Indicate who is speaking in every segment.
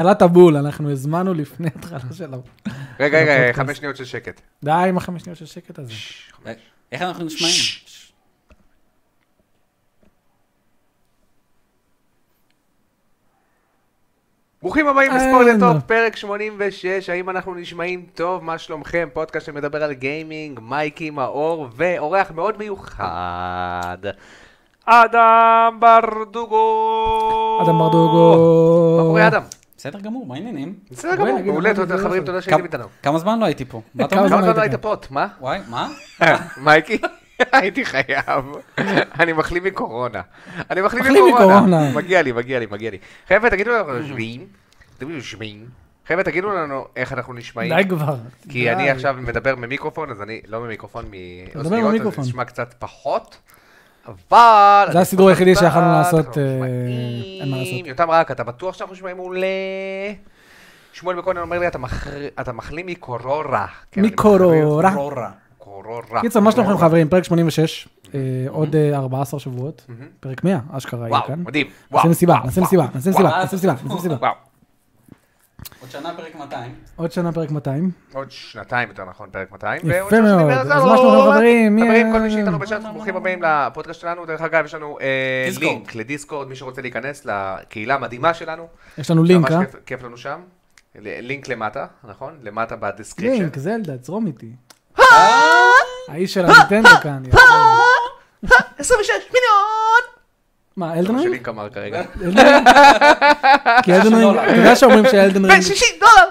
Speaker 1: עלת הבול, אנחנו הזמנו לפני התחלה שלו.
Speaker 2: רגע, רגע,
Speaker 1: הפודקאסט.
Speaker 2: חמש שניות של שקט.
Speaker 1: די עם החמש שניות של שקט הזה.
Speaker 2: ששש, חמש.
Speaker 3: איך אנחנו נשמעים?
Speaker 2: ברוכים הבאים לספורט
Speaker 1: אהלן.
Speaker 2: לטופ, פרק 86, האם אנחנו נשמעים טוב? מה שלומכם? פודקאסט שמדבר על גיימינג, מייקי מאור, ואורח מאוד מיוחד, אדם ברדוגו!
Speaker 1: אדם ברדוגו.
Speaker 2: מה קורה אדם?
Speaker 3: בסדר גמור, מה העניינים?
Speaker 2: בסדר
Speaker 1: בואי,
Speaker 2: גמור,
Speaker 1: נגיד,
Speaker 2: מעולה,
Speaker 1: אמרתי,
Speaker 2: תודה
Speaker 1: זה
Speaker 2: חברים,
Speaker 1: זה.
Speaker 2: תודה
Speaker 3: כמה-
Speaker 2: שהייתם איתנו.
Speaker 3: כמה זמן לא הייתי פה? מה אתה
Speaker 1: כמה
Speaker 3: אומר?
Speaker 1: זמן
Speaker 2: כמה זמן לא
Speaker 1: היית
Speaker 2: היית פה? מה?
Speaker 3: וואי, מה?
Speaker 2: מייקי? הייתי חייב. אני מחלים מקורונה. אני מחלים
Speaker 1: מחלים
Speaker 2: מקורונה.
Speaker 1: מקורונה.
Speaker 2: מגיע לי, מגיע לי, מגיע לי. חבר'ה, תגידו לנו, אנחנו נשמעים? תגידו נשמעים? חבר'ה, תגידו לנו איך אנחנו נשמעים.
Speaker 1: די כבר.
Speaker 2: כי אני
Speaker 1: די.
Speaker 2: עכשיו מדבר ממיקרופון, אז אני לא ממיקרופון, מאוזניות, אז זה
Speaker 1: במיקרופון.
Speaker 2: נשמע קצת פחות. אבל...
Speaker 1: זה הסידור היחידי שיכולנו לעשות,
Speaker 2: אנחנו
Speaker 1: אה,
Speaker 2: נשמעים.
Speaker 1: אין מה לעשות.
Speaker 2: יותם רק, אתה בטוח שאנחנו נשמעים מעולה? שמואל מקונן אומר לי, "אתה מחר- אתה מחלים מקורורה. כן, אני מחלים
Speaker 1: מקורורה. רע.
Speaker 3: רורה.
Speaker 2: קורורה.
Speaker 1: קיצר, מה
Speaker 2: אה,
Speaker 1: שלומכם חברים? פרק 86, אה, עוד אה, 14 שבועות, פרק 100, אשכרה כן. יהיה
Speaker 2: וואו,
Speaker 1: כאן.
Speaker 2: מדהים. וואו,
Speaker 1: נעשה מסיבה,
Speaker 2: וואו,
Speaker 1: נעשה
Speaker 2: וואו,
Speaker 1: מסיבה, נעשה
Speaker 2: וואו,
Speaker 1: מסיבה, נעשה מסיבה, נעשה מסיבה.
Speaker 2: וואו,
Speaker 3: עוד שנה פרק 200.
Speaker 1: עוד שנה פרק 200.
Speaker 2: עוד שנתיים יותר נכון, פרק 200.
Speaker 1: יפה
Speaker 2: ועוד שנה
Speaker 1: מאוד.
Speaker 2: שנדבר על זה,
Speaker 1: אז
Speaker 2: לא,
Speaker 1: מה שלומכם,
Speaker 2: לא, לא,
Speaker 1: חברים? מי-
Speaker 2: חברים, כל מי שאיתנו בצ'אט,
Speaker 3: מה, מה,
Speaker 2: ברוכים
Speaker 3: מה,
Speaker 2: הבאים לפודקאסט שלנו. דרך אגב, יש לנו אה,
Speaker 3: דיסקורד.
Speaker 2: לינק לדיסקורד, מי שרוצה להיכנס לקהילה המדהימה שלנו.
Speaker 1: יש לנו לינק,
Speaker 2: ממש
Speaker 1: אה?
Speaker 2: כיף- כיף לנו שם. ל- לינק למטה, נכון? למטה בדסקריפשן.
Speaker 1: לינק, זלדה, זרום איתי.
Speaker 2: אה?
Speaker 1: האיש של הניטנדו כאן. יאללה.
Speaker 2: 26 מיליון!
Speaker 1: מה,
Speaker 2: זה
Speaker 1: אלדן
Speaker 2: מה
Speaker 1: רינג?
Speaker 2: שלינק אמר כרגע.
Speaker 1: אלדן רינג? כי
Speaker 2: אה,
Speaker 1: אלדן רינג,
Speaker 2: לא.
Speaker 1: אתה יודע שאומרים שאלדן רינג,
Speaker 2: 60 דולר!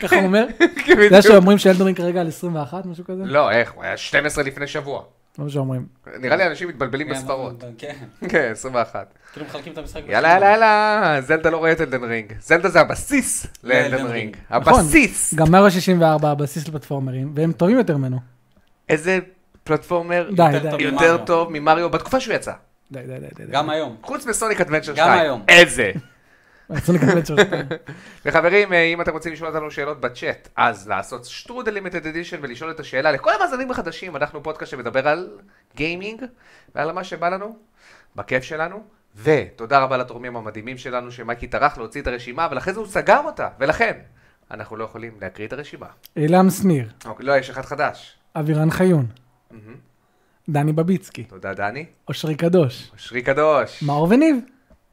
Speaker 1: ככה הוא אומר?
Speaker 2: כן, בדיוק.
Speaker 1: אתה יודע שאומרים שאלדן רינג כרגע על 21, משהו כזה?
Speaker 2: לא, איך? הוא היה 12 לפני שבוע.
Speaker 1: לא מה שאומרים.
Speaker 2: נראה לי אנשים מתבלבלים בספרות.
Speaker 3: כן,
Speaker 2: כן, 21.
Speaker 3: כאילו מחלקים את המשחק.
Speaker 2: יאללה, יאללה, יאללה, זלדה לא רואה את אלדן רינג. זלדה זה הבסיס לאלדן
Speaker 3: לאלדן
Speaker 2: רינג.
Speaker 3: רינג.
Speaker 1: נכון.
Speaker 2: הבסיס.
Speaker 1: גם 164 הבסיס לפלטפורמרים, והם טובים יותר ממנו.
Speaker 2: איזה פלטפורמר
Speaker 1: די,
Speaker 3: יותר
Speaker 1: די,
Speaker 3: טוב.
Speaker 2: יותר
Speaker 3: ממריו.
Speaker 2: טוב ממריו בתקופה שהוא יצא.
Speaker 1: די, די, די, די, די.
Speaker 3: גם היום.
Speaker 2: חוץ מסוניק אדוונצ'ר 2.
Speaker 3: גם היום.
Speaker 2: איזה.
Speaker 1: רצו לקבל את שלושתם.
Speaker 2: וחברים, אה, אם אתם רוצים לשאול אותנו שאלות בצ'אט, אז לעשות שטרודל לימטד אדישן ולשאול את השאלה לכל המאזינים החדשים, אנחנו פודקאסט שמדבר על גיימינג ועל מה שבא לנו, בכיף שלנו, ותודה רבה לתורמים המדהימים שלנו, שמייקי טרח להוציא את הרשימה, אבל אחרי זה הוא סגר אותה, ולכן אנחנו לא יכולים להקריא את הרשימה.
Speaker 1: אילם שניר,
Speaker 2: אוקיי, לא, יש אחד חדש.
Speaker 1: אבירן חיון,
Speaker 2: מהמם.
Speaker 1: דני בביצקי,
Speaker 2: תודה, דני.
Speaker 1: אושרי קדוש,
Speaker 2: אושרי קדוש.
Speaker 1: מאור וניב.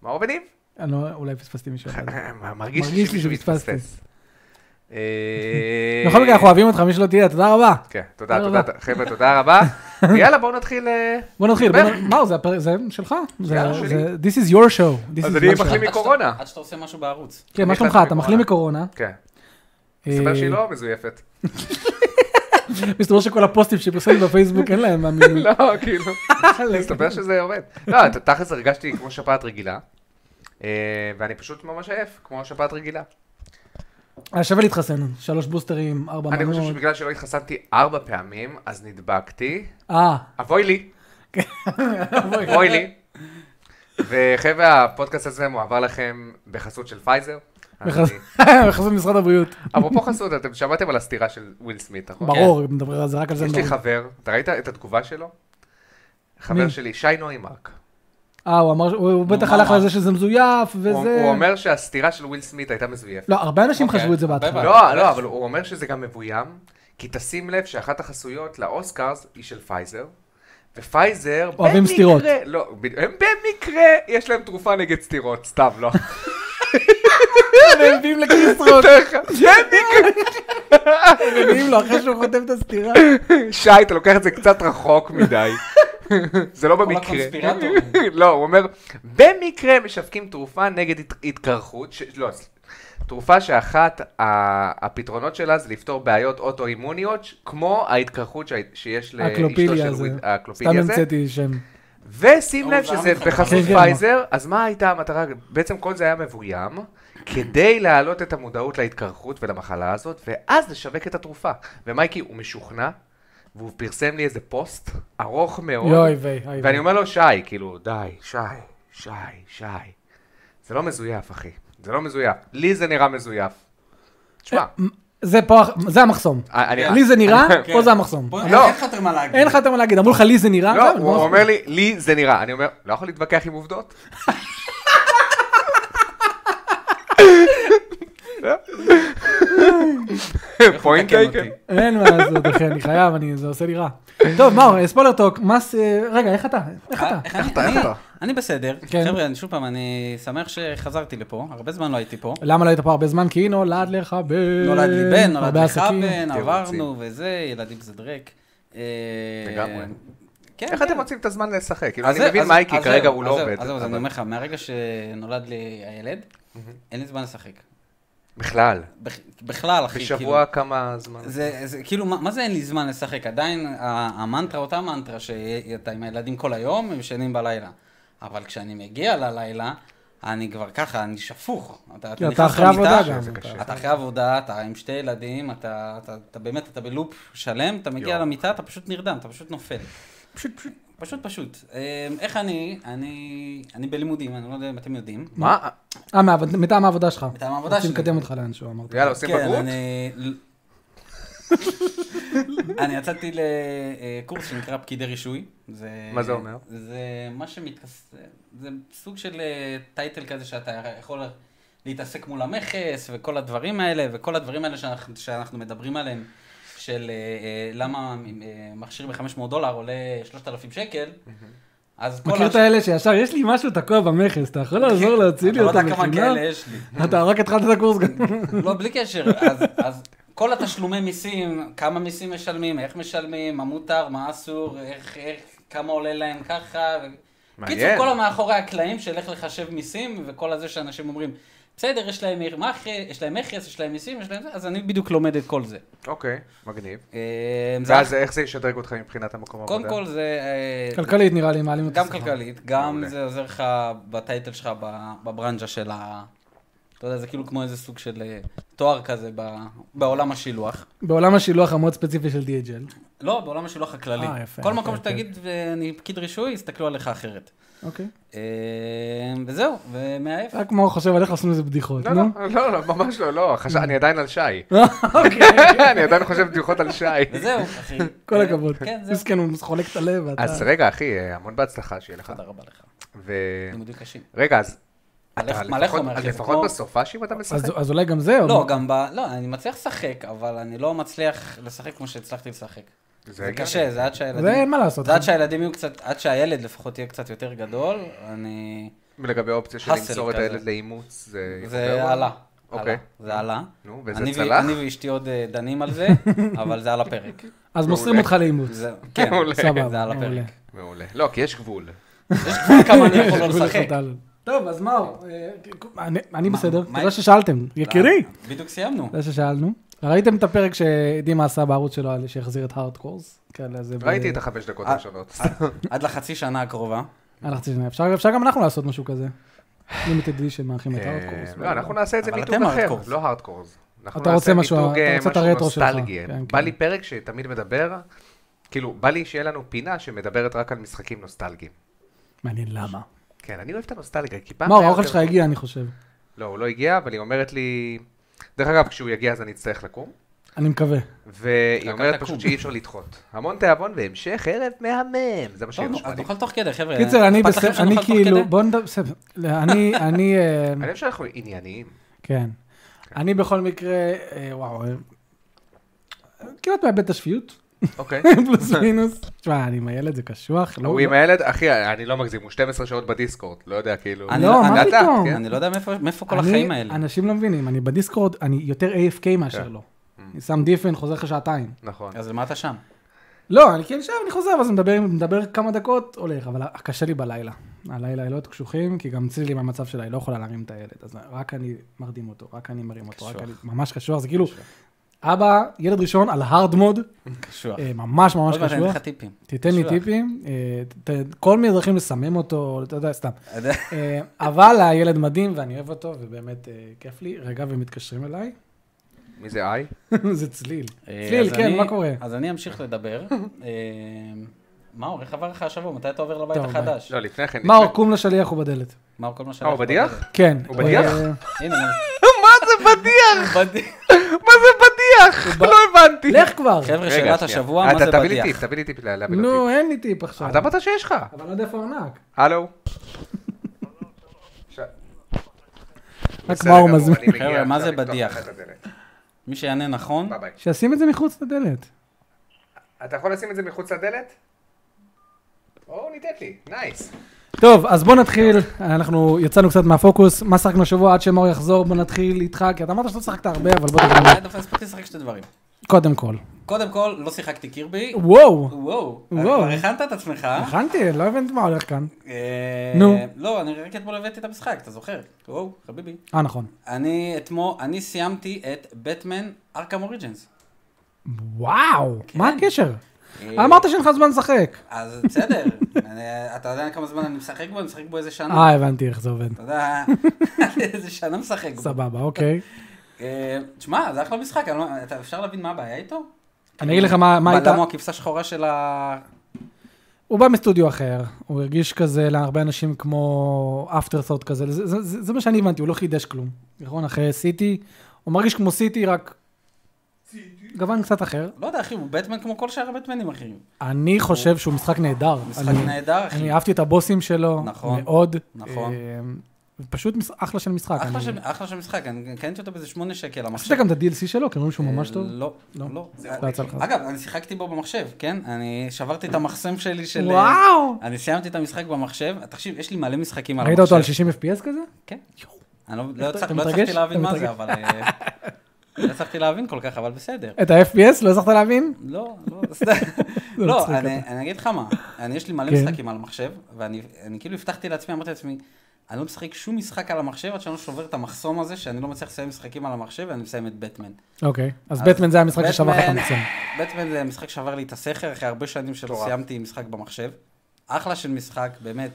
Speaker 2: מאור וניב?
Speaker 1: אני לא- אולי פספסתי מישהו אחד.
Speaker 2: מרגיש לי
Speaker 1: מרגיש לי
Speaker 2: שמישהו
Speaker 1: שפספסתי.
Speaker 2: מתפספס. אה,
Speaker 1: בכל מקרה, אנחנו אוהבים אותך, מי שלא תהיה, תודה רבה.
Speaker 2: כן, תודה,
Speaker 1: תודה
Speaker 2: תודה, חבר'ה, תודה רבה. יאללה, בואו נתחיל... אה,
Speaker 1: בוא נתחיל,
Speaker 2: דבר.
Speaker 1: בוא נ- מה, זה הפרק- זה שלך? זה-
Speaker 2: יאללה,
Speaker 1: זה-
Speaker 2: שלי.
Speaker 1: This is your show. This
Speaker 2: אז
Speaker 1: is
Speaker 2: אני
Speaker 1: your
Speaker 2: מחלים
Speaker 1: show.
Speaker 2: מקורונה.
Speaker 3: עד שאתה עושה משהו בערוץ.
Speaker 1: כן, מה
Speaker 2: אני
Speaker 1: שלומך?
Speaker 2: החלטתי
Speaker 1: אתה מחלים מקורונה.
Speaker 2: כן.
Speaker 1: אה,
Speaker 2: מסתבר שהיא לא מזויפת.
Speaker 1: מסתבר שכל הפוסטים שפרסמתי בפייסבוק, אין להם מאמינים.
Speaker 2: לא, כאילו, מסתבר שזה עובד. לא, ת- תכלס הרגשתי כמו שפעת רגילה, אה, ואני פשוט ממש עייף, כמו שפעת רגילה.
Speaker 1: היה שווה להתחסן, שלוש בוסטרים, ארבע
Speaker 2: אני חושב
Speaker 1: מנות.
Speaker 2: שבגלל שלא התחסנתי ארבע פעמים, אז נדבקתי.
Speaker 1: אה,
Speaker 2: אבוי לי. אבוי לי. וחבר'ה, הפודקאסט הזה מועבר לכם בחסות של פייזר.
Speaker 1: בחס-
Speaker 2: אני-
Speaker 1: בחסות משרד הבריאות.
Speaker 2: אפרופו חסות, אתם שמעתם על הסתירה של וויל סמית, נכון?
Speaker 1: ברור, מדבר על זה, רק על זה.
Speaker 2: יש לי
Speaker 1: מדברים.
Speaker 2: חבר, אתה ראית את התגובה שלו? חבר
Speaker 1: מי?
Speaker 2: שלי, שי נוימרק.
Speaker 1: אה, הוא אמר, הוא הוא
Speaker 3: נו,
Speaker 1: בטח
Speaker 3: מה
Speaker 1: הלך
Speaker 3: אמר?
Speaker 1: לזה שזה מזויף,
Speaker 2: הוא
Speaker 1: וזה...
Speaker 2: הוא אומר שהסתירה של וויל סמית הייתה מזויפת.
Speaker 1: לא, הרבה אנשים
Speaker 3: אוקיי,
Speaker 1: חשבו את זה
Speaker 3: הרבה
Speaker 1: בהתחלה.
Speaker 3: בעיה.
Speaker 2: לא, לא, אבל הוא אומר שזה גם מבוים, כי תשים לב שאחת החסויות לאוסקרס היא של פייזר, ופייזר
Speaker 1: אוהבים
Speaker 2: במקרה-
Speaker 1: סתירות.
Speaker 2: לא, ב- הם במקרה יש להם תרופה נגד סתירות, סתם, לא.
Speaker 1: הם מביאים לקריסטרות, הם מביאים לו אחרי שהוא חוטף את הסטירה.
Speaker 2: שי, אתה לוקח את זה קצת רחוק מדי. זה לא במקרה.
Speaker 3: הקונספירטורים.
Speaker 2: לא, הוא אומר, במקרה משווקים תרופה נגד הת- התקרחות, ש- לא, ס- תרופה שאחת ה- הפתרונות שלה זה לפתור בעיות אוטואימוניות, ש- כמו ההתקרחות שהי- שיש לאשתו
Speaker 1: הקלופיליה
Speaker 2: של
Speaker 1: הזה.
Speaker 2: וויד,
Speaker 1: סתם
Speaker 2: הקלופיליה הזה.
Speaker 1: המצאתי שם.
Speaker 2: ושים
Speaker 3: לא,
Speaker 2: לב
Speaker 3: זה
Speaker 2: שזה
Speaker 3: המחקר.
Speaker 2: בחסות
Speaker 1: כן, כן,
Speaker 2: פייזר, אז מה הייתה המטרה? בעצם כל זה היה מבוים, כדי להעלות את המודעות להתקרחות ולמחלה הזאת, ואז לשווק את התרופה. ומייקי, הוא משוכנע, והוא פרסם לי איזה פוסט ארוך מאוד.
Speaker 1: יואי ויי, אוי
Speaker 2: ואני
Speaker 1: ויי.
Speaker 2: אומר לו, שי, כאילו, די, שי, שי, שי. זה לא מזויף, אחי. זה לא מזויף. לי זה נראה מזויף. תשמע,
Speaker 1: זה פה, הח- זה המחסום.
Speaker 2: אני...
Speaker 1: אה, לי זה נראה,
Speaker 3: כן.
Speaker 1: פה זה המחסום.
Speaker 3: בוא,
Speaker 2: לא.
Speaker 3: אין לך יותר מה להגיד.
Speaker 1: אין לך יותר מה להגיד, אמרו לך לי אה, זה נראה,
Speaker 2: לא,
Speaker 1: זהו,
Speaker 2: הוא
Speaker 1: בוא.
Speaker 2: אומר לי, לי זה נראה. אני אומר, לא יכול להתווכח עם עובדות. פוינט
Speaker 3: מתקן
Speaker 2: טייקן.
Speaker 3: אותי?
Speaker 1: אין מה לעשות, אחי, אני חייב, אני- זה עושה לי רע. טוב, מאור, ספוילר טוק, מס... אה, רגע, איך אתה? איך אתה?
Speaker 3: אני-
Speaker 2: אתה, איך
Speaker 3: אה, אני-
Speaker 2: אתה?
Speaker 3: אני בסדר.
Speaker 1: כן.
Speaker 3: חבר'ה, אני שוב פעם, אני שמח שחזרתי לפה, הרבה זמן לא הייתי פה.
Speaker 1: למה לא היית פה הרבה זמן? כי נולד לך בן.
Speaker 3: נולד לי בן, נולד
Speaker 1: אה, הרבה
Speaker 3: לי
Speaker 1: עסקים.
Speaker 3: חבן, עברנו
Speaker 2: תירוצים.
Speaker 3: וזה, ילדים זה דרק. אה,
Speaker 2: לגמרי.
Speaker 3: כן,
Speaker 2: איך
Speaker 3: כן.
Speaker 2: אתם מוצאים את הזמן לשחק? כאילו,
Speaker 3: אז
Speaker 2: אני
Speaker 3: זה-
Speaker 2: מבין
Speaker 3: אז-
Speaker 2: מייקי,
Speaker 3: אז
Speaker 2: כרגע
Speaker 3: זהו,
Speaker 2: הוא
Speaker 3: אז
Speaker 2: לא
Speaker 3: זהו,
Speaker 2: עובד.
Speaker 3: אז זהו, אז
Speaker 2: אבל-
Speaker 3: אני אומר לך, מהרגע שנולד לי הילד, אין לי זמן לשחק.
Speaker 2: בכלל,
Speaker 3: בכ- בכלל, אחי, כאילו.
Speaker 2: בשבוע כמה זמן.
Speaker 3: זה, זה כאילו, מה, מה זה אין לי זמן לשחק? עדיין ה- המנטרה אותה מנטרה שאתה עם הילדים כל היום, הם ישנים בלילה. אבל כשאני מגיע ללילה, אני כבר ככה, אני שפוך. אתה,
Speaker 1: כי אתה
Speaker 3: נכנס
Speaker 1: אחרי עבודה
Speaker 3: למיטה,
Speaker 1: גם.
Speaker 2: שזה
Speaker 1: אתה-
Speaker 2: קשה.
Speaker 3: אתה אחרי עבודה, אתה עם שתי ילדים, אתה, אתה, אתה באמת, אתה בלופ שלם, אתה מגיע
Speaker 2: יואו.
Speaker 3: למיטה, אתה פשוט נרדם, אתה פשוט נופל. פשוט פשוט. פשוט פשוט. אמ, איך אני, אני, אני בלימודים, אני לא יודע אם אתם יודעים.
Speaker 2: מה?
Speaker 1: אה, מהעבוד- מטעם העבודה שלך.
Speaker 3: מטעם העבודה
Speaker 1: רוצים
Speaker 3: שלי.
Speaker 1: לקדם אותך לאנשהו, אמרתי.
Speaker 2: יאללה, עושים
Speaker 3: כן,
Speaker 2: בגרות?
Speaker 3: אני... אני יצאתי לקורס שנקרא פקידי רישוי. זה...
Speaker 2: מה זה אומר?
Speaker 3: זה מה שמתכס... זה סוג של אה, טייטל כזה שאתה יכול להתעסק מול המכס וכל הדברים האלה, וכל הדברים האלה שאנחנו, שאנחנו מדברים עליהם, של אה, אה, למה אה, מכשיר ב-500 דולר עולה 3,000 שקל, אז כל
Speaker 1: מכיר את
Speaker 3: הש-
Speaker 1: האלה שישר, יש לי משהו תקוע במכס, אתה יכול לעזור להוציא לי
Speaker 3: אתה
Speaker 1: אותו
Speaker 3: לא יודע כמה
Speaker 1: בחינם?
Speaker 3: כאלה יש לי.
Speaker 1: אתה רק התחלת את הקורס גם.
Speaker 3: לא, בלי קשר. אז, אז כל התשלומי מיסים, כמה מיסים משלמים, איך משלמים, מה מותר, מה אסור, איך, איך, כמה עולה להם ככה. ו...
Speaker 2: מעניין.
Speaker 3: קיצור, כל המאחורי הקלעים של איך לחשב מיסים, וכל הזה שאנשים אומרים, בסדר, יש להם מיר- מכס, יש להם מכס, יש להם מיסים, יש להם זה, אז אני בדיוק לומד את כל זה.
Speaker 2: אוקיי, מגניב.
Speaker 3: אה, זה-
Speaker 2: ואז איך זה ישדרג אותך מבחינת המקום העבודה?
Speaker 3: קודם כל זה... אה,
Speaker 1: כלכלית נראה לי, מעלים את
Speaker 3: גם
Speaker 1: השכר.
Speaker 3: כלכלית, גם
Speaker 2: מעולה.
Speaker 3: זה עוזר לך בטייטל שלך, ב- בברנז'ה של ה... אתה יודע, זה כאילו כמו איזה סוג של אה, תואר כזה ב- בעולם השילוח.
Speaker 1: בעולם השילוח המאוד ספציפי של DHL.
Speaker 3: לא, בעולם השילוח הכללי.
Speaker 1: אה, יפה, אוקיי.
Speaker 3: כל
Speaker 1: יפה,
Speaker 3: מקום
Speaker 1: יפה.
Speaker 3: שתגיד, אני פקיד רישוי, יסתכלו עליך אחרת.
Speaker 1: אוקיי.
Speaker 3: אה, וזהו, ומעייף.
Speaker 1: רק מאור חושב על איך עושים איזה בדיחות,
Speaker 2: לא,
Speaker 1: נו.
Speaker 2: לא, לא, לא, ממש לא, לא, חשב- אני עדיין על שי.
Speaker 3: לא.
Speaker 1: אוקיי.
Speaker 2: אני עדיין חושב בדיחות על שי.
Speaker 3: וזהו, אחי.
Speaker 1: כל
Speaker 3: אה,
Speaker 1: הכבוד.
Speaker 3: כן, זהו.
Speaker 1: מסכן, הוא חולק את הלב, ואתה...
Speaker 2: אז רגע, אחי, אה, המון בהצלחה שיהיה לך.
Speaker 3: תודה רבה לך.
Speaker 2: ו-
Speaker 3: לימודים קשים.
Speaker 2: רגע, אז...
Speaker 3: מלא-
Speaker 2: כן. אתה
Speaker 3: מלא
Speaker 2: לפחות-
Speaker 3: חומר,
Speaker 2: אז
Speaker 3: אחי, זה
Speaker 2: לפחות
Speaker 3: כמו-
Speaker 2: בסופאשים אתה משחק?
Speaker 1: אז- אז אולי גם זה,
Speaker 3: לא,
Speaker 1: אבל-
Speaker 3: גם ב... לא, אני מצליח לשחק, אבל אני לא מצליח לשחק כמו שהצלחתי לשחק. זה
Speaker 2: הגיוני.
Speaker 3: קשה, זה עד
Speaker 1: זה אין
Speaker 3: שהילדים...
Speaker 1: מה לעשות.
Speaker 3: זה עד שהילדים יהיו קצת... עד שהילד לפחות יהיה קצת יותר גדול, אני...
Speaker 2: ולגבי האופציה של
Speaker 3: האסל
Speaker 2: למסור את
Speaker 3: כזה.
Speaker 2: הילד לאימוץ, זה...
Speaker 3: זה
Speaker 2: חובר?
Speaker 3: עלה.
Speaker 2: אוקיי.
Speaker 3: עלה. זה עלה.
Speaker 2: נו, וזה
Speaker 3: אני ו-
Speaker 2: צלח?
Speaker 3: אני ואשתי עוד אה, דנים על זה, אבל זה על הפרק.
Speaker 1: אז מוסרים
Speaker 2: מעולה.
Speaker 1: אותך לאימוץ.
Speaker 3: לא, זה- כן,
Speaker 2: מעולה.
Speaker 1: סבבה,
Speaker 3: זה על הפרק.
Speaker 1: מעולה.
Speaker 2: מעולה. לא, כי יש גבול.
Speaker 3: יש גבול כמה אני יכול לא
Speaker 1: זה
Speaker 3: לשחק.
Speaker 1: חתל. טוב, אז מאור, אה, אני- אני
Speaker 3: מה-
Speaker 1: בסדר,
Speaker 3: מה- אה.
Speaker 1: תודה ששאלתם, יקירי.
Speaker 3: לא, בדיוק סיימנו.
Speaker 1: זה ששאלנו. ראיתם את הפרק שדימה עשה בערוץ שלו על שהחזיר את הארדקורס? כאלה, זה ב-
Speaker 2: ראיתי את החמש דקות
Speaker 3: אה,
Speaker 2: הראשונות.
Speaker 3: עד לחצי שנה הקרובה.
Speaker 1: אה, לחצי שנה. אפשר אפשר גם אנחנו לעשות משהו כזה. לימיטד דישן מארחים את הארדקורס.
Speaker 2: אה, לא, אנחנו נעשה את זה
Speaker 3: אבל
Speaker 2: מיתוג
Speaker 3: אתם
Speaker 2: אחר,
Speaker 3: הארדקורס.
Speaker 2: לא הארדקורס. אנחנו
Speaker 1: אתה
Speaker 2: נעשה
Speaker 1: רוצה משהו-
Speaker 2: מיתוג,
Speaker 1: אתה
Speaker 2: אה,
Speaker 1: רוצה את
Speaker 2: משהו
Speaker 1: הרטרו שלך.
Speaker 2: נוסטלגי.
Speaker 1: כן,
Speaker 2: בא
Speaker 1: כן.
Speaker 2: לי פרק שתמיד מדבר, כאילו, בא לי שיהיה לנו פינה שמדברת רק על משחקים נוסטלגיים.
Speaker 1: מעניין למה.
Speaker 2: כן, אני אוהב את הנוסטלגיה, כי פעם...
Speaker 1: מאור,
Speaker 2: היה
Speaker 1: האוכל
Speaker 2: יותר-
Speaker 1: שלך הגיע, אני חושב.
Speaker 2: לא, הוא לא הגיע, אבל היא אומרת לי... דרך אגב, כשהוא יגיע אז אני אצטרך לקום.
Speaker 1: אני מקווה.
Speaker 2: אה, והיא
Speaker 3: לקחת
Speaker 2: אומרת
Speaker 3: קוב.
Speaker 2: פשוט שאי אפשר לדחות. המון תיאבון והמשך ערב מהמם. זה מה שהיא
Speaker 3: טוב, נו,
Speaker 2: רשמה
Speaker 3: אז
Speaker 2: לי.
Speaker 3: נאכל תוך כדי, חבר'ה.
Speaker 1: קיצר, אני
Speaker 3: אכפת לכם
Speaker 1: בסדר, אני
Speaker 3: שנאכל תוך
Speaker 1: כאילו,
Speaker 3: כדי?
Speaker 1: בוא נדבר, בסדר. לא, אני, אני, אה,
Speaker 2: אני חושב שאנחנו ענייניים.
Speaker 1: כן. אני בכל מקרה, אה, וואו, אה, כמעט מאבד את השפיות,
Speaker 2: אוקיי.
Speaker 1: פלוס מינוס. תשמע, אני עם הילד, זה קשוח. לא-
Speaker 2: הוא עם הילד, אחי, אני לא מגזים, הוא 12 שעות בדיסקורד, לא יודע, כאילו...
Speaker 3: אני
Speaker 1: לא, מה
Speaker 2: לאט-לאט,
Speaker 1: פתאום?
Speaker 2: כן?
Speaker 3: אני לא יודע מאיפה- מאיפה כל
Speaker 1: אני-
Speaker 3: החיים האלה.
Speaker 1: אנשים לא מבינים, אני בדיסקורד, אני יותר AFK מאשר
Speaker 2: כן.
Speaker 1: לא.
Speaker 3: Mm.
Speaker 1: אני שם דיפן, חוזר לך שעתיים.
Speaker 2: נכון.
Speaker 3: אז למה אתה שם?
Speaker 1: לא, אני כן שם, אני חוזר, ואז מדבר, מדבר כמה דקות, הולך, אבל קשה לי בלילה. הלילה לילות קשוחים, כי גם צילי מהמצב שלה, היא לא יכולה להרים את הילד, אז רק אני מרדים אותו, רק אני מרים אותו, רק
Speaker 3: קשוח.
Speaker 1: אני, ממש קשוח, זה כאילו, אבא, ילד ראשון על הארד מוד,
Speaker 3: קשוח.
Speaker 1: אה, ממש ממש
Speaker 3: עוד מעט אני אתן
Speaker 1: קשוח,
Speaker 3: לך טיפים.
Speaker 1: תיתן לי
Speaker 3: קשוח.
Speaker 1: טיפים, אה, ת- ת- כל מיני דרכים לסמם אותו, אתה יודע, סתם.
Speaker 3: אתה יודע,
Speaker 1: אה, אבל הילד מדהים ואני אוהב אותו, ובאמת אה, כיף לי. רגע, ומתקשרים אליי,
Speaker 2: מי זה איי?
Speaker 1: זה צליל.
Speaker 3: אה,
Speaker 1: צליל,
Speaker 3: אז
Speaker 1: כן,
Speaker 3: אני-
Speaker 1: מה קורה?
Speaker 3: אז אני אמשיך לדבר. אה, מאור, איך עבר לך השבוע? מתי אתה עובר לבית
Speaker 1: טוב,
Speaker 3: החדש?
Speaker 2: לא, לפני כן.
Speaker 1: מאור,
Speaker 2: לפני-
Speaker 1: קום לשליח, הוא בדלת.
Speaker 3: מאור, כל מה ש...
Speaker 2: אה, הוא בדיח?
Speaker 1: כן.
Speaker 2: הוא בדיח?
Speaker 1: אה,
Speaker 3: הנה,
Speaker 2: מה זה בדיח?
Speaker 3: הוא בדיח.
Speaker 2: מה זה בדיח? לא הבנתי.
Speaker 1: לך כבר.
Speaker 3: חבר'ה,
Speaker 2: רגע,
Speaker 3: שאלת
Speaker 2: שנייה.
Speaker 3: השבוע,
Speaker 2: אה,
Speaker 3: מה
Speaker 2: אתה-
Speaker 3: זה
Speaker 2: תביא לי
Speaker 3: בדיח?
Speaker 2: טיפ, תביא לי טיפ לה- להבין אותי.
Speaker 1: נו, אין לי טיפ עכשיו.
Speaker 2: אתה אמרת שיש לך.
Speaker 1: אבל אני לא יודע איפה הארנק.
Speaker 2: הלו. ש- בסדר
Speaker 1: מאור
Speaker 2: גמור,
Speaker 1: מזמין.
Speaker 2: אני מגיע
Speaker 3: חבר'ה, מה
Speaker 2: עכשיו
Speaker 3: זה
Speaker 2: לפתוח
Speaker 3: בדיח?
Speaker 2: לך את הדלת.
Speaker 3: מי שיענה נכון,
Speaker 2: ביי ביי.
Speaker 1: שישים את זה מחוץ לדלת.
Speaker 2: אתה יכול לשים את זה מחוץ לדלת? או, ניתת לי, נייס.
Speaker 1: טוב, אז בוא נתחיל, אנחנו יצאנו קצת מהפוקוס, מה שחקנו השבוע עד שמור יחזור, בוא נתחיל איתך, כי אתה אמרת שלא שחקת הרבה, אבל בוא תגיד לנו.
Speaker 3: היה אה, דווקא הספקתי לשחק שתי דברים.
Speaker 1: קודם כל.
Speaker 3: קודם כל, לא שיחקתי קירבי.
Speaker 1: וואו,
Speaker 3: וואו, אתה
Speaker 1: וואו.
Speaker 3: כבר הכנת את עצמך.
Speaker 1: הכנתי, לא הבנתי מה הולך כאן.
Speaker 3: אה,
Speaker 1: נו.
Speaker 3: לא, אני רק אתמול הבאתי את המשחק, אתה זוכר? וואו, חביבי.
Speaker 1: אה, נכון.
Speaker 3: אני אתמול, אני סיימתי את בטמן ארקם אוריג'נס.
Speaker 1: וואו,
Speaker 3: כן.
Speaker 1: מה הקשר? אמרת שאין לך זמן לשחק.
Speaker 3: אה, אז בסדר, אני- אתה יודע כמה זמן אני משחק בו? אני משחק בו איזה שנה.
Speaker 1: אה, הבנתי איך זה עובד.
Speaker 3: אתה יודע, איזה שנה משחק בו.
Speaker 1: סבבה, אוקיי.
Speaker 3: אה, תשמע, זה אחלה משחק, אני לא- אתה- אפשר להבין מה הבעיה איתו?
Speaker 1: אני אגיד לך מה מה הייתה...
Speaker 3: בלם הוא הכבשה שחורה של ה...
Speaker 1: הוא בא מסטודיו אחר, הוא הרגיש כזה להרבה אנשים כמו אפטר סאוט כזה, זה, זה, זה, זה מה שאני הבנתי, הוא לא חידש כלום. נכון, אחרי סיטי, הוא מרגיש כמו סיטי, רק גוון קצת אחר.
Speaker 3: לא יודע, אחי, הוא בטמן כמו כל שאר הבטמנים אחרים.
Speaker 1: אני חושב שהוא משחק נהדר.
Speaker 3: משחק
Speaker 1: אני,
Speaker 3: נהדר, אחי.
Speaker 1: אני אהבתי את הבוסים שלו,
Speaker 3: נכון,
Speaker 1: מאוד.
Speaker 3: נכון.
Speaker 1: אה, פשוט מש... אחלה של משחק.
Speaker 3: אחלה
Speaker 1: אני-
Speaker 3: של- אחלה של משחק, אני קניתי אותו באיזה שמונה שקל,
Speaker 1: עשית
Speaker 3: המחשב.
Speaker 1: גם את ה-DLC שלו, כי אומרים שהוא ממש טוב.
Speaker 3: אה, לא,
Speaker 1: לא.
Speaker 3: לא.
Speaker 1: לא יצא לך.
Speaker 3: אגב, אני שיחקתי בו במחשב, כן? אני שברתי את המחסם שלי של... אה,
Speaker 1: וואו!
Speaker 3: אני סיימתי את המשחק במחשב, תקשיב, יש לי מלא משחקים על
Speaker 1: ראית
Speaker 3: המחשב.
Speaker 1: אותו על 60 FPS כזה?
Speaker 3: כן. אני לא- לא הצלח-
Speaker 1: אתה
Speaker 3: לא
Speaker 1: מתרגש?
Speaker 3: הצלחתי להבין
Speaker 1: אתה
Speaker 3: מה זה,
Speaker 1: מתרגש?
Speaker 3: אבל... אה, לא הצלחתי להבין כל כך, אבל בסדר.
Speaker 1: את ה-FPS? לא הצלחת להבין?
Speaker 3: לא, לא, סתם. לא,
Speaker 1: מצחיק
Speaker 3: אני אני אגיד לך מה, אני יש לי מלא
Speaker 1: כן.
Speaker 3: משחקים על המחשב, ואני אני כאילו הבטחתי לעצמי, אמרתי לעצמי, אני לא משחק שום משחק על המחשב עד שאני לא שובר את המחסום הזה, שאני לא מצליח לסיים משחקים על המחשב, ואני מסיים את בטמן.
Speaker 1: אוקיי, אז
Speaker 3: אז
Speaker 1: בטמן זה המשחק ששבר לך
Speaker 3: בטמן-
Speaker 1: מצוין.
Speaker 3: בטמן זה משחק שעבר לי את הסכר, אחרי הרבה שנים שלא
Speaker 2: מטורף.
Speaker 3: סיימתי משחק במחשב. אחלה של משחק, באמת.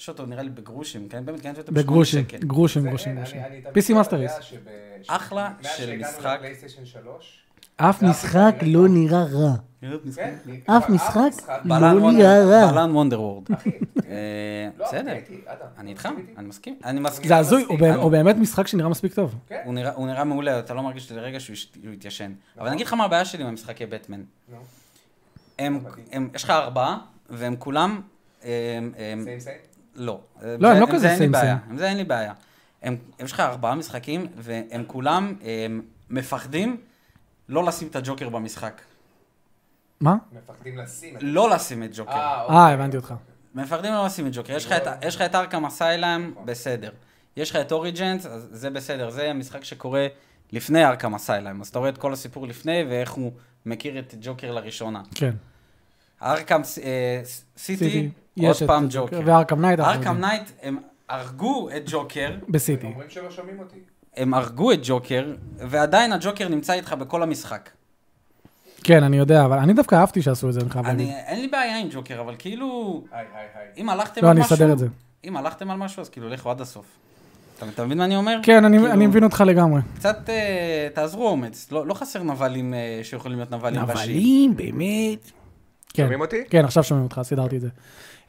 Speaker 3: יש אותו נראה לי בגרושים, כן? באמת קניתי אותו בשמונה
Speaker 1: בגרושים,
Speaker 3: שקל.
Speaker 1: גרושים,
Speaker 2: זה
Speaker 1: גרושים,
Speaker 2: אין,
Speaker 1: גרושים.
Speaker 2: אני- אני תמיד
Speaker 1: PC
Speaker 2: יודע
Speaker 1: מאסטריס.
Speaker 2: שב- ש-
Speaker 3: אחלה
Speaker 2: מאז
Speaker 3: של
Speaker 2: שהגענו
Speaker 3: משחק.
Speaker 2: לפלייסטיישן 3,
Speaker 4: אף משחק לא נראה רע.
Speaker 2: כן, כבר
Speaker 4: אף משחק
Speaker 3: בלן
Speaker 4: לא
Speaker 3: וונדר-
Speaker 4: נראה רע.
Speaker 3: בלן וונדר וורד.
Speaker 2: אחי,
Speaker 3: אה,
Speaker 2: לא,
Speaker 3: בסדר,
Speaker 2: אני איתי, אדם.
Speaker 3: אני איתך,
Speaker 2: אתה מסכים איתי?
Speaker 3: אני מסכים. אני מסכים.
Speaker 1: זה הזוי, הוא בא-
Speaker 3: אני-
Speaker 1: הוא באמת משחק שנראה מספיק טוב.
Speaker 3: הוא נראה- הוא נראה מעולה, אתה לא מרגיש לרגע שהוא הש- שהוא התיישן. אבל אני אגיד לך מה הבעיה שלי עם המשחקי בטמן.
Speaker 2: נו,
Speaker 3: הם- הם- יש לך ארבעה, והם כולם... אה, הם- הם-
Speaker 2: סיים סיים.
Speaker 3: לא.
Speaker 1: לא, הם לא
Speaker 3: עם
Speaker 1: כזה
Speaker 3: זה אין לי
Speaker 1: סיים,
Speaker 3: בעיה,
Speaker 1: סיים.
Speaker 3: עם זה אין לי בעיה. הם, יש לך ארבעה משחקים, והם כולם הם מפחדים לא לשים את הג'וקר במשחק.
Speaker 1: מה?
Speaker 2: מפחדים לשים. את זה.
Speaker 3: לא לשים את ג'וקר.
Speaker 2: אוקיי.
Speaker 1: אה, הבנתי אותך.
Speaker 3: מפחדים לא לשים את ג'וקר. יש לך את- יש לך את ארכם אסיילם, בסדר. יש לך את אוריג'נס, אז זה בסדר. זה משחק שקורה לפני ארכם אסיילם. אז אתה רואה את כל הסיפור לפני, ואיך הוא מכיר את ג'וקר לראשונה.
Speaker 1: כן.
Speaker 3: ארכם אה, סיטי, עוד
Speaker 1: יש את
Speaker 3: פעם ג'וקר.
Speaker 1: וארכם נייט. אנחנו
Speaker 3: ארכם
Speaker 1: יודעים.
Speaker 3: נייט, הם הרגו את ג'וקר.
Speaker 1: בסיטי.
Speaker 2: אומרים שלא שומעים אותי.
Speaker 3: הם הרגו את ג'וקר, ועדיין הג'וקר נמצא איתך בכל המשחק.
Speaker 1: כן, אני יודע, אבל אני דווקא אהבתי שעשו את זה, אני חייב להגיד.
Speaker 3: אני, אין לי בעיה עם ג'וקר, אבל כאילו,
Speaker 2: היי, היי, היי.
Speaker 3: אם הלכתם
Speaker 1: לא,
Speaker 3: על
Speaker 1: אני
Speaker 3: משהו,
Speaker 1: אסדר את זה.
Speaker 3: אם הלכתם על משהו, אז כאילו לכו עד הסוף. אתה, אתה מבין מה אני אומר?
Speaker 1: כן, אני-
Speaker 3: כאילו,
Speaker 1: אני מבין אותך לגמרי.
Speaker 3: קצת אה, תעזרו אומץ, לא, לא חסר נבלים אה, שיכולים להיות נבלים ראשיים.
Speaker 4: נבלים, באמת.
Speaker 1: כן.
Speaker 2: שומעים אותי?
Speaker 1: כן, עכשיו שומעים אותך, סידרתי את זה.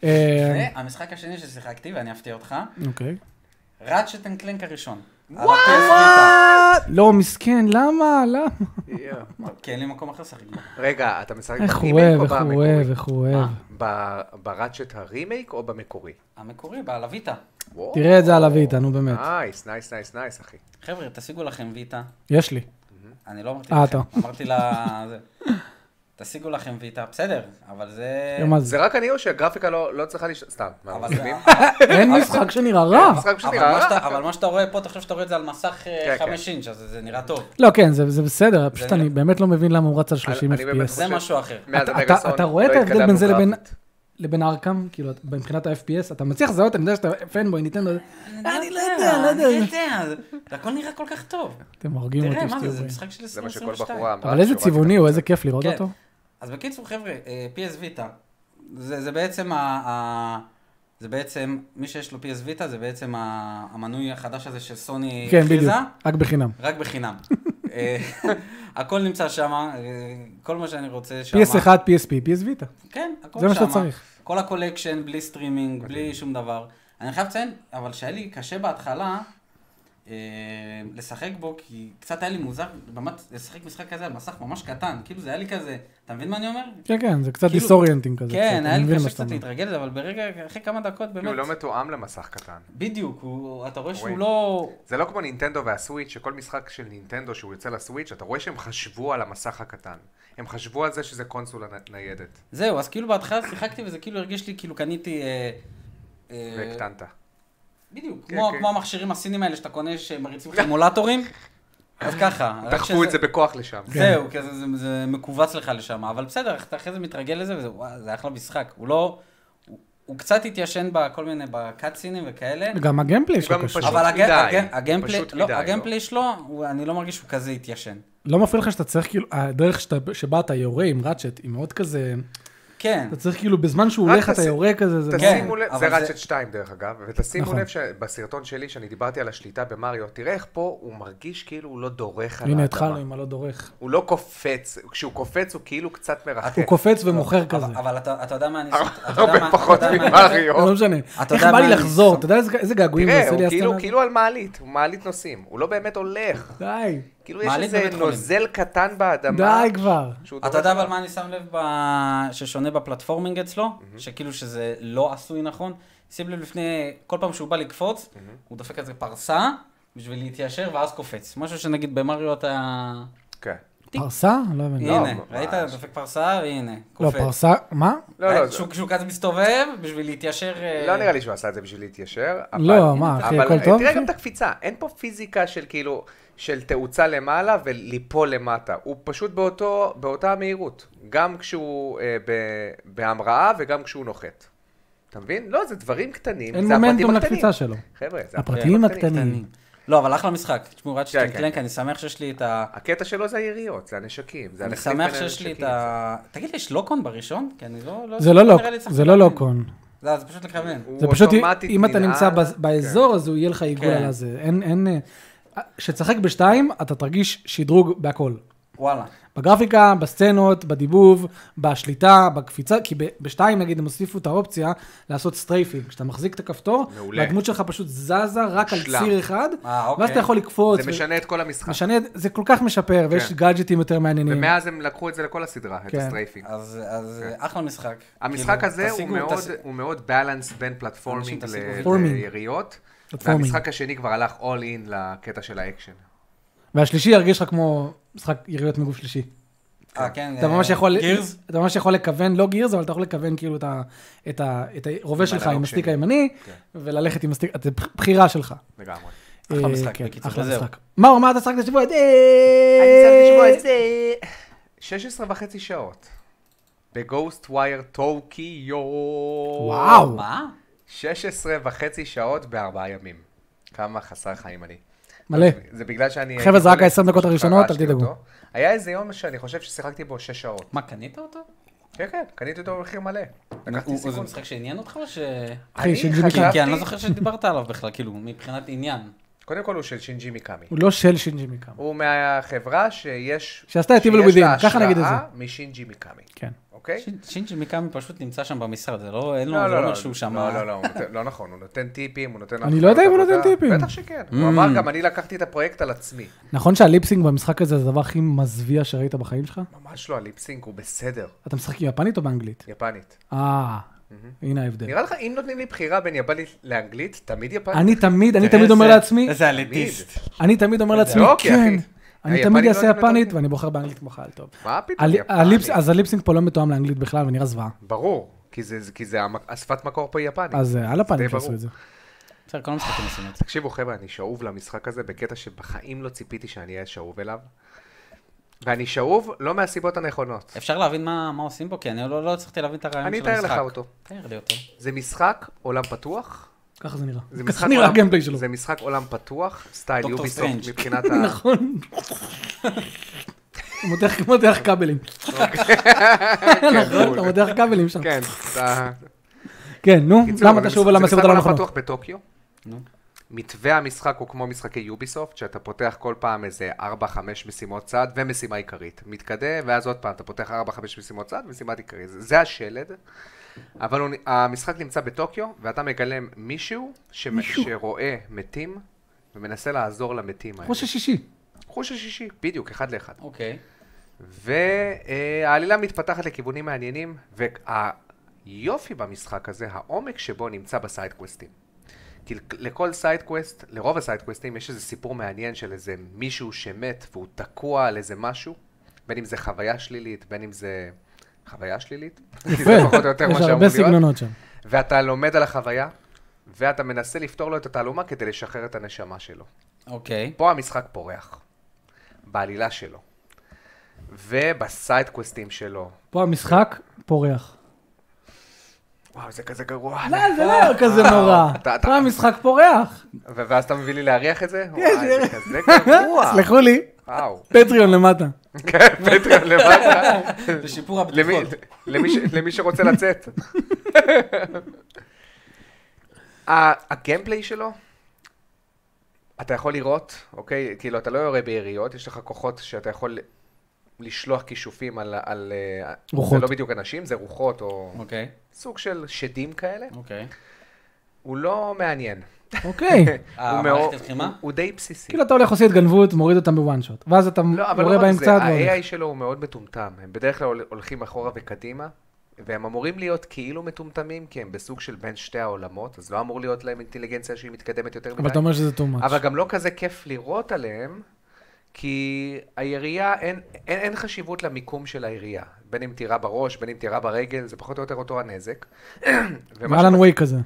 Speaker 1: אה,
Speaker 3: והמשחק השני ששיחקתי, ואני אפתיע אותך,
Speaker 1: אוקיי.
Speaker 3: ראצ'ט אנד קלנק הראשון. וואו!
Speaker 1: לא, מסכן, למה? למה?
Speaker 3: כי אין לי מקום אחר לשחק בו.
Speaker 2: רגע, אתה משחק
Speaker 1: איך הוא אוהב,
Speaker 2: ברימייק או
Speaker 1: איך הוא
Speaker 2: במקורי?
Speaker 1: אוהב, איך הוא אוהב.
Speaker 2: אה? ב- בראצ'ט הרימייק או במקורי?
Speaker 3: המקורי, בעלוויתה.
Speaker 2: וואו.
Speaker 1: תראה את זה על הויטה, נו באמת.
Speaker 2: נייס, נייס, נייס, נייס, אחי.
Speaker 3: חבר'ה, תשיגו לכם ויטה.
Speaker 1: יש לי.
Speaker 3: אני לא אמרתי
Speaker 1: אה,
Speaker 3: לכם, אמרתי לה... זה. תשיגו לכם ויטה, בסדר, אבל זה...
Speaker 1: מה זה?
Speaker 2: אה, זה רק אני או שהגרפיקה לא לא צריכה להשתנות? סתם. מה,
Speaker 3: אבל
Speaker 2: מגזימים? אה,
Speaker 1: אין משחק שנראה רע.
Speaker 2: משחק פשוט
Speaker 3: אבל
Speaker 2: נראה
Speaker 3: מה
Speaker 2: רע.
Speaker 3: שאתה- אבל מה שאתה רואה פה, אתה חושב שאתה רואה את זה על מסך
Speaker 2: כן, כן.
Speaker 3: 5 אינץ', אז זה נראה טוב.
Speaker 1: לא, כן, זה זה בסדר, פשוט
Speaker 3: זה-
Speaker 1: אני באמת לא מבין למה הוא רץ על 30
Speaker 2: אני באמת לא-
Speaker 1: FPS.
Speaker 3: זה
Speaker 2: חושב-
Speaker 3: משהו אחר.
Speaker 2: מאז
Speaker 1: אתה-
Speaker 2: המגאסון
Speaker 1: אתה- אתה רואה את
Speaker 2: לא
Speaker 1: ההבדל בין זה
Speaker 2: התקדמנו
Speaker 1: לבין-
Speaker 2: גרפית.
Speaker 1: לבין ארכם, כאילו, מבחינת ה-FPS, אתה מצליח לזהות, אני יודע שאתה פנבוי, ניתן לו...
Speaker 3: אני לא יודע, אני לא יודע. זה הכל נראה כל כך טוב.
Speaker 1: אתם הורגים אותי
Speaker 3: תראה, מה זה,
Speaker 1: שתהיו
Speaker 3: זה
Speaker 1: בריאים.
Speaker 3: משחק של
Speaker 2: זה מה שכל
Speaker 3: 2022.
Speaker 2: בחורה אמרה.
Speaker 1: אבל איזה
Speaker 2: שהוא רק
Speaker 1: צבעוני הוא, איזה כיף לראות
Speaker 3: כן.
Speaker 1: אותו.
Speaker 2: אה,
Speaker 3: אז בקיצור, חבר'ה, אה, PS Vita, זה זה בעצם ה- ה... זה בעצם, מי שיש לו PS Vita, זה בעצם ה- המנוי החדש הזה שסוני
Speaker 1: כן,
Speaker 3: הכריזה.
Speaker 1: בדיוק, רק בחינם.
Speaker 3: רק בחינם. אה, הכל נמצא שם, כל מה שאני רוצה שם.
Speaker 1: PS1, PSP, PS ויטה.
Speaker 3: כן, הכל
Speaker 1: זה מה
Speaker 3: שמה.
Speaker 1: שאתה צריך. אוקיי.
Speaker 3: כל הקולקשן, בלי סטרימינג, בלי שום דבר. אני חייב לציין, אבל שהיה לי קשה בהתחלה, אה, לשחק בו, כי קצת היה לי מוזר באמת לשחק משחק כזה על מסך ממש קטן. כאילו זה היה לי כזה, אתה מבין מה אני אומר?
Speaker 1: כן, כן, זה קצת
Speaker 3: כאילו-
Speaker 1: דיסאוריינטינג כזה. קצת,
Speaker 3: כן, היה
Speaker 1: אני
Speaker 3: לי
Speaker 1: מבין
Speaker 3: קשה
Speaker 1: מה שאתה
Speaker 3: קצת
Speaker 1: אומר.
Speaker 3: להתרגל לזה, אבל ברגע, אחרי כמה דקות
Speaker 2: כאילו, הוא
Speaker 3: באמת,
Speaker 2: לא מתואם למסך קטן.
Speaker 3: בדיוק, הוא- אתה רואה שהוא
Speaker 2: רואים.
Speaker 3: לא...
Speaker 2: זה לא כמו נינטנדו והסוויץ', שכל משחק של נינטנדו שהוא יוצא לסוויץ', אתה רואה שהם חשבו על המסך הקטן. הם חשבו על זה שזה קונסולה נ- ניידת,
Speaker 3: זהו, אז כאילו בהתחלה שיחקתי וזה כאילו הרגיש לי כאילו קניתי... אה, אה,
Speaker 2: והקטנת.
Speaker 3: בדיוק,
Speaker 2: כן,
Speaker 3: כמו,
Speaker 2: כן.
Speaker 3: כמו המכשירים הסינים האלה שאתה קונה שמריצים לך אמולטורים, אז ככה. רק
Speaker 2: דחפו את
Speaker 3: שזה-
Speaker 2: זה בכוח לשם.
Speaker 3: זהו, כזה, זה, זה מכווץ לך לשם, אבל בסדר, אתה אחרי זה מתרגל לזה, וזה וואי, זה אחלה משחק. הוא לא... הוא, הוא קצת התיישן בכל מיני, בקאצינים וכאלה,
Speaker 1: גם הגיימפליי
Speaker 2: הוא
Speaker 1: שלו
Speaker 2: גם
Speaker 1: קשה.
Speaker 2: פשוט-
Speaker 3: אבל הג-
Speaker 2: מדי,
Speaker 3: הג- הגיימפליי
Speaker 2: פשוט
Speaker 3: לא,
Speaker 2: מדי, לא.
Speaker 3: הגיימפליי שלו, הוא- אני לא מרגיש שהוא כזה התיישן.
Speaker 1: לא מפריע לך שאתה צריך, כאילו, הדרך שאתה- שבה אתה יורה עם ראצ'ט, היא מאוד כזה...
Speaker 3: כן,
Speaker 1: אתה צריך כאילו, בזמן שהוא
Speaker 2: רק
Speaker 1: הולך אתה
Speaker 2: תשים-
Speaker 1: יורה כזה, זה מאוד...
Speaker 3: כן,
Speaker 2: תשימו לב,
Speaker 3: אבל
Speaker 2: זה
Speaker 3: זה-
Speaker 2: ראצ'ט 2 דרך אגב, ותשימו
Speaker 1: נכון.
Speaker 2: לב שבסרטון שלי, שאני דיברתי על השליטה במריו, תראה איך פה הוא מרגיש כאילו הוא לא
Speaker 3: כן,
Speaker 2: דורך על האדמה.
Speaker 1: הנה, התחלנו עם הלא דורך.
Speaker 2: הוא לא קופץ, כשהוא קופץ הוא כאילו קצת מרחק.
Speaker 1: הוא קופץ ומוכר
Speaker 3: כן. אבל,
Speaker 1: כזה.
Speaker 3: אבל אתה, אתה יודע מה אני... אתה יודע מה-
Speaker 2: אה, הרבה
Speaker 3: אתה
Speaker 2: פחות
Speaker 3: יודע מה-
Speaker 2: ממריו.
Speaker 1: לא משנה.
Speaker 3: אתה
Speaker 1: איך
Speaker 3: יודע
Speaker 1: בא
Speaker 3: מה
Speaker 1: לי
Speaker 3: אני
Speaker 1: לחזור?
Speaker 3: שם-
Speaker 1: אתה יודע איזה- איזה געגועים זה
Speaker 2: תראה,
Speaker 1: עושה לי
Speaker 2: הוא כאילו-
Speaker 1: הסצנה? הזאת?
Speaker 2: כאילו על מעלית, הוא מעלית נוסעים, הוא לא באמת הולך.
Speaker 1: די,
Speaker 2: כאילו יש
Speaker 3: מעלית
Speaker 2: איזה
Speaker 3: בבית חולים.
Speaker 2: נוזל קטן באדמה.
Speaker 1: די כבר.
Speaker 2: שהוא
Speaker 3: אתה
Speaker 2: דורס
Speaker 3: יודע אבל
Speaker 2: עליו.
Speaker 3: מה אני שם לב ב- ששונה בפלטפורמינג אצלו? שכאילו שזה לא עשוי נכון. שים לב לפני, כל פעם שהוא בא לקפוץ, הוא דופק איזה פרסה בשביל להתיישר ואז קופץ. משהו שנגיד במריו אתה...
Speaker 2: כן.
Speaker 3: טיק.
Speaker 1: פרסה? לא הבנתי.
Speaker 3: הנה,
Speaker 2: ממש.
Speaker 3: ראית? דופק פרסה והנה,
Speaker 1: לא,
Speaker 3: קופץ.
Speaker 1: פרסה, מה?
Speaker 2: לא, לא,
Speaker 3: ראית
Speaker 2: זה-
Speaker 3: שהוא- שהוא כזה מסתובב בשביל להתיישר... אה,
Speaker 2: לא נראה לי שהוא עשה את זה בשביל להתיישר. אבל-
Speaker 1: לא, מה, אחי,
Speaker 2: אבל אה,
Speaker 1: הכל טוב?
Speaker 2: תראה
Speaker 1: אחי?
Speaker 2: גם את הקפיצה, אין פה פיזיקה של כאילו, של תאוצה למעלה וליפול למטה. הוא פשוט באותו, באותה המהירות. גם כשהוא אה, ב, בהמראה וגם כשהוא נוחת. אתה מבין? לא, זה דברים קטנים,
Speaker 1: אין
Speaker 2: זה הפרטים
Speaker 1: מומנטום
Speaker 2: הקטנים.
Speaker 1: לקפיצה שלו.
Speaker 2: חבר'ה, זה
Speaker 1: הפרטים
Speaker 3: קטנים.
Speaker 1: הקטנים.
Speaker 3: לא, אבל אחלה משחק. תשמעו, רק
Speaker 2: כן,
Speaker 3: שאתם
Speaker 2: כן.
Speaker 3: קלנק, אני שמח שיש לי את ה...
Speaker 2: הקטע שלו זה היריות, זה הנשקים, זה
Speaker 3: אני
Speaker 2: הלחצים
Speaker 3: שמח
Speaker 2: בין
Speaker 3: שיש לי את
Speaker 2: הנשקים.
Speaker 3: ה... תגיד לי, יש לוקון בראשון? כי אני לא...
Speaker 1: זה לא
Speaker 3: נראה לי
Speaker 1: לוק-
Speaker 3: צריך
Speaker 1: זה לא
Speaker 3: לכוון.
Speaker 1: לוקון.
Speaker 3: לא, זה פשוט לכוון.
Speaker 2: הוא
Speaker 1: זה פשוט,
Speaker 2: אוטומטית
Speaker 1: אם אתה
Speaker 2: ננעל.
Speaker 1: נמצא בז- באזור, אז הוא יהיה לך עיגול
Speaker 3: כן.
Speaker 1: על הזה. אין, אין... אה, כשתשחק בשתיים, אתה תרגיש שדרוג בהכל.
Speaker 3: וואלה.
Speaker 1: בגרפיקה, בסצנות, בדיבוב, בשליטה, בקפיצה, כי ב- בשתיים נגיד הם הוסיפו את האופציה לעשות סטרייפינג, כשאתה מחזיק את הכפתור,
Speaker 2: מעולה.
Speaker 1: והדמות שלך פשוט זזה רק על
Speaker 2: מושלם.
Speaker 1: ציר אחד,
Speaker 3: אה, אוקיי.
Speaker 1: ואז אתה יכול לקפוץ.
Speaker 2: זה
Speaker 1: ו-
Speaker 2: משנה את כל המשחק.
Speaker 1: משנה, זה כל כך משפר, ויש
Speaker 2: כן.
Speaker 1: גאדג'טים יותר מעניינים.
Speaker 2: ומאז הם לקחו את זה לכל הסדרה, את
Speaker 1: כן.
Speaker 2: הסטרייפינג.
Speaker 3: אז, אז אה, אחלה משחק.
Speaker 2: אוקיי. המשחק
Speaker 3: כאילו,
Speaker 2: הזה הוא
Speaker 3: תשיגו-
Speaker 2: מאוד-
Speaker 3: תשיגו-
Speaker 2: הוא מאוד בלנס בין
Speaker 3: אנשים
Speaker 2: פלטפורמינג
Speaker 3: תשיגו
Speaker 2: ל-
Speaker 1: פלטפורמינג.
Speaker 2: ליריות,
Speaker 1: פלטפורמינג.
Speaker 2: והמשחק השני כבר הלך all in לקטע של האקשן.
Speaker 1: והשלישי ירגיש לך כמו משחק יריות מגוף שלישי.
Speaker 3: אה, כן.
Speaker 1: אתה ממש
Speaker 3: אה,
Speaker 1: יכול,
Speaker 3: גירס?
Speaker 1: אתה ממש יכול לכוון, לא גירס, אבל אתה יכול לכוון כאילו את ה- את ה- את הרובה שלך עם
Speaker 2: הלאוג
Speaker 1: הסטיק
Speaker 2: שלי.
Speaker 1: הימני,
Speaker 2: כן.
Speaker 1: וללכת עם הסטיק, זה בח- בחירה שלך.
Speaker 2: לגמרי.
Speaker 3: אחלה
Speaker 1: אה,
Speaker 3: משחק,
Speaker 1: כן,
Speaker 3: בקיצור,
Speaker 1: אחלה
Speaker 3: וזהו.
Speaker 1: משחק. מאור, מה אתה שחקת השבוע?
Speaker 2: אני צריך לשמוע
Speaker 1: אה,
Speaker 2: את זה. 16 וחצי שעות. בגוסט ווייר טוקיו.
Speaker 1: וואו.
Speaker 3: מה?
Speaker 2: 16 וחצי שעות בארבעה ימים. כמה חסר חיים אני.
Speaker 1: אה. מלא.
Speaker 2: זה בגלל שאני...
Speaker 1: חבר'ה, זה רק
Speaker 2: הייתי
Speaker 1: ה-20 דקות
Speaker 2: חולה,
Speaker 1: הראשונות, אל
Speaker 2: שפרשתי
Speaker 1: תדאגו.
Speaker 2: אותו. היה איזה יום שאני חושב ששיחקתי בו 6 שעות.
Speaker 3: מה, קנית אותו?
Speaker 2: כן, כן, קניתי אותו במחיר מלא. לקחתי
Speaker 3: הוא- הוא- זה
Speaker 2: סיכון.
Speaker 3: משחק שעניין אותך או ש...
Speaker 1: אחי,
Speaker 2: אני
Speaker 1: שינג'י מיקאמי.
Speaker 3: כי-
Speaker 2: חשבתי-
Speaker 3: כי אני לא זוכר שדיברת עליו בכלל, כאילו, מבחינת עניין.
Speaker 2: קודם כל הוא של שינג'י מיקאמי.
Speaker 1: הוא לא של שינג'י מיקאמי.
Speaker 2: הוא מהחברה שיש...
Speaker 1: שעשתה את Evil
Speaker 2: שיש לה
Speaker 1: Within, ככה נגיד את זה.
Speaker 2: השראה משינג'י מיקאמי,
Speaker 1: כן.
Speaker 2: אוקיי?
Speaker 3: שין- שינג'י מיקאמי פשוט נמצא שם במשרד, זה לא, אין לו, זה לא אומר שהוא שם.
Speaker 2: לא, לא, לא, הוא נותן- לא נכון, הוא נותן טיפים, הוא נותן...
Speaker 1: אני לא יודע אם הוא
Speaker 2: עבודה.
Speaker 1: נותן טיפים.
Speaker 2: בטח שכן.
Speaker 3: Mm.
Speaker 2: הוא אמר גם, אני לקחתי את הפרויקט על עצמי.
Speaker 1: נכון שהליפסינג במשחק הזה זה הדבר הכי מזוויע שראית בחיים שלך?
Speaker 2: ממש לא, הליפסינק הוא בסדר,
Speaker 1: אתה משחק עם יפנית או באנגלית?
Speaker 2: יפנית.
Speaker 1: אה, הנה ההבדל.
Speaker 2: נראה לך, אם נותנים לי בחירה בין יפנית לאנגלית, תמיד יפנית.
Speaker 1: אני תמיד, אני
Speaker 3: איזה-
Speaker 1: תמיד אומר לעצמי,
Speaker 3: איזה אליטיסט.
Speaker 1: אני תמיד אומר לעצמי,
Speaker 2: לא, כי אחי,
Speaker 1: כן, אני תמיד
Speaker 2: היפנים לא
Speaker 1: אעשה
Speaker 2: יודעים
Speaker 1: יפנית
Speaker 2: לדבר.
Speaker 1: ואני בוחר באנגלית כמו חייל טוב.
Speaker 2: מה פתאום,
Speaker 1: הלי-
Speaker 2: יפנית.
Speaker 1: הליפס- אז הליפסינג פה לא מתואם לאנגלית בכלל ונראה זוועה.
Speaker 2: ברור, כי זה- כי זה המ- השפת מקור פה היא יפנית.
Speaker 1: אז אה, על הפנים
Speaker 2: די ברור.
Speaker 1: שעשו את זה.
Speaker 3: בסדר, כל המשחקים עושים את זה.
Speaker 2: תקשיבו חבר'ה, אני שאוב למשחק הזה בקטע שבחיים לא ציפיתי שאני אהיה שאוב אליו. ואני שאוב לא מהסיבות הנכונות.
Speaker 3: אפשר להבין מה מה עושים בו? כי אני לא לא הצלחתי להבין את הרעיון
Speaker 2: אני
Speaker 3: של
Speaker 2: אתאר
Speaker 3: המשחק.
Speaker 2: לך אותו.
Speaker 3: תאר לי אותו.
Speaker 2: זה משחק עולם פתוח.
Speaker 1: ככה זה נראה.
Speaker 2: זה
Speaker 1: ככה
Speaker 2: משחק
Speaker 1: נראה הגיימפליי שלו.
Speaker 2: זה משחק עולם פתוח, סטייל
Speaker 3: דוקטור
Speaker 2: יוביסופט
Speaker 3: סטרנג'.
Speaker 2: מבחינת ה...
Speaker 1: נכון. הוא מותח- הוא מותח כבלים. נכון, אתה מותח כבלים שם.
Speaker 2: אוקיי. כן, אתה...
Speaker 1: כן, נו,
Speaker 2: קיצור,
Speaker 1: למה
Speaker 2: זה לא
Speaker 1: אתה שוב
Speaker 2: מש-
Speaker 1: על המסיבות הלא נכון?
Speaker 2: זה משחק
Speaker 1: נכונות?
Speaker 2: עולם פתוח בטוקיו.
Speaker 3: נו.
Speaker 2: מתווה המשחק הוא כמו משחקי יוביסופט, שאתה פותח כל פעם איזה 4-5 משימות צד ומשימה עיקרית. מתקדם, ואז עוד פעם אתה פותח 4-5 משימות צד ומשימה עיקרית. זה- זה השלד. אבל הוא, נ- המשחק נמצא בטוקיו, ואתה מגלם מישהו, ש... שרואה מתים, ומנסה לעזור למתים האלה.
Speaker 1: חוש השישי.
Speaker 2: חוש השישי, בדיוק, אחד לאחד.
Speaker 3: אוקיי.
Speaker 2: והעלילה מתפתחת לכיוונים מעניינים, והיופי במשחק הזה, העומק שבו נמצא בסיידקווסטים. כי לכל סיידקווסט, לרוב הסיידקווסטים יש איזה סיפור מעניין של איזה מישהו שמת והוא תקוע על איזה משהו, בין אם זה חוויה שלילית, בין אם זה חוויה שלילית. כי זה פחות או יותר מה
Speaker 1: יש
Speaker 2: שאמור
Speaker 1: הרבה
Speaker 2: להיות.
Speaker 1: סגנונות שם.
Speaker 2: ואתה לומד על החוויה, ואתה מנסה לפתור לו את התעלומה כדי לשחרר את הנשמה שלו.
Speaker 3: אוקיי.
Speaker 2: פה המשחק פורח, בעלילה שלו, ובסיידקווסטים שלו.
Speaker 1: פה המשחק פורח.
Speaker 2: וואו, זה כזה גרוע.
Speaker 1: לא, זה לא כזה נורא.
Speaker 2: אה, אתה- אתה-
Speaker 1: פה המשחק פורח.
Speaker 2: ו- ואז אתה מביא לי להריח את זה? וואי, זה כזה גרוע.
Speaker 1: סלחו לי,
Speaker 2: וואו.
Speaker 1: פטריון למטה.
Speaker 2: כן, אה? פטריון למטה.
Speaker 3: זה שיפור
Speaker 2: למי-
Speaker 3: הביטחון.
Speaker 2: למי ש- למי שרוצה לצאת. ה- הגיימפליי שלו, אתה יכול לראות, אוקיי? כאילו, אתה לא יורה ביריות, יש לך כוחות שאתה יכול לשלוח כישופים על... על אה,
Speaker 1: רוחות.
Speaker 2: זה לא בדיוק אנשים, זה רוחות או
Speaker 3: אוקיי,
Speaker 2: סוג של שדים כאלה.
Speaker 3: אוקיי.
Speaker 2: הוא לא מעניין.
Speaker 1: אוקיי.
Speaker 2: הוא
Speaker 3: המערכת
Speaker 2: מאוד-
Speaker 3: לחימה?
Speaker 2: הוא- הוא די בסיסי.
Speaker 1: כאילו אתה הולך עושה התגנבות, מוריד אותם בוואן שוט. ואז אתה
Speaker 2: לא, אבל לא
Speaker 1: מורה
Speaker 2: רק
Speaker 1: בהם
Speaker 2: זה,
Speaker 1: קצת. והולך.
Speaker 2: ה-AI שלו הוא מאוד מטומטם. הם בדרך כלל הול- הולכים אחורה וקדימה, והם אמורים להיות כאילו מטומטמים, כי הם בסוג של בין שתי העולמות, אז לא אמור להיות להם אינטליגנציה שהיא מתקדמת יותר מדי.
Speaker 1: אבל אתה אומר שזה too much.
Speaker 2: אבל גם לא כזה כיף לראות עליהם, כי הירייה, אין, אין, אין חשיבות למיקום של הירייה. בין אם תירה בראש, בין אם תירה ברגל, זה פחות או יותר אותו הנזק. ומה
Speaker 1: ואלן ווי כזה.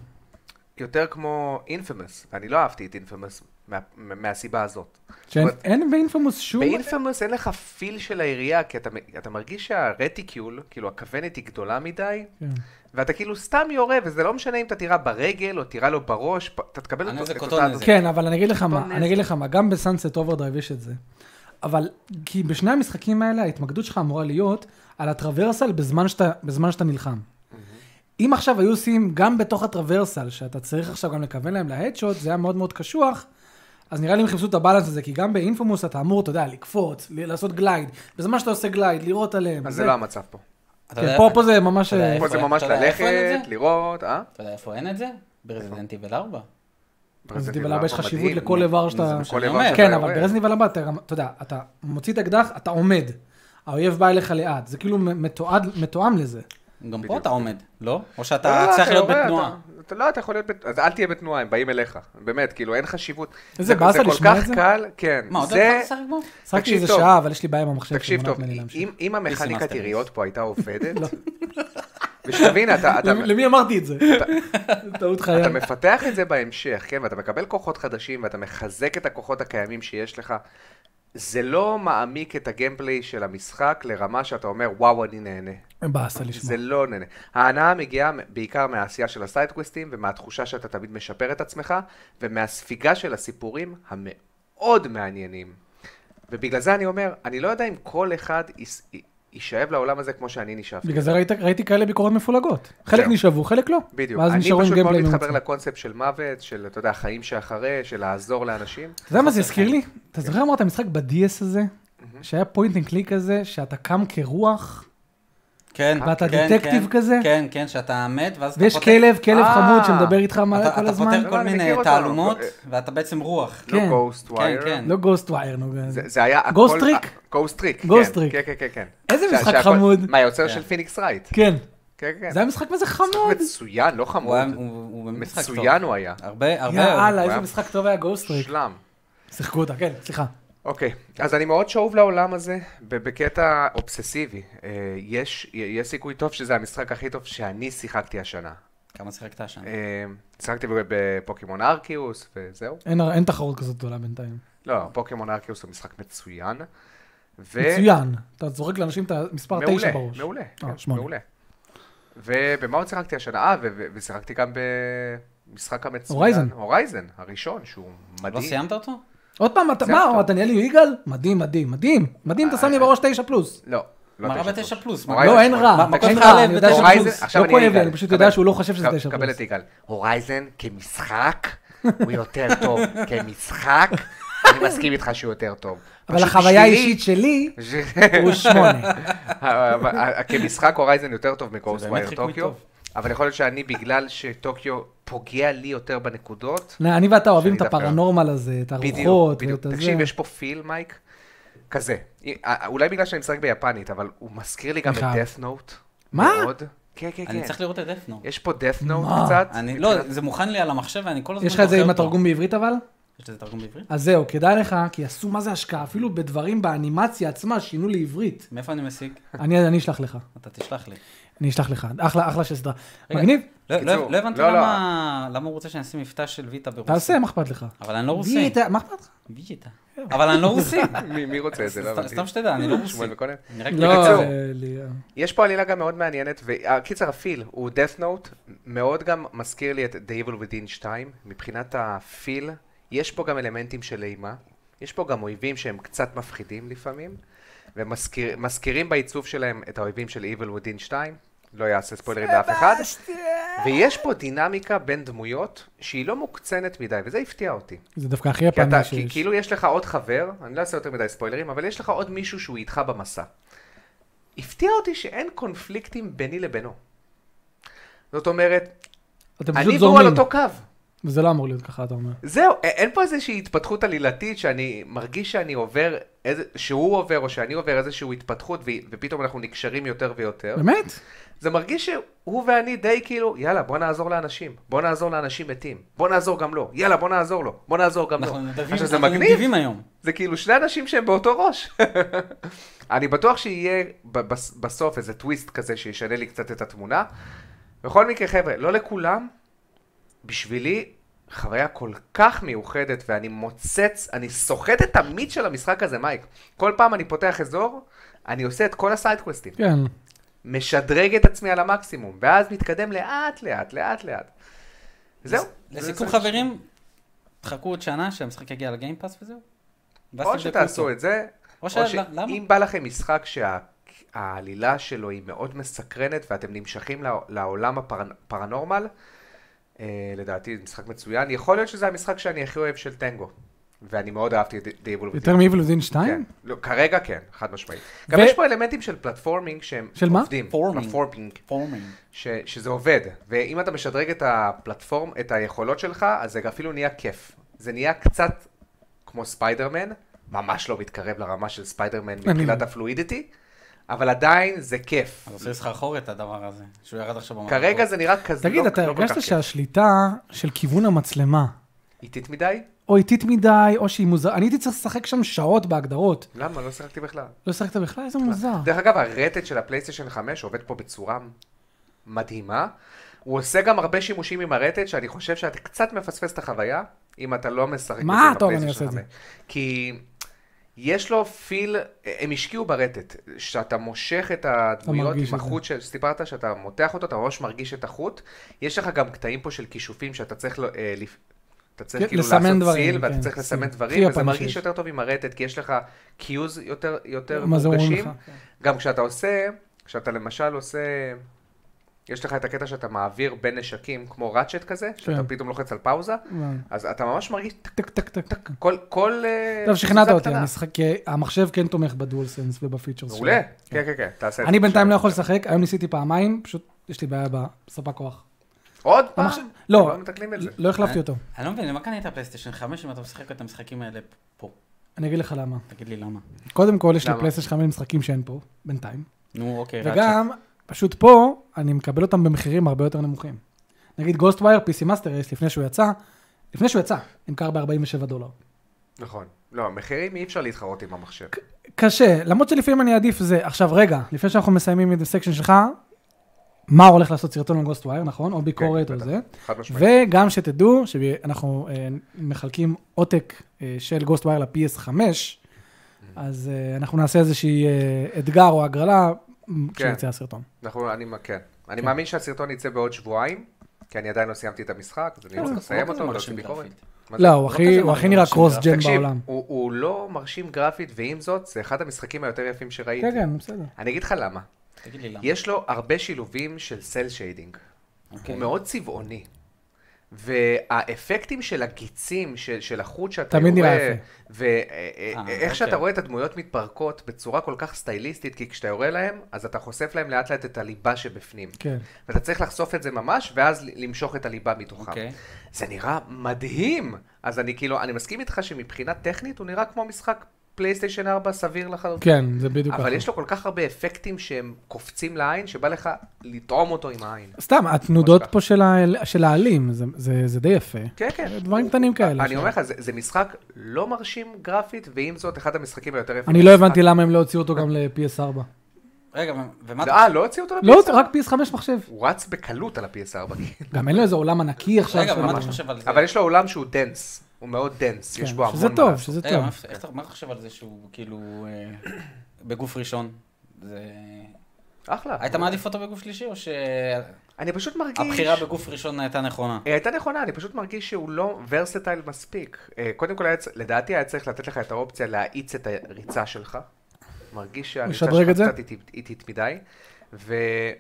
Speaker 2: יותר כמו אינפמוס, ואני לא אהבתי את אינפמוס מה, מה- מהסיבה הזאת.
Speaker 1: שאין
Speaker 2: זאת אומרת,
Speaker 1: אין באינפמוס שום...
Speaker 2: באינפמוס אין לך פיל של הירייה, כי אתה, מ- אתה מרגיש שהרטיקיול, כאילו הכוונת היא גדולה מדי,
Speaker 1: כן.
Speaker 2: ואתה כאילו סתם יורה, וזה לא משנה אם אתה תירה ברגל או תירה לו בראש, פ- אתה תקבל אותו-
Speaker 3: הנזק
Speaker 2: את
Speaker 3: אותו
Speaker 2: אותה-
Speaker 3: נזק.
Speaker 1: כן, אבל אני אגיד לך מה,
Speaker 2: נזק.
Speaker 1: אני אגיד לך מה, גם בסאנסט אוברדרייב יש את זה. אבל, כי בשני המשחקים האלה ההתמקדות שלך אמורה להיות על הטרוורסל בזמן שאתה, בזמן שאתה נלחם. אם עכשיו היו עושים גם בתוך הטרוורסל, שאתה צריך עכשיו גם לכוון להם להדשוט, זה היה מאוד מאוד קשוח, אז נראה לי הם חיפשו את הבאלנס הזה, כי גם באינפומוס אתה אמור, אתה יודע, לקפוץ, ל- לעשות גלייד, בזמן שאתה עושה גלייד, לראות עליהם.
Speaker 2: אז זה לא המצב פה.
Speaker 3: אתה
Speaker 1: כן,
Speaker 3: יודע-
Speaker 1: פה, פה זה ממש...
Speaker 3: אתה יודע
Speaker 1: אה,
Speaker 2: פה
Speaker 3: איפה-
Speaker 2: זה ממש
Speaker 3: אתה יודע איפה אין את
Speaker 2: ללכת,
Speaker 3: זה?
Speaker 2: לראות, אה?
Speaker 3: אתה יודע איפה אין את זה? ברזידנט איבל 4.
Speaker 1: ברזנט
Speaker 2: ברזנט
Speaker 1: איבל ארבע יש
Speaker 2: ארבע
Speaker 1: חשיבות
Speaker 2: כאילו מדהים.
Speaker 1: לכל איבר שאתה...
Speaker 3: מה
Speaker 2: כל
Speaker 3: שאני
Speaker 2: איבר
Speaker 3: אומר.
Speaker 2: שאתה לא,
Speaker 1: כן,
Speaker 2: יורה.
Speaker 1: אבל ברזני ולמבה, אתה גם, אתה יודע, אתה מוציא את האקדח, אתה עומד. האויב בא אליך לאט, זה כאילו מ- מתועד- מתואם לזה.
Speaker 3: גם פה
Speaker 2: בדיוק.
Speaker 3: אתה עומד, לא? או
Speaker 2: לא,
Speaker 3: שאתה
Speaker 2: לא,
Speaker 3: צריך להיות
Speaker 2: יורה,
Speaker 3: בתנועה.
Speaker 2: אתה- אתה לא, אתה יכול להיות בתנועה, אז אל תהיה בתנועה, הם באים אליך. באמת, כאילו, אין חשיבות.
Speaker 1: איזה
Speaker 2: זה-
Speaker 1: באסה
Speaker 2: זה כל
Speaker 1: לשמוע את
Speaker 2: כך
Speaker 1: זה.
Speaker 2: קל, כן.
Speaker 3: מה, עוד לא
Speaker 2: זה-
Speaker 3: התחלת לשחק בו?
Speaker 1: שחקתי
Speaker 2: תקשיב
Speaker 1: איזה
Speaker 2: טוב.
Speaker 1: שעה, אבל יש לי בעיה עם המחשב
Speaker 2: תקשיב
Speaker 1: שמונעת
Speaker 2: טוב,
Speaker 1: ממני
Speaker 2: אם-
Speaker 1: להמשיך.
Speaker 2: אם המכניקת
Speaker 3: מאסטרפיס.
Speaker 2: יריות פה הייתה עובדת, ושתבין, אתה... אתה-
Speaker 1: למ- למי אמרתי את זה? טעות חיי.
Speaker 2: אתה מפתח את זה בהמשך, כן, ואתה מקבל כוחות חדשים, ואתה מחזק את הכוחות הקיימים שיש לך. זה לא מעמיק את הגיימפליי של המשחק לרמה שאתה אומר, וואו, אני נהנה.
Speaker 1: באסה לשמוע.
Speaker 2: זה לא נהנה. ההנאה מגיעה בעיקר מהעשייה של הסיידקוויסטים, ומהתחושה שאתה תמיד משפר את עצמך, ומהספיגה של הסיפורים המאוד מעניינים. ובגלל זה אני אומר, אני לא יודע אם כל אחד יס- י- יישאב לעולם הזה כמו שאני נשאבתי.
Speaker 1: בגלל זה ראית- ראיתי כאלה ביקורות מפולגות. חלק
Speaker 2: זהו.
Speaker 1: נשאבו, חלק לא.
Speaker 2: בדיוק.
Speaker 1: ואז
Speaker 2: אני
Speaker 1: נשארו עם
Speaker 2: פשוט מאוד
Speaker 1: גיימפליי
Speaker 2: מתחבר
Speaker 1: ממוצע.
Speaker 2: לקונספט של מוות, של, אתה יודע, החיים שאחרי, של לעזור לאנשים.
Speaker 1: אתה יודע מה זה הזכיר
Speaker 2: כן.
Speaker 1: לי? אתה זוכר אמרת משחק ב-DS הזה? שהיה פוינט אנד קליק כזה, שאתה קם כרוח,
Speaker 3: כן.
Speaker 1: ואתה
Speaker 3: כן,
Speaker 1: דטקטיב
Speaker 3: כן.
Speaker 1: כזה?
Speaker 3: כן, כן, שאתה מת, ואז אתה
Speaker 1: ויש
Speaker 3: פותח-
Speaker 1: כלב, כלב
Speaker 2: אה.
Speaker 1: חמוד שמדבר איתך
Speaker 3: אתה-
Speaker 1: מה- כל
Speaker 3: אתה
Speaker 1: הזמן.
Speaker 3: פותר
Speaker 2: לא,
Speaker 3: כל
Speaker 2: אני
Speaker 3: מיני
Speaker 2: מכיר אותו.
Speaker 3: תעלומות,
Speaker 2: אה,
Speaker 3: ואתה בעצם רוח.
Speaker 2: לא
Speaker 1: כן.
Speaker 2: גוסט ווייר.
Speaker 3: כן, כן.
Speaker 1: לא גוסט ווייר, נו. זה-
Speaker 2: זה היה הכל...
Speaker 1: Ghost Trick?
Speaker 2: גוסט טריק.
Speaker 1: Ghost Trick.
Speaker 2: כן, כן, כן, כן.
Speaker 1: איזה
Speaker 2: שה-
Speaker 1: משחק
Speaker 2: שהכל-
Speaker 1: חמוד.
Speaker 2: מה, היוצר
Speaker 3: כן.
Speaker 2: של פיניקס רייט.
Speaker 1: כן.
Speaker 2: כן, כן.
Speaker 1: זה היה משחק וזה חמוד.
Speaker 2: מצוין, לא
Speaker 3: הוא
Speaker 2: חמוד.
Speaker 3: היה- הוא- הוא באמת משחק טוב.
Speaker 2: מצוין הוא היה.
Speaker 3: הרבה, הרבה.
Speaker 1: יאללה,
Speaker 2: הוא
Speaker 1: איזה
Speaker 2: היה-
Speaker 1: משחק טוב היה גוסטריק.
Speaker 2: שלם.
Speaker 1: שיחקו אותה, כן, סליחה.
Speaker 2: אוקיי, אז אני מאוד שאוב לעולם הזה, ב- בקטע אובססיבי. אה, יש יש סיכוי טוב שזה המשחק הכי טוב שאני שיחקתי השנה.
Speaker 3: כמה שיחקת שם?
Speaker 2: אה, שיחקתי בפוקימון ארקיוס וזהו.
Speaker 1: אין אין תחרות כזאת גדולה בינתיים.
Speaker 2: לא, פוקימון ארקיוס הוא משחק מצוין. ו-
Speaker 1: מצוין. אתה זורק לאנשים את המספר 9 בראש. אה,
Speaker 2: מעולה, מעולה, כן,
Speaker 1: שמונה.
Speaker 2: מעולה. ובמה עוד שיחקתי השנה? אה, ו- ו- ושיחקתי גם במשחק המצוין.
Speaker 1: הורייזן.
Speaker 2: הורייזן, הראשון, שהוא מדהים.
Speaker 3: לא סיימת אותו?
Speaker 1: עוד פעם, אתה-
Speaker 2: זה אה,
Speaker 1: מה,
Speaker 2: טוב.
Speaker 1: אתה נהיה לי יגאל? מדהים, מדהים, מדהים. מדהים, אתה שם לי בראש 9 פלוס.
Speaker 2: לא. לא
Speaker 3: מה רע
Speaker 2: תשע
Speaker 3: בתשע פלוס? מה-
Speaker 2: הורייזן
Speaker 1: לא, אין
Speaker 2: שמונה.
Speaker 1: רע.
Speaker 3: מה,
Speaker 1: אין
Speaker 3: מכות
Speaker 1: רע,
Speaker 3: חלב
Speaker 1: אני יודע
Speaker 3: בתשע
Speaker 1: שזה
Speaker 2: הורייזן,
Speaker 1: פלוס.
Speaker 2: עכשיו
Speaker 1: לא
Speaker 2: אני
Speaker 1: כואב לי,
Speaker 2: אגאל.
Speaker 1: אני פשוט
Speaker 2: קבל-
Speaker 1: יודע שהוא לא חושב שזה 9
Speaker 2: קבל את
Speaker 1: פלוס.
Speaker 2: יגאל. הורייזן כמשחק, הוא יותר טוב. כמשחק, אני מסכים איתך שהוא יותר טוב.
Speaker 1: אבל
Speaker 2: פשוט
Speaker 1: החוויה
Speaker 2: בשבילי-
Speaker 1: האישית שלי הוא 8.
Speaker 2: אבל- כמשחק הורייזן יותר טוב מקורס
Speaker 3: זה באמת
Speaker 2: ווייר
Speaker 3: חיקוי
Speaker 2: טוקיו,
Speaker 3: טוב.
Speaker 2: אבל יכול להיות שאני, בגלל שטוקיו פוגע לי יותר בנקודות,
Speaker 1: לא, אני ואתה אוהבים את
Speaker 2: שאני דווקא-
Speaker 1: הפרנורמל הזה, את
Speaker 2: בדיוק,
Speaker 1: הרוחות
Speaker 2: בדיוק.
Speaker 1: ואת הזה.
Speaker 2: תקשיב, יש פה פיל, מייק, כזה. אה, אולי בגלל שאני משחק ביפנית, אבל הוא מזכיר לי גם את
Speaker 1: מיכל.
Speaker 2: death note.
Speaker 1: מה?
Speaker 2: מאוד. כן, כן,
Speaker 3: אני
Speaker 2: כן.
Speaker 3: צריך לראות את דפנו.
Speaker 2: יש פה death note
Speaker 1: מה?
Speaker 2: קצת.
Speaker 3: אני, לא, זה מוכן לי על המחשב ואני כל הזמן...
Speaker 1: יש לך את זה
Speaker 3: דוחה
Speaker 1: עם
Speaker 3: אותו.
Speaker 1: התרגום בעברית אבל?
Speaker 3: יש לזה תרגום בעברית?
Speaker 1: אז זהו, כדאי לך, כי עשו מה זה השקעה, אפילו בדברים באנימציה עצמה שינו לעברית.
Speaker 3: מאיפה אני משיג?
Speaker 1: אני אני אשלח לך,
Speaker 3: אתה תשלח לי.
Speaker 1: אני אשלח לך, אחלה, אחלה של סדרה.
Speaker 3: רגע,
Speaker 1: מגניב,
Speaker 3: לא- לא-
Speaker 2: בקיצור,
Speaker 3: לא הבנתי
Speaker 2: לא, לא.
Speaker 3: למה למה הוא רוצה שאני אשים מבטא של ויטה ברוסית.
Speaker 1: תעשה, מה אכפת לך?
Speaker 3: אבל אני לא רוסי.
Speaker 1: ויטה, מה אכפת לך?
Speaker 3: ויטה. אבל אני לא רוסי.
Speaker 2: מי מי רוצה את זה? לא
Speaker 3: סתם-
Speaker 2: הבנתי.
Speaker 3: סתם שתדע, אני לא רוסי.
Speaker 2: שמואל מקונן.
Speaker 3: אני רק...
Speaker 1: לא,
Speaker 2: בקיצור.
Speaker 1: אה, לי-
Speaker 2: יש פה עלילה גם מאוד מעניינת, וקיצר הפיל הוא death note, מאוד גם מזכיר לי את The Evil Within 2, מבחינת הפיל, יש פה גם אלמנטים של אימה, יש פה גם אויבים שהם קצת מפחידים לפעמים, ומזכירים ומזכיר, בעיצוב שלהם את האויבים של Evil Within 2, לא יעשה ספוילרים לאף אחד, ויש פה דינמיקה בין דמויות שהיא לא מוקצנת מדי, וזה הפתיע אותי.
Speaker 1: זה דווקא הכי
Speaker 2: כי אתה,
Speaker 1: יפני
Speaker 2: כי,
Speaker 1: שיש.
Speaker 2: כאילו יש לך עוד חבר, אני לא אעשה יותר מדי ספוילרים, אבל יש לך עוד מישהו שהוא איתך במסע. הפתיע אותי שאין קונפליקטים ביני לבינו. זאת אומרת,
Speaker 1: אתם
Speaker 2: אני
Speaker 1: פשוט
Speaker 2: והוא על
Speaker 1: זורמים,
Speaker 2: אותו קו.
Speaker 1: וזה לא אמור להיות ככה, אתה אומר.
Speaker 2: זהו, א- אין פה איזושהי התפתחות עלילתית שאני מרגיש שאני עובר, איזה, שהוא עובר או שאני עובר איזושהי התפתחות ו, ופתאום אנחנו נקשרים יותר ויותר.
Speaker 1: באמת?
Speaker 2: זה מרגיש שהוא ואני די כאילו, יאללה, בוא נעזור לאנשים, בוא נעזור לאנשים מתים, בוא נעזור גם לו, יאללה, בוא נעזור לו, בוא נעזור גם לו.
Speaker 3: נכון, אנחנו נדבים-
Speaker 2: עכשיו זה
Speaker 3: אנחנו
Speaker 2: מגניב,
Speaker 3: נדבים היום.
Speaker 2: זה כאילו שני אנשים שהם באותו ראש. אני בטוח שיהיה ב- בס- בסוף איזה טוויסט כזה שישנה לי קצת את התמונה. בכל מקרה, חבר'ה, לא לכולם, בשבילי חוויה כל כך מיוחדת, ואני מוצץ, אני סוחט את המיץ של המשחק הזה, מייק. כל פעם אני פותח אזור, אני עושה את כל הסיידקווסטים.
Speaker 1: כן.
Speaker 2: אוקיי. משדרג את עצמי על המקסימום, ואז מתקדם לאט לאט, לאט לאט. זהו.
Speaker 3: לסיכום
Speaker 2: זה-
Speaker 3: חברים, תחכו עוד שנה שהמשחק יגיע לגיימפאס וזהו. ואז
Speaker 2: או
Speaker 3: תבדקו
Speaker 2: שתעשו
Speaker 3: אותו.
Speaker 2: את זה,
Speaker 3: או
Speaker 2: או
Speaker 3: ש- למה?
Speaker 2: שאם בא לכם משחק שהעלילה שלו היא מאוד מסקרנת ואתם נמשכים לע- לעולם הפרנורמל, לדעתי זה משחק מצוין. יכול להיות שזה המשחק שאני הכי אוהב של טנגו, ואני מאוד אהבתי את דייבול
Speaker 1: יותר מ-Evil Within 2?
Speaker 2: כן, לא, כרגע כן, חד משמעית. גם
Speaker 1: ו-
Speaker 2: יש פה אלמנטים של פלטפורמינג שהם
Speaker 1: של מה?
Speaker 2: עובדים.
Speaker 3: פורמינג.
Speaker 2: פלטפורמינג.
Speaker 3: פורמינג.
Speaker 2: ש, שזה עובד, ואם אתה משדרג את הפלטפורם, את היכולות שלך, אז זה אפילו נהיה כיף. זה נהיה קצת כמו ספיידרמן, ממש לא מתקרב לרמה של ספיידרמן מבחינת הפלואידיטי, אבל עדיין זה כיף.
Speaker 3: אז עושה סחרחורת הדבר הזה, שהוא ירד עכשיו במערכות.
Speaker 2: כרגע זה נראה כזה
Speaker 1: תגיד,
Speaker 2: לא,
Speaker 1: אתה
Speaker 2: לא כל כך
Speaker 1: הרגשת
Speaker 2: כיף.
Speaker 1: שהשליטה של כיוון המצלמה,
Speaker 2: איטית מדי?
Speaker 1: או איטית מדי, או שהיא מוזר... אני הייתי צריך לשחק שם שעות בהגדרות.
Speaker 2: למה? לא שיחקתי בכלל.
Speaker 1: לא שחקת בכלל? איזה מוזר.
Speaker 2: דרך אגב, הרטט של הפלייסטיישן 5 עובד פה בצורה מדהימה. הוא עושה גם הרבה שימושים עם הרטט, שאני חושב שאתה קצת מפספס את החוויה, אם אתה לא משחק
Speaker 1: מה?
Speaker 2: בזה עם
Speaker 1: טוב, אני
Speaker 2: הפלייסטיישן
Speaker 1: אעשה את
Speaker 2: 5. כי יש לו פיל, הם השקיעו ברטט, שאתה מושך את הדמויות
Speaker 1: מרגיש
Speaker 2: עם
Speaker 1: את זה.
Speaker 2: החוט שסיפרת, שאתה מותח אותו, אתה ממש מרגיש את החוט. יש לך גם קטעים פה של כישופים שאתה צריך... ל- אה, לפ- אתה צריך
Speaker 1: כן,
Speaker 2: כאילו
Speaker 1: לסמן
Speaker 2: לעשות
Speaker 1: דברים,
Speaker 2: ציל, ואתה
Speaker 1: כן,
Speaker 2: צריך
Speaker 1: ציל.
Speaker 2: לסמן
Speaker 1: הכי
Speaker 2: דברים, וזה
Speaker 1: יפני
Speaker 2: מרגיש
Speaker 1: שיש.
Speaker 2: יותר טוב עם הרטט, כי יש לך קיוז יותר יותר
Speaker 1: מה זה אומרים
Speaker 2: מורגשים.
Speaker 1: לך?
Speaker 2: גם כשאתה עושה, כשאתה למשל עושה, יש לך את הקטע שאתה מעביר בין נשקים, כמו ראצ'ט כזה, שאתה
Speaker 1: כן.
Speaker 2: פתאום לוחץ על פאוזה,
Speaker 1: וואי.
Speaker 2: אז אתה ממש מרגיש טק,
Speaker 1: טק, טק, טק. טק.
Speaker 2: כל, כל... אה,
Speaker 1: טוב, שכנעת
Speaker 2: תזוזה
Speaker 1: אותי,
Speaker 2: קטנה.
Speaker 1: המשחק, המחשב כן תומך בדואל סנס ובפיצ'רס שלו.
Speaker 2: מעולה, כן, כן, כן, תעשה את זה.
Speaker 1: אני בינתיים לא יכול לשחק, היום ניסיתי פעמיים, פשוט יש לי בעיה בספק כוח.
Speaker 2: עוד פעם?
Speaker 1: המחשב- לא.
Speaker 2: לא מתקנים את זה.
Speaker 1: לא החלפתי אותו.
Speaker 3: אני לא מבין, למה קנית פלייסטיישן 5 אם אתה משחק את המשחקים האלה פה?
Speaker 1: אני אגיד לך למה.
Speaker 3: תגיד לי למה.
Speaker 1: קודם כל, יש לי
Speaker 2: למה? אה,
Speaker 1: פלייסטיישן 5 משחקים שאין פה, בינתיים.
Speaker 3: נו, אוקיי,
Speaker 1: וגם, פשוט פה, אני מקבל אותם במחירים הרבה יותר נמוכים. נגיד גוסט ווייר, PC מאסטר רייס, לפני שהוא יצא, לפני שהוא יצא, נמכר ב-47 דולר.
Speaker 2: נכון. לא, המחירים אי אפשר להתחרות עם המחשב.
Speaker 1: קשה, למרות שלפעמים אני אעדיף זה. עכשיו, רגע, לפני שאנחנו מסיימים את הסקשן שלך, מה הולך לעשות סרטון על גוסט ווייר, נכון? או ביקורת
Speaker 2: כן,
Speaker 1: או
Speaker 2: בטח.
Speaker 1: זה.
Speaker 2: חד משמעית.
Speaker 1: וגם שתדעו שאנחנו אה, מחלקים עותק אה, של גוסט ווייר ל-PS5, אז אה, אנחנו נעשה איזשהי אה, אתגר או הגרלה מ,
Speaker 2: כן.
Speaker 1: כשיצא הסרטון.
Speaker 2: אנחנו, אני, כן. אני מאמין שהסרטון יצא בעוד שבועיים, כי אני עדיין לא סיימתי את המשחק, אז אני
Speaker 1: הוא
Speaker 2: צריך
Speaker 1: לא
Speaker 2: לסיים
Speaker 3: כזה
Speaker 2: אותו ולהוציא
Speaker 3: מרשים
Speaker 2: ביקורת.
Speaker 3: גרפית.
Speaker 2: מה זה?
Speaker 1: לא, הוא הכי-
Speaker 3: כזה
Speaker 1: הוא הכי
Speaker 3: מרשים
Speaker 1: נראה
Speaker 3: גרפית.
Speaker 1: קרוס ג'ן
Speaker 2: תקשיב,
Speaker 1: בעולם.
Speaker 2: הוא, הוא לא מרשים גרפית, ועם זאת, זה אחד המשחקים היותר יפים
Speaker 1: כן,
Speaker 2: שראיתי.
Speaker 1: כן, בסדר.
Speaker 2: אני אגיד לך למה.
Speaker 3: תגיד לי למה.
Speaker 2: יש לו הרבה שילובים של סל שיידינג.
Speaker 3: אוקיי.
Speaker 2: הוא מאוד צבעוני. והאפקטים של הגיצים, של, של החוט שאתה
Speaker 1: תמיד נראה
Speaker 2: יורה,
Speaker 1: יפה.
Speaker 3: אה,
Speaker 2: ואיך שאתה
Speaker 3: אוקיי.
Speaker 2: רואה את הדמויות מתפרקות בצורה כל כך סטייליסטית, כי כשאתה יורה להם, אז אתה חושף להם לאט לאט את הליבה שבפנים.
Speaker 1: כן.
Speaker 2: ואתה צריך לחשוף את זה ממש, ואז ל- למשוך את הליבה מתוכם.
Speaker 3: אוקיי.
Speaker 2: זה נראה מדהים! אז אני כאילו, אני מסכים איתך שמבחינה טכנית הוא נראה כמו משחק פלייסטיישן 4 סביר לחלוטין.
Speaker 1: כן, זה בדיוק
Speaker 2: אוקיי. אבל
Speaker 1: ככה.
Speaker 2: יש לו כל כך הרבה אפקטים שהם קופצים לעין, שבא לך לטעום אותו עם העין.
Speaker 1: סתם, התנודות
Speaker 2: ממש ככה.
Speaker 1: פה של ה- של העלים, זה- זה- זה די יפה.
Speaker 2: כן, כן.
Speaker 1: אה, דברים קטנים כאלה.
Speaker 2: אני אומר לך, זה, זה משחק לא מרשים גרפית, ועם זאת, אחד המשחקים היותר יפים.
Speaker 1: אני לא
Speaker 2: במשחק.
Speaker 1: הבנתי למה הם לא הוציאו אותו גם ל-PS4.
Speaker 3: רגע, ומה...
Speaker 2: אה, לא הוציאו אותו ל-PS4?
Speaker 1: לא, רק PS5 מחשב.
Speaker 2: הוא רץ בקלות על ה-PS4.
Speaker 1: גם אין לו איזה עולם ענקי עכשיו.
Speaker 3: רגע,
Speaker 1: של-
Speaker 3: ומה אתה חושב על זה?
Speaker 2: אבל יש לו עולם שהוא דנס. הוא מאוד דנס, יש
Speaker 1: כן,
Speaker 2: בו המון
Speaker 1: שזה
Speaker 2: מה
Speaker 1: טוב,
Speaker 2: לעשות.
Speaker 1: שזה
Speaker 3: רגע,
Speaker 1: טוב.
Speaker 3: מה- איך אתה- מה אתה חושב על זה שהוא כאילו אה, בגוף ראשון? זה...
Speaker 2: אחלה.
Speaker 3: היית מעדיף אותו בגוף שלישי, או שהבחירה
Speaker 2: אני פשוט מרגיש...
Speaker 3: בגוף ראשון הייתה נכונה?
Speaker 1: אה.
Speaker 2: היא אה, הייתה נכונה, אני פשוט מרגיש שהוא לא ורסטייל מספיק. אה, קודם כל, היה צ- לדעתי היה צריך לתת לך את האופציה להאיץ את הריצה שלך. מרגיש שהריצה
Speaker 1: לשדרג את
Speaker 2: שלך
Speaker 1: זה?
Speaker 2: קצת איטית- איטית מדי.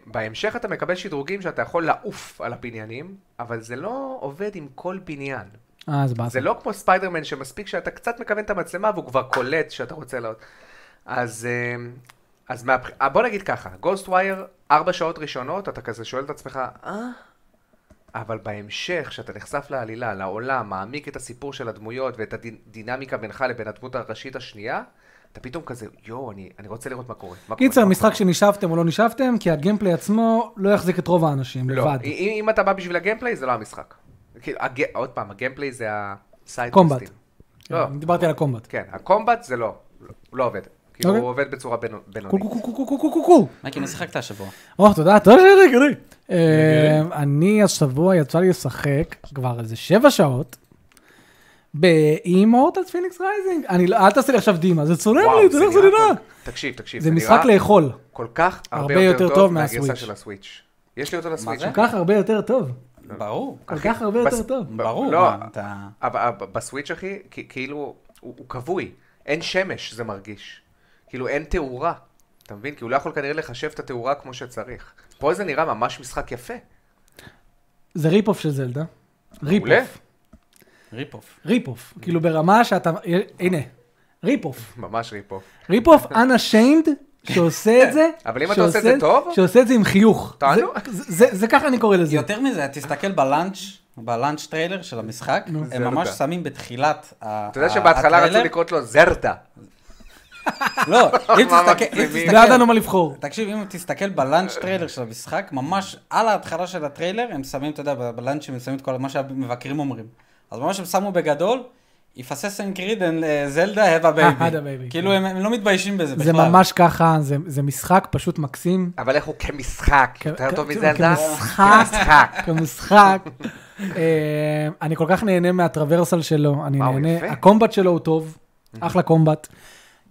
Speaker 2: ובהמשך אתה מקבל שדרוגים שאתה יכול לעוף על הבניינים, אבל זה לא עובד עם כל בניין.
Speaker 1: אה, זה באסה.
Speaker 2: זה לא כמו ספיידרמן שמספיק שאתה קצת מכוון את המצלמה והוא כבר קולט שאתה רוצה לעוד. אז, אה, אז מהבח... אה, בוא נגיד ככה, גוסט ווייר, ארבע שעות ראשונות, אתה כזה שואל את עצמך, אה? אבל בהמשך, כשאתה נחשף לעלילה, לעולם, מעמיק את הסיפור של הדמויות ואת הדינמיקה בינך לבין הדמות הראשית השנייה, אתה פתאום כזה, יואו, אני, אני רוצה לראות מה קורה. מה קורה,
Speaker 1: קיצר,
Speaker 2: מה
Speaker 1: משחק
Speaker 2: קורה."
Speaker 1: שנשאפתם או לא נשאפתם, כי הגיימפליי עצמו לא יחזיק את רוב האנשים,
Speaker 2: לא,
Speaker 1: לבד.
Speaker 2: אם, אם אתה בא בשביל הגיימפליי, זה לא המשחק. כאילו, הג... עוד פעם, הגיימפליי זה הסייד
Speaker 1: קומבט.
Speaker 2: לא,
Speaker 1: כן, דיברתי על הקומבט.
Speaker 2: כן, הקומבט זה לא, הוא לא עובד. כאילו,
Speaker 1: אוקיי.
Speaker 2: הוא עובד בצורה בין-
Speaker 1: קו
Speaker 2: בינונית.
Speaker 1: קו קו קו קו קו קו קו.
Speaker 3: מייקי, מה שיחקת השבוע?
Speaker 1: או, תודה, תודה שרגע, אני השבוע יצא לי לשחק כבר איזה שבע שעות. באימורטלס פיניקס רייזינג. אני לא, אל תעשה לי עכשיו דימה, זה צורם לי, אתה יודע איך זה נראה.
Speaker 2: כל- תקשיב, תקשיב,
Speaker 1: זה משחק
Speaker 2: נראה
Speaker 1: לאכול.
Speaker 2: כל כך הרבה
Speaker 1: הרבה יותר
Speaker 2: יותר
Speaker 1: טוב
Speaker 2: טוב
Speaker 1: מהסוויץ'.
Speaker 2: מהגרסה של הסוויץ'. יש לי אותו לסוויץ'.
Speaker 3: זה?
Speaker 1: כל כך הרבה יותר טוב.
Speaker 2: לא.
Speaker 3: ברור.
Speaker 1: כל
Speaker 2: אחי,
Speaker 1: כך הרבה
Speaker 2: בס-
Speaker 1: יותר טוב.
Speaker 2: ב-
Speaker 3: ברור.
Speaker 2: לא,
Speaker 3: מה, אתה...
Speaker 2: אבל- אבל בסוויץ', אחי, כ- כאילו, הוא הוא כבוי. אין שמש, זה מרגיש. כאילו, אין תאורה. אתה מבין? כי הוא לא יכול כנראה לחשב את התאורה כמו שצריך. פה זה נראה ממש משחק יפה.
Speaker 1: זה ריפ אוף של זלדה. ריפ
Speaker 2: מעולה.
Speaker 1: אוף.
Speaker 3: ריפ אוף.
Speaker 1: ריפ אוף. כאילו ברמה שאתה, הנה, ריפ אוף.
Speaker 2: ממש ריפו.
Speaker 1: ריפ אוף unashamed שעושה את זה.
Speaker 2: אבל אם אתה עושה את זה
Speaker 1: שעושה-
Speaker 2: טוב-
Speaker 1: שעושה את זה עם חיוך.
Speaker 2: תענוג.
Speaker 1: זה- זה זה ככה אני קורא לזה.
Speaker 3: יותר מזה, תסתכל בלאנץ', בלאנץ' טריילר של המשחק,
Speaker 2: זה
Speaker 3: הם ממש
Speaker 2: נודע.
Speaker 3: שמים בתחילת ה-
Speaker 2: אתה יודע שבהתחלה רצו
Speaker 3: הטריילר-
Speaker 2: לקרות לו זרדה.
Speaker 3: לא, אם
Speaker 2: מה,
Speaker 3: תסתכל... אם
Speaker 2: מגזימים?
Speaker 3: תסתכל-
Speaker 1: לא ידענו מה לבחור.
Speaker 3: תקשיב, אם תסתכל בלאנץ' טריילר של המשחק, ממש על ההתחלה של הטריילר, הם שמים, אתה יודע, בלאנץ' הם שמים את כל מה שהמבקרים אומרים. אז ממש הם שמו בגדול, יפסס אין קריד אין זלדה, הבה
Speaker 1: אה, have a
Speaker 3: בייבי.
Speaker 1: baby.
Speaker 3: כאילו, הם הם לא מתביישים בזה בכלל.
Speaker 1: זה ממש ככה, זה- זה משחק פשוט מקסים.
Speaker 2: אבל איך הוא כמשחק,
Speaker 1: כ-
Speaker 2: יותר
Speaker 1: כ-
Speaker 2: טוב
Speaker 1: כ-
Speaker 2: מזה, אלדד?
Speaker 1: כמשחק. כמשחק. אה, אני כל כך נהנה מהטרוורסל שלו, אני
Speaker 2: וואו,
Speaker 1: נהנה,
Speaker 2: יפה. Mhm.
Speaker 1: הקומבט שלו הוא טוב, אחלה קומבט.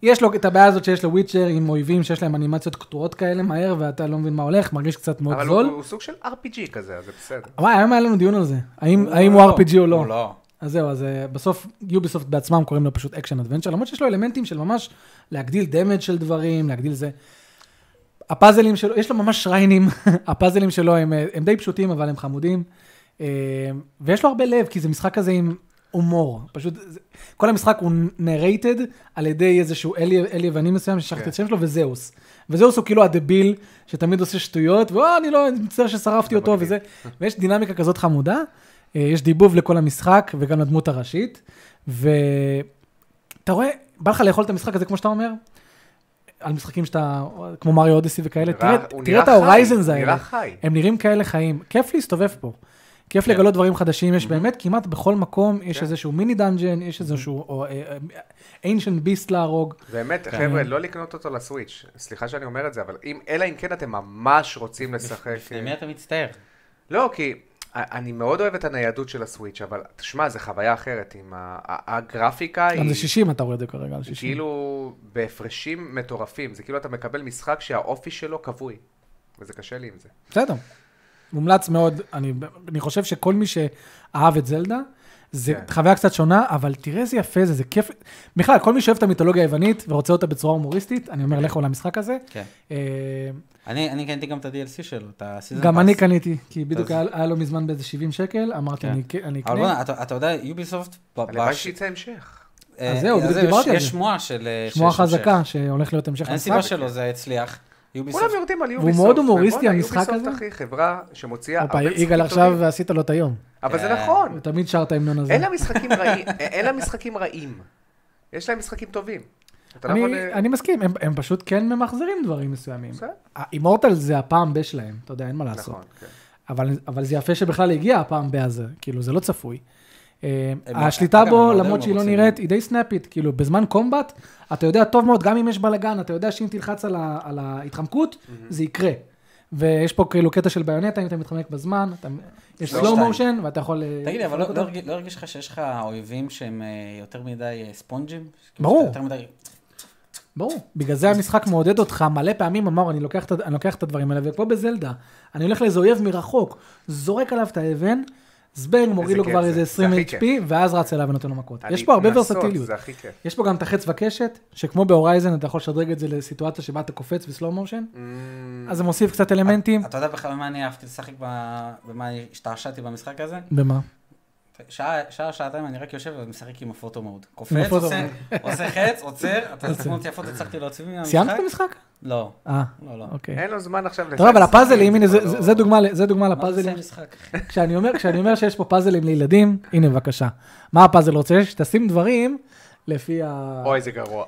Speaker 1: יש לו את הבעיה הזאת שיש לוויצ'ר עם אויבים שיש להם אנימציות קטועות כאלה מהר, ואתה לא מבין מה הולך, מרגיש קצת מאוד
Speaker 2: אבל הוא,
Speaker 1: זול.
Speaker 2: הוא סוג של RPG כזה, אז זה בסדר.
Speaker 1: וואי, היום היה לנו דיון על זה, האם האם הוא RPG או לא.
Speaker 3: הוא לא.
Speaker 1: אז זהו, אז אה, בסוף יוביסופט בעצמם קוראים לו פשוט אקשן אדוונצ'ר, למרות שיש לו אלמנטים של ממש להגדיל דמג' של דברים, להגדיל זה. הפאזלים שלו, יש לו ממש שריינים, הפאזלים שלו הם, אה, הם די פשוטים, אבל הם חמודים. אה, ויש לו הרבה לב, כי זה משחק כזה עם הומור. פשוט, זה- כל המשחק הוא נרייטד על ידי איזשהו אל, אל יווני מסוים, ששכחתי
Speaker 2: כן.
Speaker 1: את השם שלו, וזהוס. וזהוס הוא כאילו הדביל שתמיד עושה שטויות, וואו, אני לא, אני מצטער ששרפתי
Speaker 2: לא
Speaker 1: אותו
Speaker 2: מגניב.
Speaker 1: וזה. ויש דינמיקה כזאת חמודה, אה, יש דיבוב לכל המשחק וגם לדמות הראשית, ואתה רואה, בא לך לאכול את המשחק הזה כמו שאתה אומר, על משחקים שאתה, כמו מריו אודיסי וכאלה,
Speaker 2: נראה-
Speaker 1: תראה,
Speaker 2: הוא
Speaker 1: תראה
Speaker 2: נראה
Speaker 1: את ההורייזנס
Speaker 2: חי,
Speaker 1: האלה,
Speaker 2: נראה חי.
Speaker 1: הם נראים כאלה חיים, כיף להסתובב פה. כיף לגלות דברים חדשים, יש באמת כמעט בכל מקום, יש
Speaker 2: Mm-hmm. כן.
Speaker 1: איזשהו מיני דאנג'ן, יש איזשהו אה, אינשנט ביסט להרוג.
Speaker 2: באמת, חבר'ה, לא לקנות אותו לסוויץ'. סליחה שאני אומר את זה, אבל אם, אלא אם כן אתם ממש רוצים לשחק... אה,
Speaker 3: למי אתה מצטער?
Speaker 2: לא, כי א- אני מאוד אוהב את הניידות של הסוויץ', אבל תשמע, זו חוויה אחרת. עם ה- ה- הגרפיקה
Speaker 1: גם
Speaker 2: היא...
Speaker 1: זה 60 אתה רואה את זה כרגע, על
Speaker 2: היא
Speaker 1: 60.
Speaker 2: כאילו בהפרשים מטורפים. זה כאילו אתה מקבל משחק שהאופי שלו כבוי. וזה קשה לי עם זה.
Speaker 1: בסדר. מומלץ מאוד, אני, אני חושב שכל מי שאהב את זלדה, זה
Speaker 2: כן.
Speaker 1: חוויה קצת שונה, אבל תראה איזה יפה זה, זה כיף. בכלל, כל מי שאוהב את המיתולוגיה היוונית ורוצה אותה בצורה הומוריסטית, אני אומר לכו למשחק הזה.
Speaker 3: כן.
Speaker 1: אה,
Speaker 3: אני אני קניתי גם את ה-DLC שלו, את ה-season
Speaker 1: גם
Speaker 3: pass.
Speaker 1: אני קניתי, כי בדיוק
Speaker 3: אז-
Speaker 1: היה היה לו מזמן באיזה 70 שקל, אמרתי,
Speaker 3: כן.
Speaker 1: אני אק- אני
Speaker 3: אבל
Speaker 1: אקנה.
Speaker 3: בוא'נה, אתה- אתה יודע, יוביסופט... ב-
Speaker 2: הלוואי
Speaker 3: בש-
Speaker 2: שיצא המשך.
Speaker 3: אה,
Speaker 1: אז זהו, בדיוק
Speaker 3: יש-
Speaker 1: דיברתי על
Speaker 3: יש
Speaker 1: זה.
Speaker 3: שמועה של... אה,
Speaker 1: שמועה
Speaker 3: שיש המשך.
Speaker 1: חזקה שהולך להיות המשך
Speaker 3: אין סיבה
Speaker 1: המשחק.
Speaker 3: שלא זה הצליח.
Speaker 2: כולם
Speaker 3: יוביסופט,
Speaker 2: יורדים על
Speaker 1: והוא
Speaker 2: יוביסופט.
Speaker 1: מאוד הומוריסטי,
Speaker 2: ובואנה,
Speaker 1: המשחק
Speaker 2: יוביסופט,
Speaker 1: הזה.
Speaker 2: אחי, חברה שמוציאה
Speaker 1: הופה,
Speaker 2: הרבה משחקים
Speaker 1: יגאל
Speaker 2: טובים.
Speaker 1: עכשיו אה, עשית לו את היום.
Speaker 2: אבל זה
Speaker 3: כן.
Speaker 2: נכון.
Speaker 1: הוא תמיד שר את ההמנון הזה.
Speaker 2: אין לה משחקים רעים. אין לה משחקים רעים. יש להם משחקים טובים. אתה לא
Speaker 1: אני-
Speaker 2: יכול, אה,
Speaker 1: אני מסכים, הם- הם פשוט כן ממחזרים דברים מסוימים.
Speaker 2: בסדר.
Speaker 1: אימורטל זה הפעם ב שלהם, אתה יודע, אין מה לעשות.
Speaker 2: נכון, כן.
Speaker 1: אבל, אבל זה יפה שבכלל הגיע הפעם בעזה, כאילו, זה לא צפוי. אה,
Speaker 3: הם- לא-
Speaker 1: השליטה
Speaker 3: אגב, הם
Speaker 1: בו,
Speaker 3: מאוד
Speaker 1: למרות שהיא לא
Speaker 3: מרוצים.
Speaker 1: נראית, היא די סנאפית, כאילו, בזמן קומבט, אתה יודע טוב מאוד, גם אם יש בלאגן, אתה יודע שאם תלחץ על, ה, על ההתחמקות, זה יקרה. ויש פה כאילו קטע של ביונטה, אם אתה מתחמק בזמן, אתה, יש
Speaker 3: לא
Speaker 1: סלואו
Speaker 3: שתיים.
Speaker 1: מושן, ואתה יכול... אה,
Speaker 3: תגיד לי, אבל
Speaker 1: לפרק
Speaker 3: לא- לא
Speaker 1: אותם.
Speaker 3: הרגיש- לא הרגיש לך שיש לך אויבים שהם אה, יותר מדי אה, ספונג'ים?
Speaker 1: ברור.
Speaker 3: יותר מדי...
Speaker 1: ברור, בגלל זה המשחק מעודד אותך, מלא פעמים אמר, אני לוקח, את ה- אני לוקח את הדברים האלה, וכמו בזלדה, אני הולך לאיזה אויב מרחוק, זורק עליו את האבן, זבנג, מוריד לו
Speaker 2: כיף
Speaker 1: כבר
Speaker 2: זה,
Speaker 1: איזה
Speaker 2: זה
Speaker 1: 20
Speaker 2: הכי
Speaker 1: HP, ואז רץ אליו ונותן לו מכות. יש
Speaker 2: אני-
Speaker 1: פה הרבה
Speaker 2: לעשות,
Speaker 1: ורסטיליות.
Speaker 2: זה הכי כיף.
Speaker 1: יש פה גם את החץ וקשת, שכמו בהורייזן אתה יכול לשדרג את זה לסיטואציה שבה אתה קופץ בסלואו מושן,
Speaker 2: Mm,
Speaker 1: אז זה מוסיף קצת אלמנטים.
Speaker 3: אתה יודע בכלל מה אני אהבתי לשחק, ב- במה השתעשעתי במשחק הזה?
Speaker 1: במה?
Speaker 3: שעה, שעה, שעתיים אני רק יושב ומשחק עם הפוטו מוד. קופץ,
Speaker 1: הפוטו
Speaker 3: עושה, עושה חץ, עוצר, אתה
Speaker 1: עוצר.
Speaker 3: תסתכלו אותי הפוטו, הצלחתי להוציא מהמשחק.
Speaker 1: סיימת את המשחק?
Speaker 3: לא,
Speaker 1: אה,
Speaker 3: לא, לא.
Speaker 1: אוקיי.
Speaker 2: אין לו זמן עכשיו
Speaker 1: אתה רואה, אבל
Speaker 2: לשחק.
Speaker 1: הפאזלים, הנה, זה-
Speaker 2: כבר לא-
Speaker 1: זה- זה דוגמה ל- זה דוגמה
Speaker 3: מה זה
Speaker 1: לפאזלים.
Speaker 3: המשחק?
Speaker 1: כשאני אומר, כשאני אומר שיש פה פאזלים לילדים, הנה בבקשה. מה הפאזל רוצה? שתשים דברים לפי ה...
Speaker 2: אוי, זה גרוע.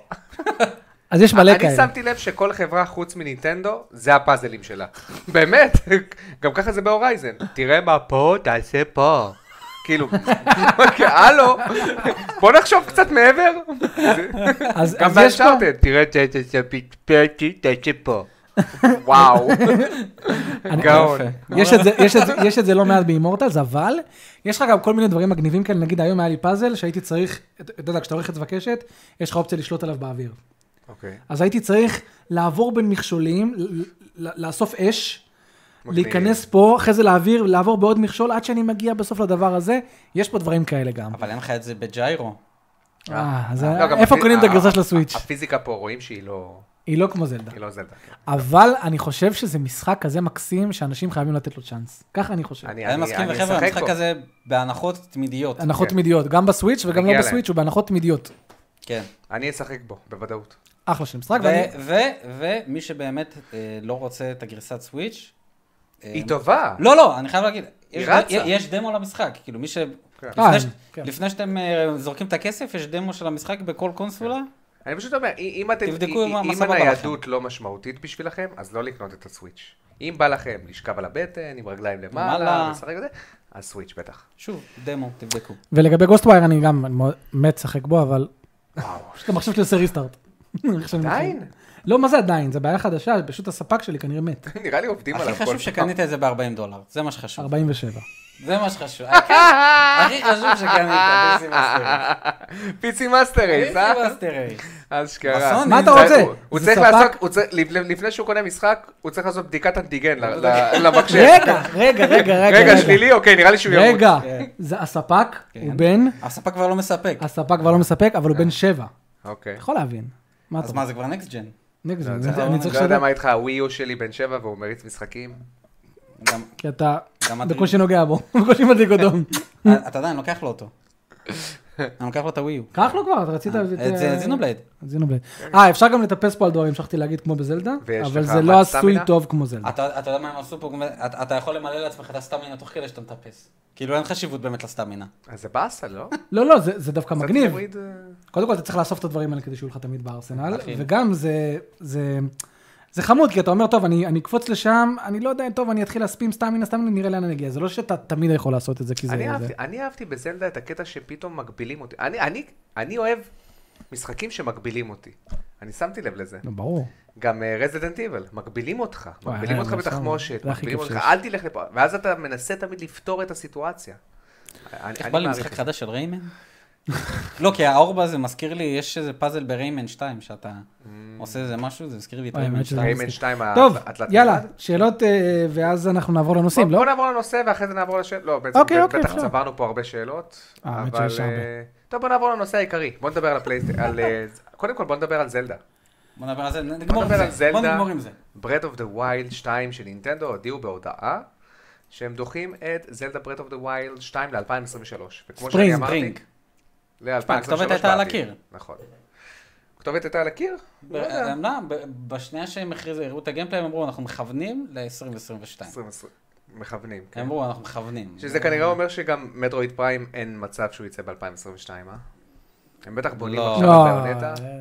Speaker 1: אז יש מלא
Speaker 2: אני
Speaker 1: כאלה.
Speaker 2: שמתי לב שכל חברה חוץ מנינטנדו, זה הפאזלים שלה. באמת, גם ככה זה בהורייזן. תראה מה פה, תעשה פה. כאילו, אוקיי, הלו, בוא נחשוב קצת מעבר.
Speaker 1: אז אז
Speaker 2: גם
Speaker 1: יש פה,
Speaker 2: באנשארטד, תראה, ת- ת- ת- פ- פ- ת- תעשה פה. וואו,
Speaker 1: אני-
Speaker 2: גאון.
Speaker 1: יש את זה- יש את זה- יש את זה לא מעט באימורטלס, אבל יש לך גם כל מיני דברים מגניבים כאלה, נגיד היום היה לי פאזל שהייתי צריך, אתה אתה יודע, כשאתה הולך את וקשת, יש לך אופציה לשלוט עליו באוויר.
Speaker 2: אוקיי,
Speaker 1: אז הייתי צריך לעבור בין מכשולים, ל- ל- לאסוף אש,
Speaker 2: מגניב.
Speaker 1: להיכנס פה, אחרי זה לאוויר, לעבור בעוד מכשול, עד שאני מגיע בסוף לדבר הזה, יש פה דברים כאלה גם.
Speaker 3: אבל אין לך את זה בג'יירו.
Speaker 1: אה, אז
Speaker 2: לא, גם
Speaker 1: איפה
Speaker 2: הפי-
Speaker 1: קונים את
Speaker 2: ה-
Speaker 1: הגרסה
Speaker 2: ה-
Speaker 1: של הסוויץ'?
Speaker 2: הפיזיקה פה רואים שהיא לא
Speaker 1: היא לא כמו זלדה.
Speaker 2: היא לא זלדה. כן.
Speaker 1: אבל אני חושב שזה משחק כזה מקסים, שאנשים חייבים לתת לו צ'אנס. ככה אני חושב.
Speaker 2: אני
Speaker 3: אני
Speaker 2: אני-
Speaker 3: מסכים,
Speaker 2: אני
Speaker 3: וחבר'ה,
Speaker 2: אשחק
Speaker 3: המשחק
Speaker 2: בו.
Speaker 3: הזה בהנחות תמידיות.
Speaker 1: הנחות
Speaker 2: כן.
Speaker 1: תמידיות, גם בסוויץ' וגם
Speaker 2: מגיע
Speaker 1: לא
Speaker 2: להם.
Speaker 1: בסוויץ', הוא בהנחות תמידיות.
Speaker 3: כן.
Speaker 2: אני אשחק בו, בוודאות.
Speaker 1: אחלה של משחק,
Speaker 3: ו-
Speaker 1: ואני-
Speaker 3: ו- ומי שבאמת אה, לא רוצה את הגרסת סוויץ', אה,
Speaker 2: היא טובה.
Speaker 3: לא, לא, אני חייב להגיד, יש-
Speaker 2: רצה.
Speaker 3: יש דמו למשחק, כאילו מי ש...
Speaker 1: אה,
Speaker 3: לפני ש-
Speaker 1: כן.
Speaker 3: לפני שאתם אה, זורקים את הכסף, יש דמו של המשחק בכל קונסולה.
Speaker 2: אני פשוט אומר, אי- אם אתם,
Speaker 3: תבדקו
Speaker 2: אי-
Speaker 3: מה- מה
Speaker 2: אם
Speaker 3: סבבה
Speaker 2: הניידות לא משמעותית בשבילכם, אז לא לקנות את הסוויץ'. אם בא לכם לשכב על הבטן, עם רגליים למעלה,
Speaker 3: למעלה.
Speaker 2: לשחק בזה, אז סוויץ' בטח.
Speaker 3: שוב, דמו, תבדקו.
Speaker 1: ולגבי גוסטווייר אני גם אני מאוד- מת לשחק בו, אבל
Speaker 2: וואו,
Speaker 1: פשוט המחשב שלי עושה ריסטארט. איך שאני
Speaker 2: עדיין?
Speaker 1: מתחיל. לא, מה זה עדיין? זה בעיה חדשה, פשוט הספק שלי כנראה מת.
Speaker 2: נראה לי עובדים עליו
Speaker 3: הכי
Speaker 2: כל
Speaker 3: חשוב
Speaker 2: פעם.
Speaker 3: שקנית את זה ב-40 דולר, זה מה שחשוב.
Speaker 1: 47.
Speaker 3: זה מה שחשוב. אה, כן? הכי חשוב שקנית, פיסי מאסטרי.
Speaker 2: פיצי מאסטר רייס,
Speaker 3: פיסי
Speaker 2: אה?
Speaker 3: מאסטרי.
Speaker 2: אשכרה.
Speaker 1: מה אתה
Speaker 2: זה-
Speaker 1: רוצה?
Speaker 2: הוא- הוא
Speaker 1: זה
Speaker 2: צריך
Speaker 1: ספק?
Speaker 2: לעשות, הוא צריך- לפ- לפני שהוא קונה משחק, הוא צריך לעשות בדיקת אנטיגן ל- ל- למחשב.
Speaker 1: רגע, רגע, רגע, רגע.
Speaker 2: רגע, שלילי? אוקיי, נראה לי שהוא ימות.
Speaker 1: רגע,
Speaker 3: כן.
Speaker 1: זה הספק, הוא
Speaker 3: כן.
Speaker 1: בן,
Speaker 3: הספק כבר לא מספק.
Speaker 1: הספק כבר לא מספק, אבל
Speaker 2: כן.
Speaker 1: הוא בן שבע.
Speaker 2: אוקיי.
Speaker 1: יכול להבין. מה אתה
Speaker 3: אז מה, זה כבר נקסט ג'ן.
Speaker 1: נגד זה,
Speaker 2: לא
Speaker 1: אני-
Speaker 2: יודע-
Speaker 1: אני צריך
Speaker 2: לא יודע
Speaker 1: לדעת,
Speaker 2: מה איתך, הווי יו שלי בן שבע והוא מריץ משחקים.
Speaker 3: גם-
Speaker 1: כי אתה
Speaker 3: גם מדריך.
Speaker 1: בקושי נוגע בו, בקושי מדליק אדום. אה.
Speaker 3: אתה יודע, אני לוקח לו אותו. אני לוקח לו את הווי יו.
Speaker 1: קח לו כבר, אתה
Speaker 2: אה,
Speaker 1: רצית...
Speaker 3: את זה- זינובלייד.
Speaker 1: את זינובלייד. אה, אפשר גם לטפס פה על דברים, המשכתי להגיד כמו בזלדה,
Speaker 2: ויש
Speaker 1: אבל
Speaker 2: לך אה.
Speaker 1: זה
Speaker 2: מה,
Speaker 1: לא עשוי
Speaker 2: סטמינה?
Speaker 1: טוב כמו זלדה.
Speaker 3: אתה אתה יודע מה הם עשו פה? אתה- אתה יכול למלא לעצמך את הסטמינה תוך כדי שאתה מטפס. כאילו אין חשיבות באמת לסטמינה.
Speaker 2: אז זה באסה, לא?
Speaker 1: לא, לא, זה זה דווקא
Speaker 2: קצת
Speaker 1: מגניב.
Speaker 2: מוריד, אה,
Speaker 1: קודם כל, אתה צריך לאסוף את הדברים האלה כדי שיהיו לך תמיד בארסנל,
Speaker 3: אכן.
Speaker 1: וגם זה... זה- זה חמוד, כי אתה אומר, טוב, אני אני אקפוץ לשם, אני לא יודע, טוב, אני אתחיל להספים סטמינה, סטמינה, נראה לאן אני אגיע. זה לא שאתה תמיד יכול לעשות את זה, כי זה...
Speaker 2: אני אהבתי-
Speaker 1: זה-
Speaker 2: אני אהבתי בזלדה את הקטע שפתאום מגבילים אותי. אני- אני- אני אוהב משחקים שמגבילים אותי. אני שמתי לב לזה.
Speaker 1: נו, ברור.
Speaker 2: גם רזידנט איבל, מגבילים אותך,
Speaker 1: לא. וואי,
Speaker 2: מגבילים
Speaker 1: אה,
Speaker 2: אותך
Speaker 1: זה עכשיו-
Speaker 2: בתחמושת,
Speaker 1: זה הכי
Speaker 2: מגבילים
Speaker 1: כיף
Speaker 2: אותך,
Speaker 1: שיש.
Speaker 2: אל תלך לפה, ואז אתה מנסה תמיד לפתור את הסיטואציה. אני-
Speaker 3: איך
Speaker 2: אני
Speaker 3: בא לי
Speaker 2: מעריך
Speaker 3: משחק
Speaker 2: את זה.
Speaker 3: חדש של
Speaker 2: Mm.
Speaker 3: ריימן? לא, כי האורבה זה מזכיר לי, יש איזה פאזל בריימן 2 שאתה... עושה איזה משהו, זה הזכיר לי את
Speaker 1: וואי,
Speaker 3: ריימן
Speaker 1: האמת שזה-
Speaker 3: שתיים.
Speaker 2: ריימן 2
Speaker 1: טוב,
Speaker 2: התלת
Speaker 1: יאללה, שאלות אה, ואז אנחנו נעבור לנושאים, לא?
Speaker 2: בוא נעבור לנושא ואחרי זה נעבור לשאלות. לא, בעצם
Speaker 1: אוקיי, אוקיי,
Speaker 2: בטח
Speaker 1: אפשר.
Speaker 2: צברנו פה הרבה שאלות.
Speaker 1: אה, האמת
Speaker 2: אבל...
Speaker 1: שיש הרבה.
Speaker 2: אה, טוב, בוא נעבור לנושא העיקרי. בוא נדבר על הפלייסט... על, אה, קודם כל בוא נדבר על זלדה.
Speaker 3: בוא נדבר על זה, נגמור עם
Speaker 2: נדבר על
Speaker 3: זה. בוא
Speaker 2: זלדה.
Speaker 3: נגמור עם זה.
Speaker 2: ברד אוף דה ווילד 2 של נינטנדו הודיעו בהודעה שהם דוחים את זלדה ברד אוף דה ווילד 2 ל-2023. וכמו שאני
Speaker 1: ספרינג,
Speaker 2: אמרתי...
Speaker 3: ספרינג.
Speaker 2: ל- 2023
Speaker 3: הכתובת הייתה על
Speaker 2: בעתיד.
Speaker 3: הקיר.
Speaker 2: נכון. הכתובת הייתה על הקיר? לא יודע.
Speaker 3: הם לא, ב- בשנייה שהם הכריזו, הראו את הגיימפליי, הם אמרו, אנחנו מכוונים ל-2022.
Speaker 2: 2020. מכוונים. כן.
Speaker 3: הם אמרו, אנחנו מכוונים.
Speaker 2: שזה כנראה אומר שגם מטרואיד פריים אין מצב שהוא יצא ב-2022, אה? הם בטח בונים
Speaker 3: לא.
Speaker 2: עכשיו
Speaker 1: לא,
Speaker 2: על ביונטה.
Speaker 1: אה, אה.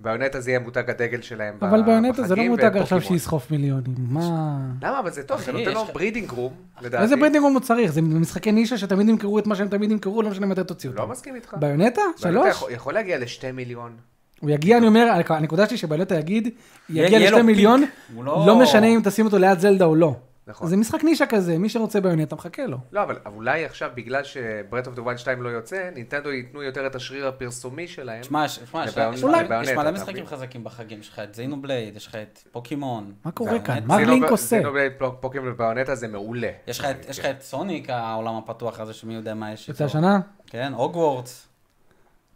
Speaker 2: ביונטה זה יהיה מותג הדגל שלהם ב-
Speaker 1: אבל ביונטה זה לא
Speaker 2: בחגים,
Speaker 1: מותג
Speaker 2: והם
Speaker 1: עכשיו
Speaker 2: פוקימון.
Speaker 1: שיסחוף מיליונים, מה...
Speaker 2: למה? אבל זה טוב, זה
Speaker 3: אחי,
Speaker 2: נותן
Speaker 3: יש
Speaker 2: לו
Speaker 3: לך-
Speaker 2: ברידינג רום, לדעתי.
Speaker 1: איזה ברינדינג הוא צריך? זה משחקי נישה שתמיד ימכרו את מה שהם תמיד ימכרו, לא משנה מתי תוציאו
Speaker 2: לא
Speaker 1: אותם.
Speaker 2: מסכים איתך.
Speaker 1: ביונטה?
Speaker 2: ביונטה
Speaker 1: שלוש?
Speaker 2: יכול- יכול להגיע לשתי מיליון.
Speaker 1: הוא יגיע, אני אומר, הנקודה שלי שביונטה יגיד, יגיע
Speaker 3: יהיה לו
Speaker 1: לשתי מיליון,
Speaker 3: פיק. הוא לא-
Speaker 1: לא משנה אם תשים אותו ליד זלדה או לא.
Speaker 2: נכון.
Speaker 1: זה משחק נישה כזה, מי שרוצה ביונטה מחכה לו.
Speaker 2: לא, אבל אבל אולי עכשיו, בגלל שברט אוף דה ווילד 2 לא יוצא, נינטנדו ייתנו יותר את השריר הפרסומי שלהם.
Speaker 3: תשמע, ש- תשמע,
Speaker 2: זה
Speaker 3: ש-
Speaker 2: בעונ-
Speaker 3: יש
Speaker 2: אולי.
Speaker 3: מלא- יש
Speaker 2: בעונט,
Speaker 3: מלא
Speaker 2: אתה
Speaker 3: משחקים
Speaker 2: מבין?
Speaker 3: חזקים בחגים, יש לך את זינו בלייד, יש לך את פוקימון.
Speaker 1: מה קורה כאן?
Speaker 3: זה
Speaker 1: מה
Speaker 2: זינו-
Speaker 1: לינק עושה?
Speaker 2: זינו בלייד פוק- פוקימון וביונטה זה מעולה.
Speaker 3: יש לך את- יש לך את סוניק, העולם הפתוח הזה, שמי יודע מה יש.
Speaker 1: יוצא
Speaker 3: איתו.
Speaker 1: השנה?
Speaker 3: כן, הוגוורטס.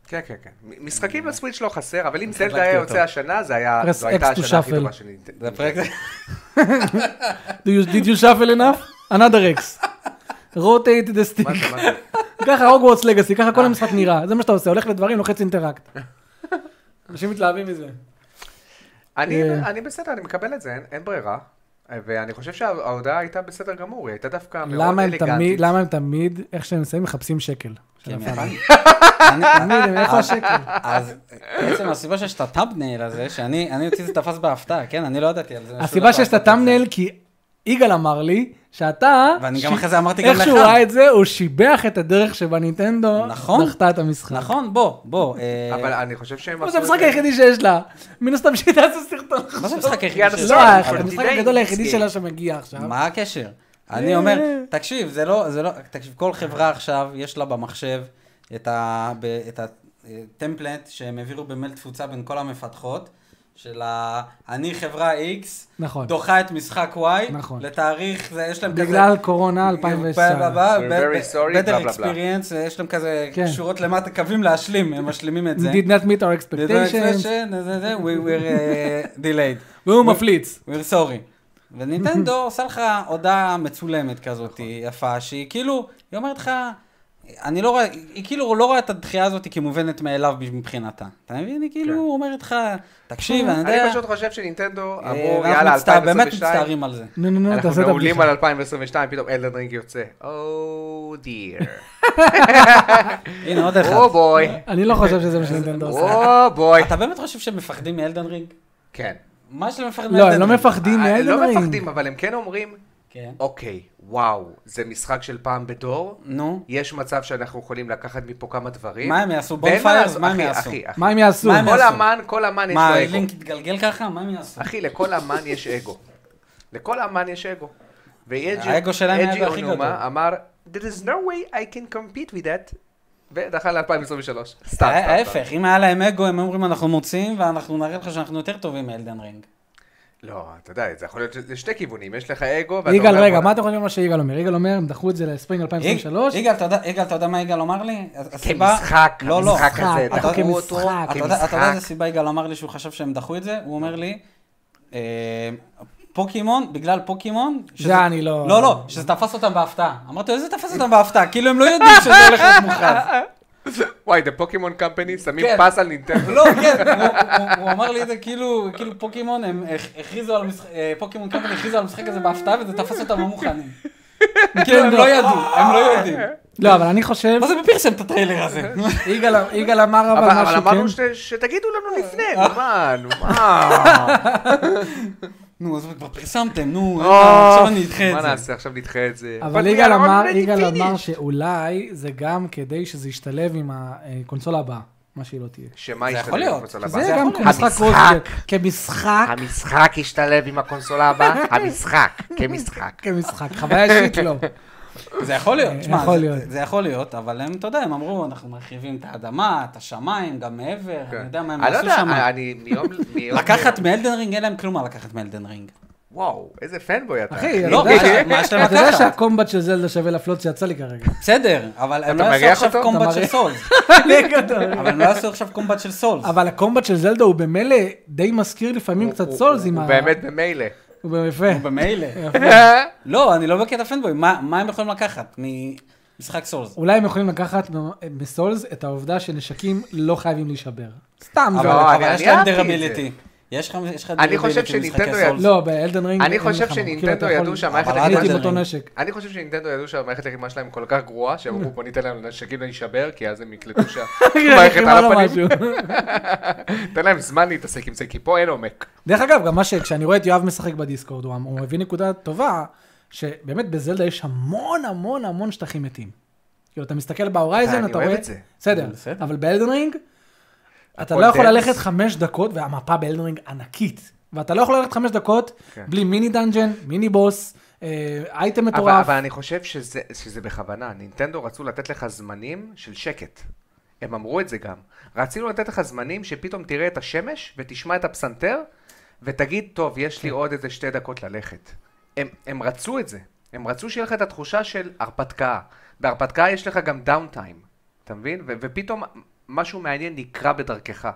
Speaker 2: כן, כן, כן. מ- משחקים לסוויץ' לא חסר, אבל אם
Speaker 3: אני חלקתי
Speaker 2: זלדה היה
Speaker 3: אותו.
Speaker 2: יוצא השנה, זה היה,
Speaker 1: פרס
Speaker 2: זו הייתה
Speaker 1: X to
Speaker 2: השנה הכי
Speaker 1: shuffle.
Speaker 2: טובה של נינטנדו.
Speaker 3: זה הפרק זה.
Speaker 1: Do you- Did you shuffle enough? another X. rotate the
Speaker 2: מה
Speaker 1: stick.
Speaker 2: זה, מה זה?
Speaker 1: ככה הוגוורטס לגאסי, ככה כל המשחק נראה. זה מה שאתה עושה, הולך לדברים, לוחץ אינטראקט. אנשים מתלהבים מזה.
Speaker 2: אני,
Speaker 1: אה.
Speaker 2: אני בסדר, אני מקבל את זה, אין, אין ברירה. אה, ואני חושב שההודעה הייתה בסדר גמור, היא הייתה דווקא מאוד
Speaker 1: למה הם
Speaker 2: אלגנטית.
Speaker 1: תמיד, למה הם תמיד, איך שהם מסיימים, מחפשים שקל.
Speaker 3: כן, אה,
Speaker 1: שנפל.
Speaker 3: יפני.
Speaker 1: תמיד, איפה השקל?
Speaker 3: אז בעצם הסיבה שיש את הטאבנייל הזה, שאני אני אותי זה תפס בהפתעה, כן? אני לא ידעתי על זה.
Speaker 1: הסיבה
Speaker 3: אה,
Speaker 1: שיש את הטאמנל, כי יגאל אמר לי, שאתה,
Speaker 3: ואני גם
Speaker 1: ש-
Speaker 3: אחרי זה אמרתי גם
Speaker 1: איך
Speaker 3: לך.
Speaker 1: שהוא ראה את זה, הוא שיבח את הדרך שבה נינטנדו
Speaker 3: נכון.
Speaker 1: דחתה את המשחק.
Speaker 3: נכון, בוא, בוא. אה,
Speaker 2: אבל אני חושב שהם
Speaker 1: אבל זה
Speaker 2: עשו את
Speaker 1: המשחק היחידי שיש לה. מן הסתם שהיא תעשה סרטון.
Speaker 3: מה זה המשחק היחיד
Speaker 2: יאללה,
Speaker 3: שיש?
Speaker 1: לא,
Speaker 2: אבל
Speaker 1: המשחק
Speaker 2: today
Speaker 1: הגדול
Speaker 2: it's
Speaker 1: היחידי
Speaker 2: game.
Speaker 1: שלה שמגיע עכשיו.
Speaker 3: מה הקשר? אני אומר, תקשיב, זה לא, זה לא, תקשיב, כל חברה עכשיו, יש לה במחשב את ה- ב- את הטמפלט שהם העבירו במייל תפוצה בין כל המפתחות, של ה... אני חברה X,
Speaker 1: נכון.
Speaker 3: דוחה את משחק Y,
Speaker 1: נכון.
Speaker 3: לתאריך, זה, יש להם כזה...
Speaker 1: בגלל קורונה 2010.
Speaker 2: We're very sorry, בלה,
Speaker 3: בטר
Speaker 2: בלה, בלה.
Speaker 3: אקספיריאנס, יש להם כזה
Speaker 1: כן.
Speaker 3: שורות למטה, קווים להשלים, הם משלימים את זה.
Speaker 1: did not meet our
Speaker 3: Did not
Speaker 1: expectations,
Speaker 3: expectation, זה, זה, זה, we were אה, delayed.
Speaker 1: והוא מפליץ.
Speaker 3: We're sorry. ונינטנדו עושה לך הודעה מצולמת כזאת
Speaker 1: נכון.
Speaker 3: יפה, שהיא כאילו, היא אומרת לך, אני לא רואה, היא כאילו לא רואה את הדחייה הזאת כמובנת מאליו מבחינתה. אתה מבין? היא כאילו
Speaker 2: כן.
Speaker 3: אומרת לך, תקשיב,
Speaker 1: נכון.
Speaker 3: אני יודע,
Speaker 2: אני פשוט חושב שנינטנדו
Speaker 3: אה,
Speaker 2: אמרו,
Speaker 3: ואנחנו
Speaker 2: יאללה,
Speaker 3: מצטער- באמת
Speaker 2: 2022,
Speaker 3: מצטערים על זה.
Speaker 1: נו, נו, נו,
Speaker 2: אנחנו
Speaker 1: תעשה את
Speaker 2: מעולים
Speaker 1: הבדיחה.
Speaker 2: על 2022, פתאום אלדן רינג יוצא. או דיר.
Speaker 3: הנה עוד אחד.
Speaker 2: או בוי.
Speaker 1: אני לא חושב שזה מה שנינטנדו
Speaker 2: אה,
Speaker 1: עושה.
Speaker 2: או בוי.
Speaker 3: אתה באמת חושב שהם מפחדים מאלדן רינג?
Speaker 2: כן.
Speaker 3: מה יש להם לפחד מאלדן
Speaker 1: לא,
Speaker 3: רינג?
Speaker 1: הם לא מפחדים
Speaker 2: אה,
Speaker 1: מאלדן
Speaker 2: לא
Speaker 1: רינג.
Speaker 2: מפחדים, אבל הם כן אומרים,
Speaker 3: כן.
Speaker 2: אוקיי, וואו, זה משחק של פעם בדור.
Speaker 3: נו.
Speaker 2: יש מצב שאנחנו יכולים לקחת מפה כמה דברים.
Speaker 3: מה הם יעשו?
Speaker 2: ואין מה
Speaker 3: bonfires?
Speaker 2: לעשות,
Speaker 3: מה הם
Speaker 2: אחי,
Speaker 3: יעשו?
Speaker 2: אחי, אחי.
Speaker 1: מה הם יעשו?
Speaker 3: מה הם
Speaker 2: כל
Speaker 3: יעשו?
Speaker 2: אמן, כל אמן יש
Speaker 3: מה,
Speaker 2: לו אגו.
Speaker 3: לינק יתגלגל ככה? מה הם יעשו?
Speaker 2: אחי, לכל אמן יש אגו. לכל אמן יש אגו.
Speaker 3: האגו שלהם היה האגו הכי גדול.
Speaker 2: אונומה אמר, There is no way I can compete with that, ודחה ל-2023. סתם, סתם. סתם.
Speaker 3: ההפך, אם היה להם אגו, הם אומרים אנחנו מוציאים, ואנחנו נראה לך שאנחנו יותר טובים מאלדן רינג.
Speaker 2: לא, אתה יודע, זה יכול להיות שזה שתי כיוונים, יש לך אגו, ואתה
Speaker 1: יגאל,
Speaker 2: אומר, אה,
Speaker 1: רגע,
Speaker 2: "בואנה,
Speaker 1: מה אתם חושבים על מה שיגאל אומר? יגאל אומר, הם דחו את זה לספרינג
Speaker 3: יג-
Speaker 1: 2023.
Speaker 3: יגאל, אתה יודע- יגאל, אתה יודע מה יגאל אמר לי?
Speaker 2: כן,
Speaker 3: אז- הסיבה-
Speaker 2: כמשחק,
Speaker 3: לא, לא.
Speaker 2: המשחק הזה,
Speaker 1: משחק,
Speaker 2: דחו
Speaker 1: כמשחק,
Speaker 2: אותו,
Speaker 1: אתה
Speaker 3: אתה יודע- אתה יודע איזה
Speaker 2: כמשחק.
Speaker 3: סיבה יגאל אמר לי שהוא חשב שהם דחו את זה? הוא אומר לי, אה, פוקימון, בגלל פוקימון, שזה-
Speaker 1: זה אני לא...
Speaker 3: לא, לא, שזה תפס אותם בהפתעה. אמרתי לו, איזה תפס אותם בהפתעה? כאילו הם לא יודעים שזה הולך להיות מוכרז.
Speaker 2: וואי, דה פוקימון קמפני, שמים
Speaker 3: כן.
Speaker 2: פס על נינטנדו.
Speaker 3: לא, כן, הוא- הוא- הוא אמר לי את זה כאילו, כאילו פוקימון, הם הכ- הכריזו על משחק, אה, פוקימון קמפני הכריזו על המשחק הזה בהפתעה וזה תפס אותם לא מוכנים. כאילו, הם לא ידעו, הם לא יודעים.
Speaker 1: לא, אבל אני חושב...
Speaker 3: מה זה בפרסם את הטריילר הזה?
Speaker 1: יגאל- יגאל אמר
Speaker 2: אבל
Speaker 1: אבל
Speaker 2: אבל אמרנו
Speaker 1: משהו, כן.
Speaker 2: ש- שתגידו לנו לפני,
Speaker 3: אה.
Speaker 2: נו מה, נו מה.
Speaker 3: נו, אז כבר פרסמתם, נו,
Speaker 2: אה,
Speaker 3: עכשיו אני אדחה
Speaker 2: מה
Speaker 3: את זה.
Speaker 2: נעשה, עכשיו נדחה את זה.
Speaker 1: אבל
Speaker 2: we
Speaker 1: יגאל
Speaker 2: are
Speaker 1: אמר,
Speaker 2: already
Speaker 1: יגאל
Speaker 2: finished.
Speaker 1: אמר שאולי זה גם כדי שזה ישתלב עם הקונסולה הבאה, מה שהיא לא תהיה.
Speaker 2: שמה
Speaker 3: זה
Speaker 2: ישתלב
Speaker 3: יכול
Speaker 2: עם
Speaker 3: להיות.
Speaker 2: הקונסולה
Speaker 1: זה
Speaker 2: הבאה?
Speaker 1: גם
Speaker 3: יכול
Speaker 2: להיות.
Speaker 1: כמשחק רוסגר,
Speaker 2: המשחק.
Speaker 1: כמשחק,
Speaker 2: המשחק ישתלב עם הקונסולה הבאה? המשחק, כמשחק.
Speaker 3: כן.
Speaker 1: כמשחק, חוויה אישית לא.
Speaker 3: זה יכול להיות, תשמע,
Speaker 1: יכול
Speaker 3: זה-
Speaker 1: להיות.
Speaker 3: זה יכול להיות, אבל הם, אתה יודע, הם אמרו, אנחנו מרחיבים את האדמה, את השמיים, גם מעבר, אני יודע מה הם
Speaker 2: אני לא
Speaker 3: עשו
Speaker 2: יודע, אה,
Speaker 3: שם.
Speaker 2: אני מיום... מיום-
Speaker 3: לקחת מאלדן רינג, אין להם כלום מה לקחת מאלדן רינג.
Speaker 2: וואו, איזה פנבוי אתה.
Speaker 1: אחי,
Speaker 3: לא,
Speaker 1: אתה יודע-
Speaker 3: מה- מה יש להם
Speaker 1: אתה יודע
Speaker 3: לקחת?
Speaker 1: שהקומבט של זלדה שווה לפלוט שיצא לי כרגע.
Speaker 3: בסדר, אבל הם
Speaker 2: אתה
Speaker 3: לא יעשו
Speaker 2: מריח
Speaker 3: עכשיו
Speaker 2: אותו?
Speaker 3: קומבט
Speaker 1: אתה
Speaker 3: של
Speaker 1: מריח-
Speaker 3: סולס. אבל הם לא יעשו עכשיו קומבט של סולס.
Speaker 1: אבל הקומבט של זלדה הוא במילא די מזכיר לפעמים קצת
Speaker 2: הוא-
Speaker 1: סולס עם
Speaker 2: הוא
Speaker 1: ה...
Speaker 2: באמת במילא.
Speaker 1: הוא באמת יפה.
Speaker 3: במילא. לא, אני לא בקטע פנבוי, מה מה הם יכולים לקחת ממשחק סולס?
Speaker 1: אולי הם יכולים לקחת מ- מסולס את העובדה שנשקים לא חייבים להישבר. סתם
Speaker 3: אבל
Speaker 1: זה.
Speaker 2: לא,
Speaker 3: אבל
Speaker 2: אני-
Speaker 3: יש
Speaker 2: אני
Speaker 3: להם
Speaker 2: אהבתי את זה.
Speaker 3: דרביליטי. יש לך יש לך
Speaker 2: אני חושב
Speaker 3: דרביליטי במשחקי
Speaker 2: שנינטנדו
Speaker 3: סולס.
Speaker 1: לא, באלדן רינג
Speaker 2: אני
Speaker 1: אין
Speaker 2: חושב
Speaker 1: מלחמה.
Speaker 2: שנינטנדו
Speaker 1: כאילו, אתה יכול-
Speaker 2: ידעו שהמערכת
Speaker 1: אבל הייתי עם
Speaker 3: האלדן
Speaker 1: אותו
Speaker 3: רינג.
Speaker 1: נשק.
Speaker 2: אני חושב שנינטנדו ידעו שהמערכת לחימה שלהם כל כך גרועה, שהם אמרו בוא ניתן להם נשקים להישבר, כי אז הם יקלטו שהמערכת
Speaker 1: לחימה
Speaker 2: על
Speaker 1: לא
Speaker 2: הפנים.
Speaker 1: משהו.
Speaker 2: תן להם זמן להתעסק עם זה, כי פה אין עומק.
Speaker 1: דרך אגב, גם מה שכשאני רואה את יואב משחק בדיסקורד, הוא הוא מביא נקודה טובה, שבאמת בזלדה יש המון המון המון שטחים מתים. כאילו, אתה מסתכל בהורייזן,
Speaker 2: אני
Speaker 1: אתה רואה...
Speaker 2: אוהב את זה.
Speaker 1: בסדר,
Speaker 3: בסדר.
Speaker 1: אבל באלדן רינג, אתה
Speaker 2: הכל
Speaker 1: לא יכול
Speaker 2: dense.
Speaker 1: ללכת חמש דקות, והמפה באלדן רינג ענקית, ואתה לא יכול ללכת חמש דקות
Speaker 2: כן.
Speaker 1: בלי מיני דאנג'ן, מיני בוס, אה, אייטם
Speaker 2: אבל
Speaker 1: מטורף.
Speaker 2: אבל אני חושב שזה שזה בכוונה, נינטנדו רצו לתת לך זמנים של שקט. הם אמרו את זה גם. רצינו לתת לך זמנים שפתאום תראה את השמש ותשמע את הפסנתר, ותגיד, טוב, יש
Speaker 1: כן.
Speaker 2: לי עוד איזה שתי דקות ללכת. הם, הם רצו את זה. הם רצו שיהיה לך את התחושה של הרפתקה. בהרפתקה יש לך גם דאונטיים, אתה מבין? ו- ופתאום משהו מעניין נקרא בדרכך.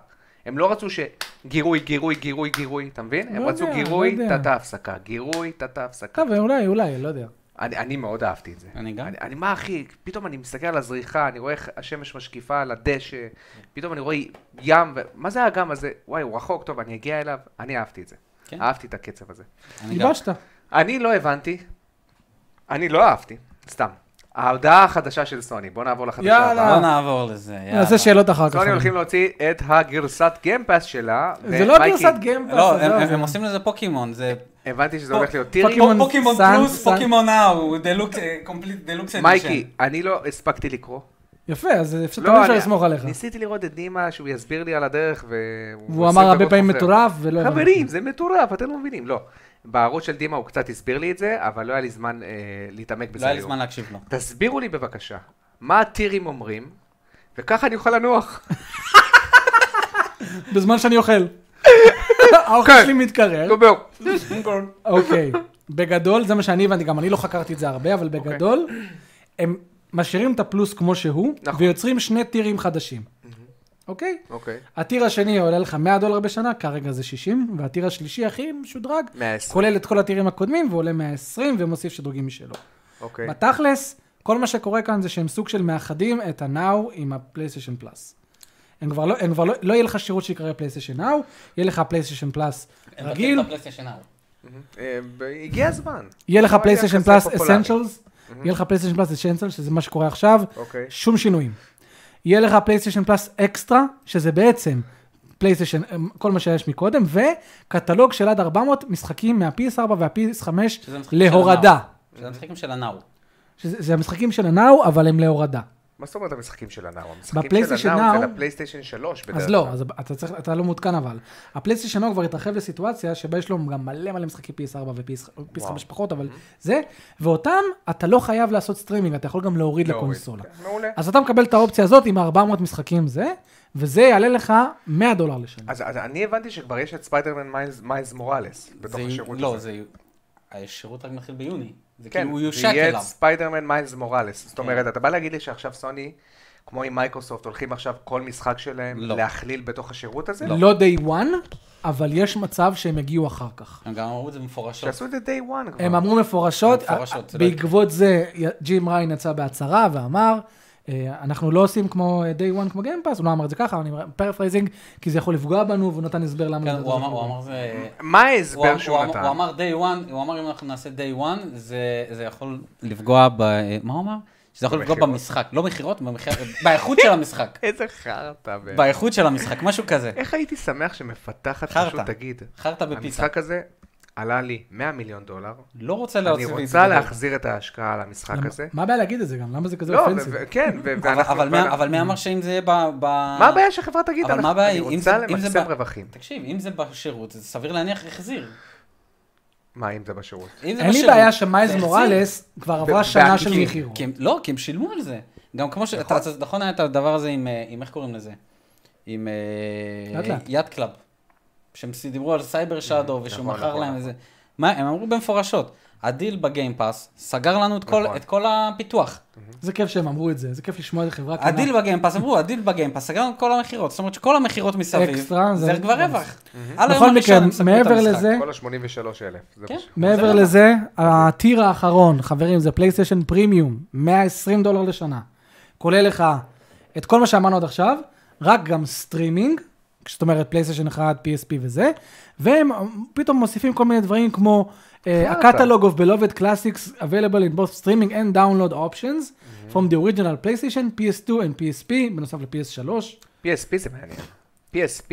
Speaker 2: הם לא רצו שגירוי, גירוי, גירוי, גירוי, אתה מבין? הם
Speaker 1: לא
Speaker 2: רצו
Speaker 1: יודע, לא
Speaker 2: גירוי,
Speaker 1: יודע.
Speaker 2: תתה הפסקה, גירוי, תתה הפסקה.
Speaker 1: טוב, אולי, אולי, לא יודע.
Speaker 2: אני, אני מאוד אהבתי את זה.
Speaker 3: אני גם.
Speaker 2: אני, אני מה אחי, פתאום אני מסתכל על הזריחה, אני רואה איך השמש משקיפה על הדשא, פתאום אני רואה ים, ו... מה זה האגם הזה? וואי, הוא רחוק, טוב, אני אגיע אליו. אני אהבתי את זה.
Speaker 3: כן.
Speaker 2: אהבתי את הקצב הזה.
Speaker 3: אני גם.
Speaker 1: גיבשת.
Speaker 2: אני לא הבנתי, אני לא אהבתי, סתם. ההודעה החדשה של סוני, בוא נעבור לחדשה
Speaker 1: יאללה.
Speaker 2: הבאה.
Speaker 3: בוא לא נעבור לזה, יאללה.
Speaker 1: נעשה שאלות אחר כך.
Speaker 2: סוני הולכים אה, להוציא את הגרסת גיימפאס שלה.
Speaker 1: זה לא
Speaker 2: ומייקי,
Speaker 1: גרסת גיימפאס.
Speaker 3: לא,
Speaker 1: עזוב.
Speaker 3: הם- הם הם עושים לזה פוקימון, זה...
Speaker 2: הבנתי שזה
Speaker 3: פוק-
Speaker 2: הולך להיות טירי.
Speaker 1: פוקימון
Speaker 3: פוקימון
Speaker 1: סאן,
Speaker 3: פלוס,
Speaker 1: סאן.
Speaker 3: פוקימון נאו, דלוקס, קומפליט דלוקס אדישן.
Speaker 2: מייקי, אני לא הספקתי לקרוא.
Speaker 1: יפה, אז אפשר- תמיד אפשר
Speaker 2: לא, אני-
Speaker 1: לסמוך עליך.
Speaker 2: ניסיתי לראות את נימה שהוא יסביר לי על הדרך, והוא...
Speaker 1: והוא
Speaker 2: עשרים
Speaker 1: אמר הרבה
Speaker 2: דקות
Speaker 1: פעמים
Speaker 2: חוזר.
Speaker 1: מטורף, ולא הבנתי.
Speaker 2: חברים, זה מטורף, אתם לא מבינים. לא. בערוץ של דימה הוא קצת הסביר לי את זה, אבל לא היה לי זמן אה, להתעמק בזה
Speaker 3: לא היה לי
Speaker 2: היום.
Speaker 3: זמן להקשיב לו.
Speaker 2: תסבירו לי בבקשה, מה הטירים אומרים, וככה אני אוכל לנוח.
Speaker 1: בזמן שאני אוכל. האוכל
Speaker 2: כן.
Speaker 1: שלי מתקרר.
Speaker 2: נו, בואו.
Speaker 1: אוקיי. בגדול, זה מה שאני הבנתי, גם אני לא חקרתי את זה הרבה, אבל
Speaker 2: אוקיי.
Speaker 1: בגדול, הם משאירים את הפלוס כמו שהוא,
Speaker 2: נכון.
Speaker 1: ויוצרים שני טירים חדשים. אוקיי?
Speaker 2: אוקיי.
Speaker 1: הטיר השני עולה לך 100 דולר בשנה, כרגע זה 60, והטיר השלישי הכי משודרג,
Speaker 2: 120.
Speaker 1: כולל את כל הטירים הקודמים, ועולה 120 ומוסיף שדרוגים משלו.
Speaker 2: אוקיי.
Speaker 1: בתכלס, כל מה שקורה כאן זה שהם סוג של מאחדים את הנאו עם הפלייסטיישן פלאס. הם כבר לא, הם כבר לא, לא יהיה לך שירות שיקרא פלייסטיישן נאו, יהיה לך פלייסטיישן פלאס
Speaker 3: הם לא-
Speaker 1: רגיל,
Speaker 3: מבטלים את הפלייסטיישן נאו.
Speaker 2: אה, ב- הגיע הזמן.
Speaker 1: יהיה לך
Speaker 2: לא יודע
Speaker 1: פלייסטיישן
Speaker 2: איך זה
Speaker 1: פלאס
Speaker 2: פופולרי.
Speaker 1: אסנצ'לס, יהיה לך פלייסטיישן פלאס אסנצ'לס, שזה מה שקורה עכשיו,
Speaker 2: אוקיי.
Speaker 1: שום שינויים. יהיה לך פלייסטיישן פלאס אקסטרה, שזה בעצם פלייסטיישן, אמ, כל מה שיש מקודם, וקטלוג של עד 400 משחקים מה-PS4 וה-PS5
Speaker 3: שזה המשחקים של
Speaker 1: להורדה.
Speaker 3: הנאו. שזה המשחקים של הנאו.
Speaker 1: שזה, זה המשחקים של הנאו, אבל הם להורדה.
Speaker 2: מה זאת אומרת המשחקים של הנאו? המשחקים של
Speaker 1: בפלייסטיישן
Speaker 2: הנאו זה
Speaker 1: נאו-
Speaker 2: לפלייסטיישן 3 בדרך
Speaker 1: אז
Speaker 2: כלל.
Speaker 1: לא, אז אתה, צריך, אתה לא מעודכן אבל. הפלייסטיישן נאו כבר התרחב לסיטואציה שבה יש לו גם מלא מלא משחקי PS4 ו-PS5 פחות, אבל
Speaker 2: Mm-hmm.
Speaker 1: זה, ואותם אתה לא חייב לעשות סטרימינג, אתה יכול גם להוריד
Speaker 2: להוריד.
Speaker 1: לקונסולה.
Speaker 2: כן, מעולה.
Speaker 1: אז אתה מקבל את האופציה הזאת עם 400 משחקים זה, וזה יעלה לך 100 דולר לשנה.
Speaker 2: אז אז אני הבנתי שכבר יש את ספיידרמן מיילס- מיילס מוראלס בתוך
Speaker 3: זה-
Speaker 2: השירות הזה.
Speaker 3: לא, זה... השירות רק מתחיל ביוני. זה
Speaker 2: כן,
Speaker 3: כאילו הוא
Speaker 2: זה
Speaker 3: יושק
Speaker 2: יהיה את
Speaker 3: אליו. כן.
Speaker 2: ספיידרמן מיילס מוראלס. זאת אומרת, אתה בא להגיד לי שעכשיו סוני, כמו עם מייקרוסופט, הולכים עכשיו כל משחק שלהם
Speaker 3: לא.
Speaker 2: להכליל בתוך השירות הזה?
Speaker 1: לא day one, אבל יש מצב שהם יגיעו אחר כך.
Speaker 3: הם גם אמרו את זה מפורשות.
Speaker 2: שיעשו את זה day one כבר.
Speaker 3: אמ-
Speaker 1: הם אמרו מפורשות,
Speaker 3: מפורשות, זה לא
Speaker 1: בעקבות זה ג'ים ריין יצא בהצהרה ואמר, "אה, אנחנו לא עושים כמו אה, day one כמו גיימפאס, הוא לא אמר את זה ככה, אני פרפרייזינג, כי זה יכול לפגוע בנו, והוא נתן הסבר למה.
Speaker 3: כן,
Speaker 1: זה-
Speaker 3: הוא אמר- הוא אמר זה...
Speaker 2: מה
Speaker 3: הוא אמר-
Speaker 2: ההסבר
Speaker 3: הוא
Speaker 2: שהוא
Speaker 3: אמר-
Speaker 2: נתן?
Speaker 3: הוא אמר day one, הוא אמר אם אנחנו נעשה day one, זה זה יכול לפגוע ב... מה הוא אמר? שזה יכול לפגוע
Speaker 2: במכירות.
Speaker 3: במשחק. לא מכירות, במחיר- באיכות של המשחק.
Speaker 2: איזה חרטא. ב-
Speaker 3: באיכות של המשחק, משהו כזה.
Speaker 2: איך הייתי שמח שמפתחת
Speaker 3: חרטא.
Speaker 2: פשוט תגיד,
Speaker 3: חרטא בפיצה.
Speaker 2: המשחק הזה עלה לי 100 מיליון דולר,
Speaker 3: לא רוצה
Speaker 2: אני
Speaker 3: להוציא את
Speaker 2: רוצה
Speaker 3: זה.
Speaker 2: להחזיר את ההשקעה על המשחק
Speaker 1: למה-
Speaker 2: הזה.
Speaker 1: מה הבעיה להגיד את זה גם? למה זה כזה
Speaker 2: לא,
Speaker 1: אופנסיב?
Speaker 2: ו- ו- כן, ו-
Speaker 3: אבל-
Speaker 2: ואנחנו...
Speaker 3: אבל מה- אבל מי אמר שאם זה יהיה ב... ב-
Speaker 2: מה הבעיה שהחברה תגיד?
Speaker 3: אבל
Speaker 2: אנחנו-
Speaker 3: מה הבעיה?
Speaker 2: אני
Speaker 3: אם
Speaker 2: רוצה
Speaker 3: זה- אם זה
Speaker 2: למקסם
Speaker 3: ב-
Speaker 2: רווחים.
Speaker 3: תקשיב, אם זה בשירות, זה סביר להניח החזיר.
Speaker 2: מה אם זה בשירות?
Speaker 3: אם זה
Speaker 1: אין לי
Speaker 3: בשירות,
Speaker 1: בעיה
Speaker 3: זה
Speaker 1: שמייז
Speaker 3: החזיר.
Speaker 1: מוראלס כבר עברה
Speaker 2: ב-
Speaker 1: שנה של
Speaker 2: בעקיפין.
Speaker 1: מחירו.
Speaker 3: כי הם, לא, כי הם שילמו על זה. גם כמו ש... אתה- אתה- נכון היה את הדבר הזה עם, אה, עם איך קוראים לזה? עם אה,
Speaker 1: לאט לאט.
Speaker 3: יד קלאב. שהם דיברו על סייבר שאדו ושהוא
Speaker 2: נכון,
Speaker 3: מכר
Speaker 2: נכון,
Speaker 3: להם
Speaker 2: נכון.
Speaker 3: איזה... מה, הם אמרו במפורשות, הדיל בגיימפאס סגר לנו את כל-
Speaker 2: נכון.
Speaker 3: את כל הפיתוח.
Speaker 1: זה כיף שהם אמרו את זה, זה כיף לשמוע איזה חברה קטנה.
Speaker 3: הדיל בגיימפאס, אמרו, הדיל בגיימפאס סגר לנו את כל המכירות. זאת אומרת שכל המכירות מסביב,
Speaker 1: אקסטרה,
Speaker 3: זה
Speaker 1: זה-
Speaker 3: כבר
Speaker 1: זה-
Speaker 3: רווח. על היום
Speaker 1: בכל
Speaker 3: הראשון
Speaker 1: מקרה,
Speaker 3: הם סגרו את
Speaker 1: מעבר
Speaker 3: המשחק.
Speaker 1: לזה,
Speaker 2: כל ה-83,000.
Speaker 3: כן.
Speaker 1: מעבר
Speaker 3: זה-
Speaker 1: לזה, הטיר האחרון, חברים, זה פלייסטיישן פרימיום, 120 דולר לשנה. כולל לך את כל מה שאמרנו עד עכשיו, רק גם סטרימינג, זאת אומרת פלייסטיישן 1, PSP וזה, והם פתאום מוסיפים כל מיני דברים כמו
Speaker 2: אתה?
Speaker 1: ה-Catalog of Beloved Classics available in both streaming and download options from the original PlayStation, PS2 and PSP, בנוסף ל-PS3.
Speaker 2: PSP זה מעניין. PSP?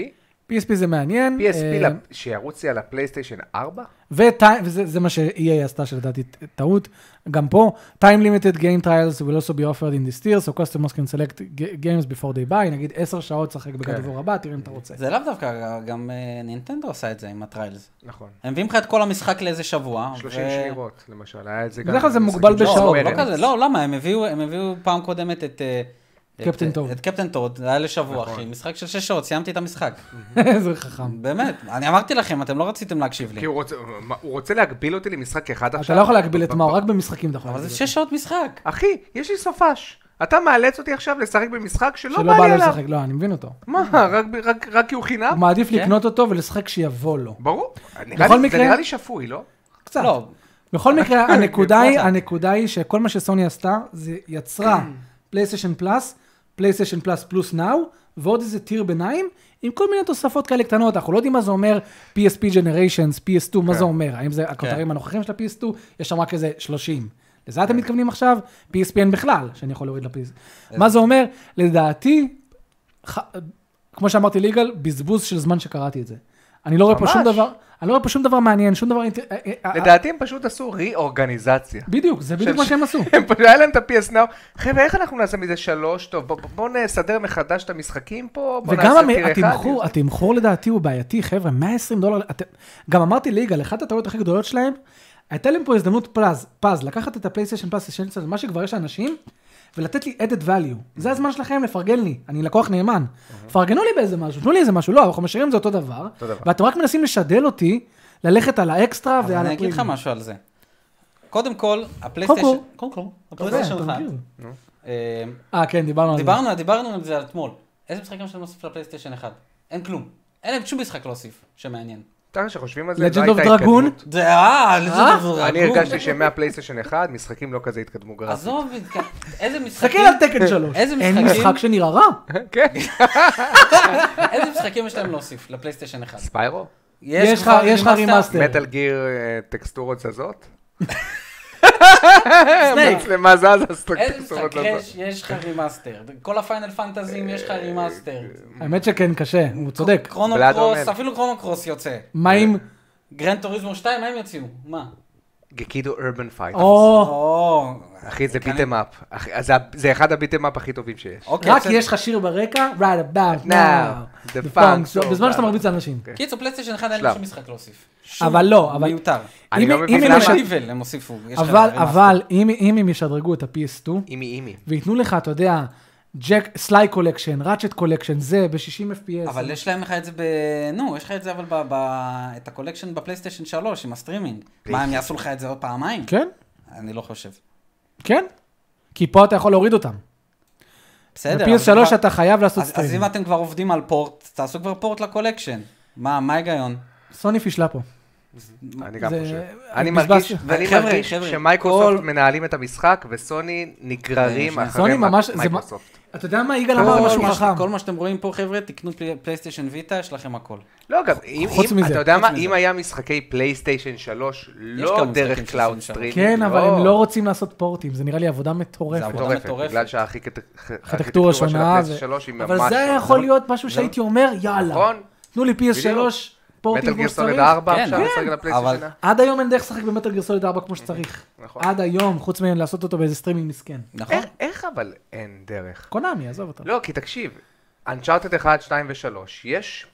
Speaker 1: PSP זה מעניין. אה,
Speaker 2: PSP לפ- שירוץ לי על הפלייסטיישן 4?
Speaker 1: וטי- וזה זה מה ש-EA עשתה שלדעתי ט- טעות, גם פה, time limited game trials will also be offered in this tier, so customers can select g- games before they buy, נגיד 10 שעות שחק בגדבור הבא, תראה אם אתה רוצה.
Speaker 3: זה לאו דווקא, גם אה, נינטנדו עושה את זה עם הטריילס.
Speaker 2: נכון.
Speaker 3: הם מביאים לך את כל המשחק לאיזה שבוע.
Speaker 2: 30
Speaker 3: אה, ו-
Speaker 2: שמירות, למשל. היה את זה גם...
Speaker 1: בדרך כלל זה
Speaker 2: במשחקים
Speaker 1: מוגבל
Speaker 2: של
Speaker 1: בשעות,
Speaker 3: לא,
Speaker 2: סקוור
Speaker 3: לא
Speaker 2: אניקס.
Speaker 3: כזה, לא, למה? הם הביאו, הם הביאו פעם קודמת את... אה, את-
Speaker 1: קפטן טוד.
Speaker 3: את קפטן טוד, זה היה לשבוע, אחי.
Speaker 2: נכון.
Speaker 3: משחק של שש שעות, סיימתי את המשחק.
Speaker 1: זה חכם.
Speaker 3: באמת, אני אמרתי לכם, אתם לא רציתם להקשיב
Speaker 2: כי
Speaker 3: לי.
Speaker 2: הוא רוצה- מה, הוא רוצה להגביל אותי למשחק אחד עכשיו?
Speaker 1: אתה לא יכול להגביל את
Speaker 2: ב-
Speaker 1: מאור, רק במשחקים אתה יכול
Speaker 3: אבל זה
Speaker 1: להגביל.
Speaker 3: שש שעות משחק.
Speaker 2: אחי, יש לי סופש. אתה מאלץ אותי עכשיו לשחק במשחק שלא
Speaker 1: שלא
Speaker 2: בא לי עליו.
Speaker 1: לשחק, לא, אני מבין אותו.
Speaker 2: מה, רק ב- רק- רק כי הוא חינם?
Speaker 1: הוא מעדיף
Speaker 3: כן.
Speaker 1: לקנות אותו ולשחק שיבוא לו.
Speaker 2: ברור. נראה
Speaker 1: בכל
Speaker 2: לי- זה
Speaker 1: מקרה-
Speaker 2: נראה לי שפוי, לא?
Speaker 1: קצת.
Speaker 3: לא,
Speaker 1: בכל מקרה, הנקודה היא,
Speaker 3: קצת.
Speaker 1: הנקודה היא שכל מה שסוני עשתה, זה יצרה פלייסטיישן פלאס, פלייסטיישן פלאס פלוס נאו, ועוד איזה טיר ביניים, עם כל מיני תוספות כאלה קטנות, אנחנו לא יודעים מה זה אומר PSP Generations, PS2, מה
Speaker 2: כן.
Speaker 1: זה אומר, האם זה הכותרים הנוכחים של ה-PS2, יש שם רק איזה 30. לזה
Speaker 2: כן.
Speaker 1: אתם מתכוונים עכשיו? PSP אין בכלל, שאני יכול להוריד
Speaker 2: אה.
Speaker 1: ל-PS. מה זה אומר? לדעתי, ח- כמו שאמרתי ליגאל, בזבוז של זמן שקראתי את זה. אני לא רואה פה שום
Speaker 2: ממש.
Speaker 1: דבר, אני לא רואה פה שום דבר מעניין, שום דבר... אינטר- אה, אה, אה,
Speaker 2: לדעתי הם פשוט עשו ריאורגניזציה.
Speaker 1: בדיוק, זה בדיוק מה שהם עשו.
Speaker 2: הם פשוט, היה להם את ה-PS Now. חבר'ה, איך אנחנו נעשה מזה שלוש? טוב, בוא- בוא נסדר מחדש את המשחקים פה, בוא
Speaker 1: וגם
Speaker 2: נעשה
Speaker 1: המ-
Speaker 2: טיר אחד.
Speaker 1: התמחור, התמחור לדעתי הוא בעייתי, חבר'ה, 120 דולר. אתם- גם אמרתי ליגאל, אחת הטעויות הכי גדולות שלהם, הייתה להם פה הזדמנות פז, פז, לקחת את הפלייסטיישן פלאס אסנציה, מה שכבר יש לאנשים, ולתת לי added value. זה הזמן שלכם לפרגן לי, אני לקוח נאמן. פרגנו לי באיזה משהו, תנו לי איזה משהו, לא, אנחנו משאירים את זה אותו דבר,
Speaker 2: דבר.
Speaker 1: ואתם רק מנסים לשדל אותי ללכת על האקסטרה ועל
Speaker 3: אבל
Speaker 1: הפרימיום.
Speaker 3: אני אגיד לך משהו על זה. קודם כל, הפלייסטיישן... לא,
Speaker 1: קודם
Speaker 3: קודם כל,
Speaker 1: כן, אתה יודע,
Speaker 3: הפלייסטיישן
Speaker 1: אתה
Speaker 3: אחד.
Speaker 1: מכיר.
Speaker 3: אה,
Speaker 1: אה, כן, דיברנו על זה.
Speaker 3: דיברנו דיברנו על זה אתמול. איזה משחקים שאתה מוסיף לפלייסטיישן אחד? אין כלום. אין להם שום משחק להוסיף, שמעניין.
Speaker 2: תראה, כשחושבים על זה,
Speaker 1: Legend
Speaker 2: לא
Speaker 1: of
Speaker 2: הייתה
Speaker 1: Dragoon?
Speaker 2: התקדמות.
Speaker 3: זה אה, זה
Speaker 1: אה?
Speaker 3: דבר
Speaker 2: אני
Speaker 3: רגום.
Speaker 2: הרגשתי שמהפלייסטיישן 1, משחקים לא כזה התקדמו גרפית.
Speaker 3: עזוב, כן. איזה
Speaker 1: חכה
Speaker 3: משחקים...
Speaker 1: על תקן שלוש.
Speaker 3: איזה
Speaker 1: אין
Speaker 3: משחקים?
Speaker 1: משחק שנראה רע.
Speaker 2: כן.
Speaker 3: איזה משחקים יש להם להוסיף לפלייסטיישן 1?
Speaker 2: ספיירו?
Speaker 1: יש לך-
Speaker 3: כבר
Speaker 1: יש לך
Speaker 3: רימאסטר?
Speaker 1: בסדר.
Speaker 2: מטאל גיר אה, טקסטורות זזות?
Speaker 3: סנייק.
Speaker 2: המצלמה זזה, אז
Speaker 3: איזה משחק
Speaker 2: טקסטורות זזות.
Speaker 3: קראש יש לך רימאסטר? כל הפיינל פנטזים יש לך רימאסטר.
Speaker 1: האמת שכן, קשה, הוא צודק.
Speaker 3: קרונו
Speaker 2: אה, בלאד
Speaker 3: קרוס,
Speaker 2: אורנד.
Speaker 3: אפילו קרונו קרוס יוצא.
Speaker 1: מה אם...
Speaker 3: אה, גרנד טוריזמו 2, מה הם יוציאו? מה?
Speaker 2: גקידו אורבן פייט.
Speaker 1: או,
Speaker 3: או...
Speaker 2: אחי, זה ביטם אפ. זה אחד הביטם אפ הכי טובים שיש.
Speaker 3: אוקיי,
Speaker 1: רק
Speaker 3: בסדר.
Speaker 1: יש לך שיר ברקע, right about now.
Speaker 2: The
Speaker 1: The
Speaker 2: funk
Speaker 1: funk,
Speaker 2: so
Speaker 1: בזמן שאתה
Speaker 2: bad.
Speaker 1: מרביץ לאנשים.
Speaker 3: קיצור, פלייסטיישן 1 אין
Speaker 2: שלב.
Speaker 3: להם שום משחק להוסיף. שום
Speaker 1: אבל לא, אבל-
Speaker 3: מיותר.
Speaker 2: אני
Speaker 1: אם-
Speaker 2: לא
Speaker 1: אם
Speaker 2: מבין
Speaker 1: הם
Speaker 2: למה-
Speaker 1: יש-
Speaker 3: למה דיבל הם הוסיפו? יש לך
Speaker 1: אבל,
Speaker 3: רימאסטר.
Speaker 1: אבל, אם אם הם ישדרגו את ה-PS2,
Speaker 2: אימי אימי.
Speaker 1: וייתנו לך, אתה יודע, ג'ק, סליי קולקשן, ראצ'ט קולקשן, זה, ב-60 FPS.
Speaker 3: אבל יש להם לך את זה ב... נו, יש לך את זה אבל ב... ב... את הקולקשן בפלייסטיישן 3 עם הסטרימינג. מה, הם יעשו לך את זה עוד פעמיים?
Speaker 1: כן,
Speaker 3: אני לא חושב.
Speaker 1: כן. כי פה אתה יכול להוריד אותם.
Speaker 3: בסדר. אבל זה
Speaker 1: ב-PS3
Speaker 3: כבר-
Speaker 1: אתה חייב לעשות
Speaker 3: אז, אז
Speaker 1: סטרימינג.
Speaker 3: אם אתם כבר עובדים על פורט, תעשו כבר פורט לקולקשן. מה, מה ההיגיון?
Speaker 1: סוני פישלה פה.
Speaker 3: אוקיי,
Speaker 2: אני גם
Speaker 1: זה-
Speaker 2: חושב.
Speaker 1: אה,
Speaker 2: אני
Speaker 1: בזבזתי.
Speaker 2: מרגיש,
Speaker 1: וחבר'ה,
Speaker 2: אני מרגיש
Speaker 3: חבר'ה,
Speaker 2: שמייקרוסופט
Speaker 3: כל-
Speaker 2: מנהלים את המשחק וסוני נגררים
Speaker 3: שנייה.
Speaker 2: אחרי
Speaker 1: אה, סוני ממש... זה מה-
Speaker 2: מייקרוסופט.
Speaker 1: אתה יודע מה, יגאל
Speaker 3: כל
Speaker 1: אמר
Speaker 3: מה
Speaker 1: לא, משהו
Speaker 3: ש-
Speaker 1: חכם.
Speaker 3: כל מה שאתם רואים פה, חבר'ה, תקנו פלי- פלייסטיישן ויטה, יש לכם הכל.
Speaker 2: לא, גם, אם,
Speaker 1: חוץ
Speaker 2: אם-
Speaker 1: מזה,
Speaker 2: אתה יודע
Speaker 3: חוץ
Speaker 2: מה,
Speaker 3: מזה.
Speaker 2: אם היה משחקי פלייסטיישן 3, לא
Speaker 3: כמה משחקים
Speaker 2: דרך
Speaker 3: של
Speaker 2: קלאוד
Speaker 3: 3.
Speaker 2: סטרימינג.
Speaker 1: כן, אבל הם לא רוצים לעשות פורטים, זה נראה לי עבודה
Speaker 3: זה
Speaker 1: מטורפת.
Speaker 3: עבודה
Speaker 2: מטורפת,
Speaker 3: מטורפת.
Speaker 2: בגלל שהארכיטקטורה
Speaker 1: ארכיטקטורה
Speaker 2: של
Speaker 1: שונה.
Speaker 2: הפלייסטיישן
Speaker 1: ו-
Speaker 2: 3 היא ממש...
Speaker 1: אבל זה היה
Speaker 2: שונה.
Speaker 1: יכול להיות משהו שהייתי אומר, יאללה.
Speaker 2: נכון?
Speaker 1: תנו לי PS3,
Speaker 2: בדיוק.
Speaker 1: פורטים
Speaker 2: מטל
Speaker 1: כמו
Speaker 2: גיר סוליד
Speaker 1: שצריך.
Speaker 2: 4
Speaker 3: כן,
Speaker 2: עכשיו
Speaker 3: כן,
Speaker 2: משחק על
Speaker 3: אבל-
Speaker 2: הפלייסטיישן.
Speaker 1: עד היום אין דרך לשחק במטל גיר סוליד 4 כמו שצריך.
Speaker 2: נכון.
Speaker 1: עד היום, חוץ מלעשות אותו באיזה סטרימינג מסכן.
Speaker 3: נכון?
Speaker 2: איך- איך אבל אין דרך?
Speaker 1: קונאמי, עזוב אותנו.
Speaker 2: לא, כי תקשיב, אנצ'ארטד 1, 2 ו-3, יש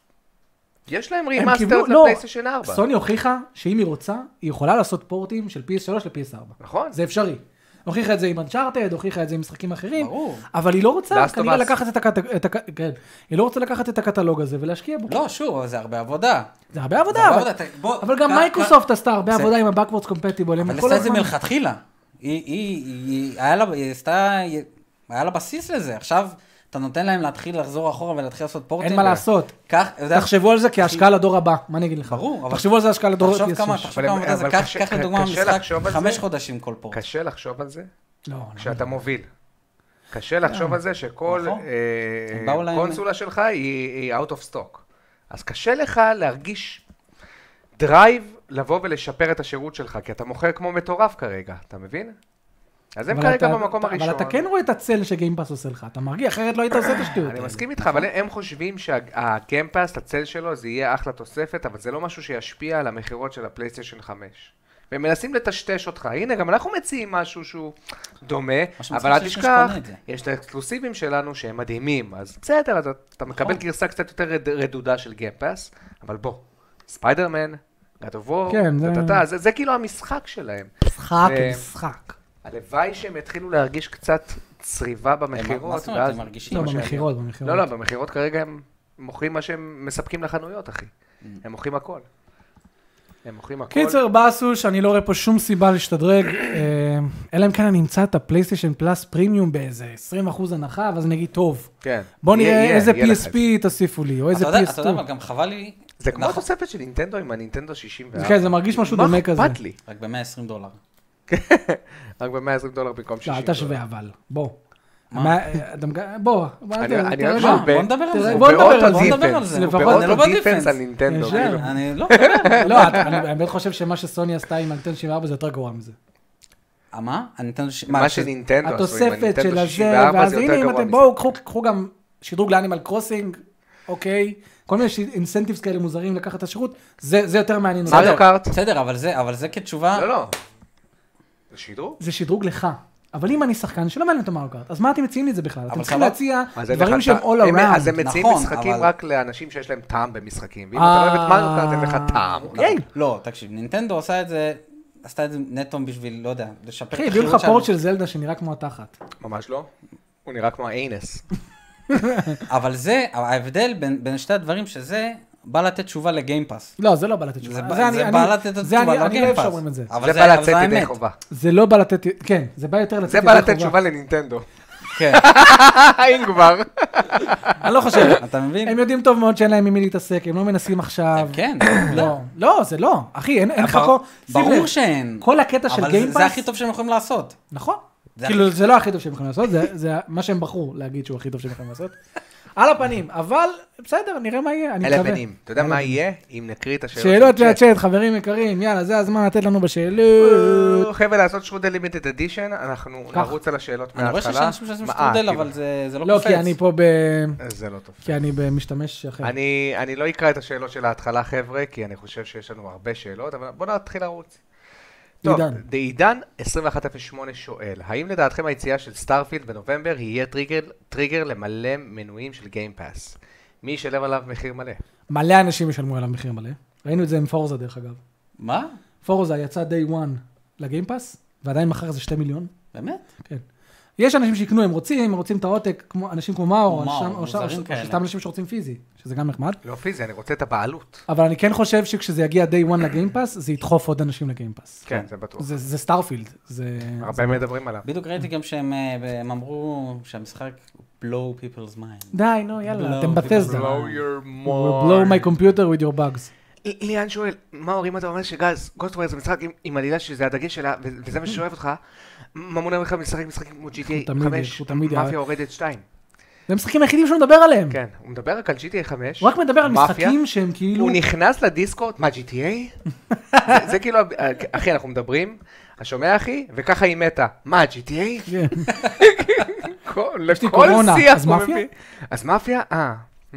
Speaker 2: יש להם
Speaker 1: הם
Speaker 2: רימאסטרד
Speaker 1: קיבלו- לא,
Speaker 2: לפלייסטיישן 4.
Speaker 1: סוני הוכיחה שאם היא רוצה, היא יכולה לעשות פורטים של PS3 ל-PS4.
Speaker 2: נכון.
Speaker 1: זה אפשרי. הוכיחה את זה עם אנצ'ארטד, הוכיחה את זה עם משחקים אחרים,
Speaker 3: ברור.
Speaker 1: אבל היא לא רוצה
Speaker 2: Last of
Speaker 1: כנראה
Speaker 2: Us.
Speaker 1: לקחת את הקט- את הק... כן. היא לא רוצה לקחת את הקטלוג הזה ולהשקיע בו.
Speaker 3: לא, שוב, אבל זה הרבה עבודה.
Speaker 1: זה הרבה
Speaker 3: זה
Speaker 1: עבודה,
Speaker 3: הרבה
Speaker 1: אבל-
Speaker 3: עבודה, אתה- בוא-
Speaker 1: אבל גם
Speaker 3: כ-
Speaker 1: מייקרוסופט עשתה הרבה
Speaker 3: זה-
Speaker 1: עבודה עם ה-Backwards Compatible. הם
Speaker 3: אבל
Speaker 1: כל
Speaker 3: עשתה את זה
Speaker 1: הזמן-
Speaker 3: מלכתחילה. היא, היא, היא, היה לה, היא עשתה, היא- היה לה בסיס לזה. עכשיו, אתה נותן להם להתחיל לחזור אחורה ולהתחיל לעשות פורטים.
Speaker 1: אין מה לעשות.
Speaker 3: כך, אתה יודע,
Speaker 1: תחשבו על זה כהשקעה לדור הבא, מה אני אגיד לך?
Speaker 3: ברור, אבל-
Speaker 1: תחשבו על זה השקעה לדור
Speaker 3: תחשוב
Speaker 1: PS6.
Speaker 3: כמה, תחשוב
Speaker 2: אבל-
Speaker 3: כמה עבודה זה.
Speaker 2: אבל
Speaker 3: קח
Speaker 2: קשה-
Speaker 3: קח לדוגמה
Speaker 2: קשה
Speaker 3: משחק
Speaker 2: לחשוב על
Speaker 3: חמש
Speaker 2: זה.
Speaker 3: חודשים כל פורט.
Speaker 2: קשה לחשוב על זה
Speaker 1: לא, כן. לא.
Speaker 2: כשאתה מוביל. קשה לחשוב על זה שכל
Speaker 3: נכון.
Speaker 2: אה,
Speaker 3: הם באו להם-
Speaker 2: קונסולה שלך היא היא out of stock. אז קשה לך להרגיש דרייב לבוא ולשפר את השירות שלך, כי אתה מוכר כמו מטורף כרגע, אתה מבין? אז הם
Speaker 1: לא. אבל
Speaker 2: כרגע
Speaker 1: אתה-
Speaker 2: במקום הראשון.
Speaker 1: אבל אתה כן רואה את הצל שגיימפאס עושה לך, אתה מרגיע, אחרת לא היית עושה את השטויות
Speaker 2: אני
Speaker 1: האלה.
Speaker 2: מסכים איתך, אבל
Speaker 3: נכון.
Speaker 2: הם חושבים שהגיימפאס, הצל שלו, זה יהיה אחלה תוספת, אבל זה לא משהו שישפיע על המכירות של הפלייסטיישן 5. והם מנסים לטשטש אותך. הנה, גם אנחנו מציעים משהו שהוא דומה,
Speaker 3: מצחיק
Speaker 2: אבל אל
Speaker 3: שיש מי
Speaker 2: תשכח,
Speaker 3: שקונה את זה.
Speaker 2: יש את האקסקלוסיבים שלנו שהם מדהימים. אז בסדר, אז אתה
Speaker 3: נכון.
Speaker 2: מקבל גרסה קצת יותר רד- רדודה של גיימפאס, אבל בוא, ספיידרמן, God of War,
Speaker 1: כן, זה-
Speaker 2: טה-טה-טה, זה זה כאילו המשחק שלהם.
Speaker 1: משחק,
Speaker 2: זה-
Speaker 1: משחק.
Speaker 2: הלוואי שהם יתחילו להרגיש קצת צריבה
Speaker 3: הם-
Speaker 2: במכירות.
Speaker 3: מה זאת אומרת,
Speaker 2: ואז-
Speaker 3: הם מרגישים?
Speaker 1: לא,
Speaker 3: מה שהם-
Speaker 1: במכירות, במכירות.
Speaker 2: לא, לא, במכירות כרגע הם מוכרים מה שהם מספקים לחנויות, אחי. הם מוכרים הכל. הם מוכרים הכל.
Speaker 1: Mm. קיצר, באסוש, אני לא רואה פה שום סיבה להשתדרג, אה, אלא אם כן אני אמצא את הפלייסטיישן פלאס פרימיום באיזה 20% הנחה, ואז אני אגיד, טוב,
Speaker 2: כן.
Speaker 1: בוא
Speaker 2: יהיה-
Speaker 1: נראה
Speaker 2: יהיה-
Speaker 1: איזה
Speaker 2: יהיה לך את
Speaker 1: PSP תוסיפו לי, או איזה
Speaker 3: אתה יודע, אתה יודע,
Speaker 1: PS2.
Speaker 3: אבל גם חבל לי,
Speaker 2: זה. זה כמו
Speaker 3: נכון.
Speaker 2: התוספת של נינטנדו עם הנינטנדו 64.
Speaker 1: כן, זה מרגיש משהו דומה כזה.
Speaker 2: מה אכפת לי?
Speaker 3: רק ב-120 דולר.
Speaker 2: רק ב-120 דולר במקום 60
Speaker 1: לא, אל
Speaker 2: דולר.
Speaker 1: תשווה אבל, בוא.
Speaker 3: מה?
Speaker 1: מה, אתה מג- בוא, מה
Speaker 2: אני-
Speaker 1: זה,
Speaker 2: אני
Speaker 1: תירגע.
Speaker 2: אוהב
Speaker 3: מה,
Speaker 2: שהוא ב-
Speaker 3: בוא נדבר על
Speaker 2: הוא
Speaker 1: זה.
Speaker 2: באוטו
Speaker 1: לא, בוא נדבר על זה,
Speaker 2: דיפנס.
Speaker 3: בוא נדבר על זה.
Speaker 2: הוא
Speaker 1: לפחות,
Speaker 3: זה לא
Speaker 2: באוטו
Speaker 3: בדיפנס.
Speaker 2: דיפנס על נינטנדו.
Speaker 1: ישר.
Speaker 2: כאילו.
Speaker 3: אני לא מדבר על זה.
Speaker 1: לא, אני- אני באמת חושב שמה שסוני עשתה עם אנטן 74 זה יותר גרוע מזה.
Speaker 3: אה, מה? אני נותן... ש-
Speaker 2: מה
Speaker 3: ש-
Speaker 2: שנינטנדו עשו עם
Speaker 1: התוספת של
Speaker 2: הנינטנדו
Speaker 1: הזה,
Speaker 2: 64
Speaker 1: ואז
Speaker 2: זה יותר
Speaker 1: הנה, אם
Speaker 2: גרוע
Speaker 1: אתם,
Speaker 2: מזה.
Speaker 1: בואו, קחו- קחו גם שדרוג לאנימל קרוסינג, אוקיי? כל מיני אינסנטיבס כאלה מוזרים לקחת את השירות, זה זה יותר מעניין. אותי.
Speaker 2: מריו קארט.
Speaker 3: בסדר, אבל זה, אבל זה כתשובה...
Speaker 2: לא, לא. זה שידור?
Speaker 1: זה שדרוג לך. אבל אם אני שחקן שלא מעניין אותו מריו קארט, אז מה אתם מציעים לי את זה בכלל? אתם צריכים
Speaker 3: סבבה.
Speaker 1: להציע
Speaker 2: אז אין
Speaker 1: דברים
Speaker 2: לך
Speaker 1: שהם
Speaker 2: טעם.
Speaker 1: all
Speaker 2: הם- אז
Speaker 1: around.
Speaker 2: הם מציעים
Speaker 3: נכון,
Speaker 2: משחקים
Speaker 3: אבל-
Speaker 2: רק לאנשים שיש להם טעם במשחקים. ואם אתה לא אוהב את מריו קארט, אין לך טעם.
Speaker 1: אוקיי.
Speaker 3: לא, תקשיב, נינטנדו עושה את זה, עשתה את זה נטו בשביל, לא יודע, לשפר את
Speaker 1: אחי, הביאו
Speaker 2: לא
Speaker 3: החילוץ
Speaker 1: לך פורט של זלדה שנראה כמו התחת.
Speaker 2: ממש לא. הוא נראה כמו האינס.
Speaker 3: אבל זה, ההבדל בין, בין שתי הדברים שזה, בא לתת תשובה לגיימפאס.
Speaker 1: לא, זה לא בא לתת
Speaker 3: זה,
Speaker 1: תשובה.
Speaker 3: בא- זה,
Speaker 1: אני-
Speaker 3: בא
Speaker 1: אני-
Speaker 3: לתת את
Speaker 1: זה
Speaker 3: התשובה,
Speaker 1: אני-
Speaker 3: לא
Speaker 1: אני אוהב
Speaker 3: גיימפאס.
Speaker 1: שאומרים את זה.
Speaker 3: אבל
Speaker 2: זה בא
Speaker 3: אבל
Speaker 2: לצאת
Speaker 3: זה
Speaker 2: ידי
Speaker 3: האמת.
Speaker 2: חובה.
Speaker 1: זה לא בא לתת, כן, זה בא יותר לתת
Speaker 2: זה
Speaker 1: ידי
Speaker 2: בא לתת
Speaker 1: חובה.
Speaker 2: תשובה לנינטנדו.
Speaker 3: כן,
Speaker 2: אם כבר.
Speaker 1: אני לא חושב.
Speaker 3: אתה מבין?
Speaker 1: הם יודעים טוב מאוד שאין להם עם מי להתעסק, הם לא מנסים עכשיו.
Speaker 3: כן.
Speaker 1: לא, לא, זה לא. אחי, אין אין לך פה... שים לב,
Speaker 3: ברור שאין.
Speaker 1: כל הקטע של
Speaker 3: אבל זה- זה
Speaker 1: גיימפאס,
Speaker 3: הכי טוב שהם יכולים לעשות.
Speaker 1: נכון.
Speaker 3: זה
Speaker 1: כאילו, זה לא הכי טוב שהם יכולים לעשות, זה- זה מה שהם בחרו להגיד שהוא הכי טוב שהם יכולים לעשות. על הפנים, אבל בסדר, נראה מה יהיה, אני
Speaker 2: אלה
Speaker 1: מקווה.
Speaker 2: הבנים. אתה יודע
Speaker 1: אלה
Speaker 2: מה
Speaker 1: הבנים.
Speaker 2: יהיה אם נקריא את השאלות?
Speaker 1: שאלות
Speaker 3: כן.
Speaker 2: בצ'אט?
Speaker 1: והצ'אט, חברים יקרים, יאללה, זה הזמן לתת לנו בשאלות.
Speaker 2: חבר'ה, לעשות שרודל לימיטד אדישן, אנחנו
Speaker 1: קח.
Speaker 2: נרוץ על השאלות
Speaker 3: אני רואה
Speaker 2: מההתחלה.
Speaker 3: שיש אנשים שעושים
Speaker 2: מה,
Speaker 3: שטרודל,
Speaker 2: אה,
Speaker 3: אבל זה זה לא
Speaker 1: לא,
Speaker 3: קופץ.
Speaker 1: כי אני פה ב...
Speaker 2: כאילו, זה לא טוב.
Speaker 1: כי אני במשתמש אחר.
Speaker 2: אני אני לא אקרא את השאלות של ההתחלה, חבר'ה, כי אני חושב שיש לנו הרבה שאלות, אבל בואו נתחיל לרוץ. טוב,
Speaker 1: עידן.
Speaker 2: עידן 2108 שואל, האם לדעתכם היציאה של סטארפילד בנובמבר יהיה טריגר- טריגר למלא מנויים של גיימפאס? מי ישלם עליו מחיר מלא?
Speaker 1: מלא אנשים ישלמו עליו מחיר מלא. ראינו את זה עם פורזה, דרך אגב.
Speaker 3: מה?
Speaker 1: פורזה יצא day one לגיימפאס, ועדיין מכר איזה 2 מיליון.
Speaker 3: באמת?
Speaker 1: כן. יש אנשים שיקנו, הם רוצים, הם רוצים את העותק, כמו, אנשים כמו מאור,
Speaker 3: מאור,
Speaker 1: אנשים- או ש- או
Speaker 3: מוזרים
Speaker 1: ש- או
Speaker 3: כאלה.
Speaker 1: שסתם אנשים שרוצים פיזי, שזה גם נחמד.
Speaker 2: לא פיזי, אני רוצה את הבעלות.
Speaker 1: אבל אני כן חושב שכשזה יגיע day one לגיימפאס, זה ידחוף עוד אנשים לגיימפאס.
Speaker 2: כן, זה בטוח.
Speaker 1: זה, זה סטארפילד, זה... זה...
Speaker 2: הרבה מדברים עליו.
Speaker 3: בדיוק ראיתי גם שהם אה, הם אמרו שהמשחק הוא blow people's mind.
Speaker 1: די, נו, יאללה,
Speaker 3: Blow
Speaker 1: אתם
Speaker 3: the
Speaker 1: בטסדה.
Speaker 3: blow.
Speaker 2: your
Speaker 1: We'll blow my computer with your bugs.
Speaker 2: ליאן שואל, מאור, אם אתה אומר שגז, גוסטוויר זה משחק עם- עם עלילה שזה הדגש שלה, ו- וזה מה ששואב אותך, מה מונע ממך לשחק משחקים כמו GTA
Speaker 1: תמיד-
Speaker 2: 5,
Speaker 1: הוא תמיד יאהב.
Speaker 2: מאפיה הורדת 2.
Speaker 1: זה המשחקים היחידים שהוא מדבר עליהם.
Speaker 2: כן, הוא מדבר רק על GTA 5.
Speaker 1: הוא רק מדבר על
Speaker 2: מאפיה.
Speaker 1: משחקים שהם כאילו...
Speaker 2: הוא נכנס לדיסקורד, מה GTA? זה- זה כאילו, ה- אחי, אנחנו מדברים, אתה שומע אחי? וככה היא מתה, מה GTA?
Speaker 1: כן.
Speaker 2: כל-
Speaker 1: יש לי
Speaker 2: לכל
Speaker 1: קורונה,
Speaker 2: שיח
Speaker 1: אז
Speaker 2: הוא
Speaker 1: מאפיה?
Speaker 2: מביא. אז מאפיה? אה. Hmm.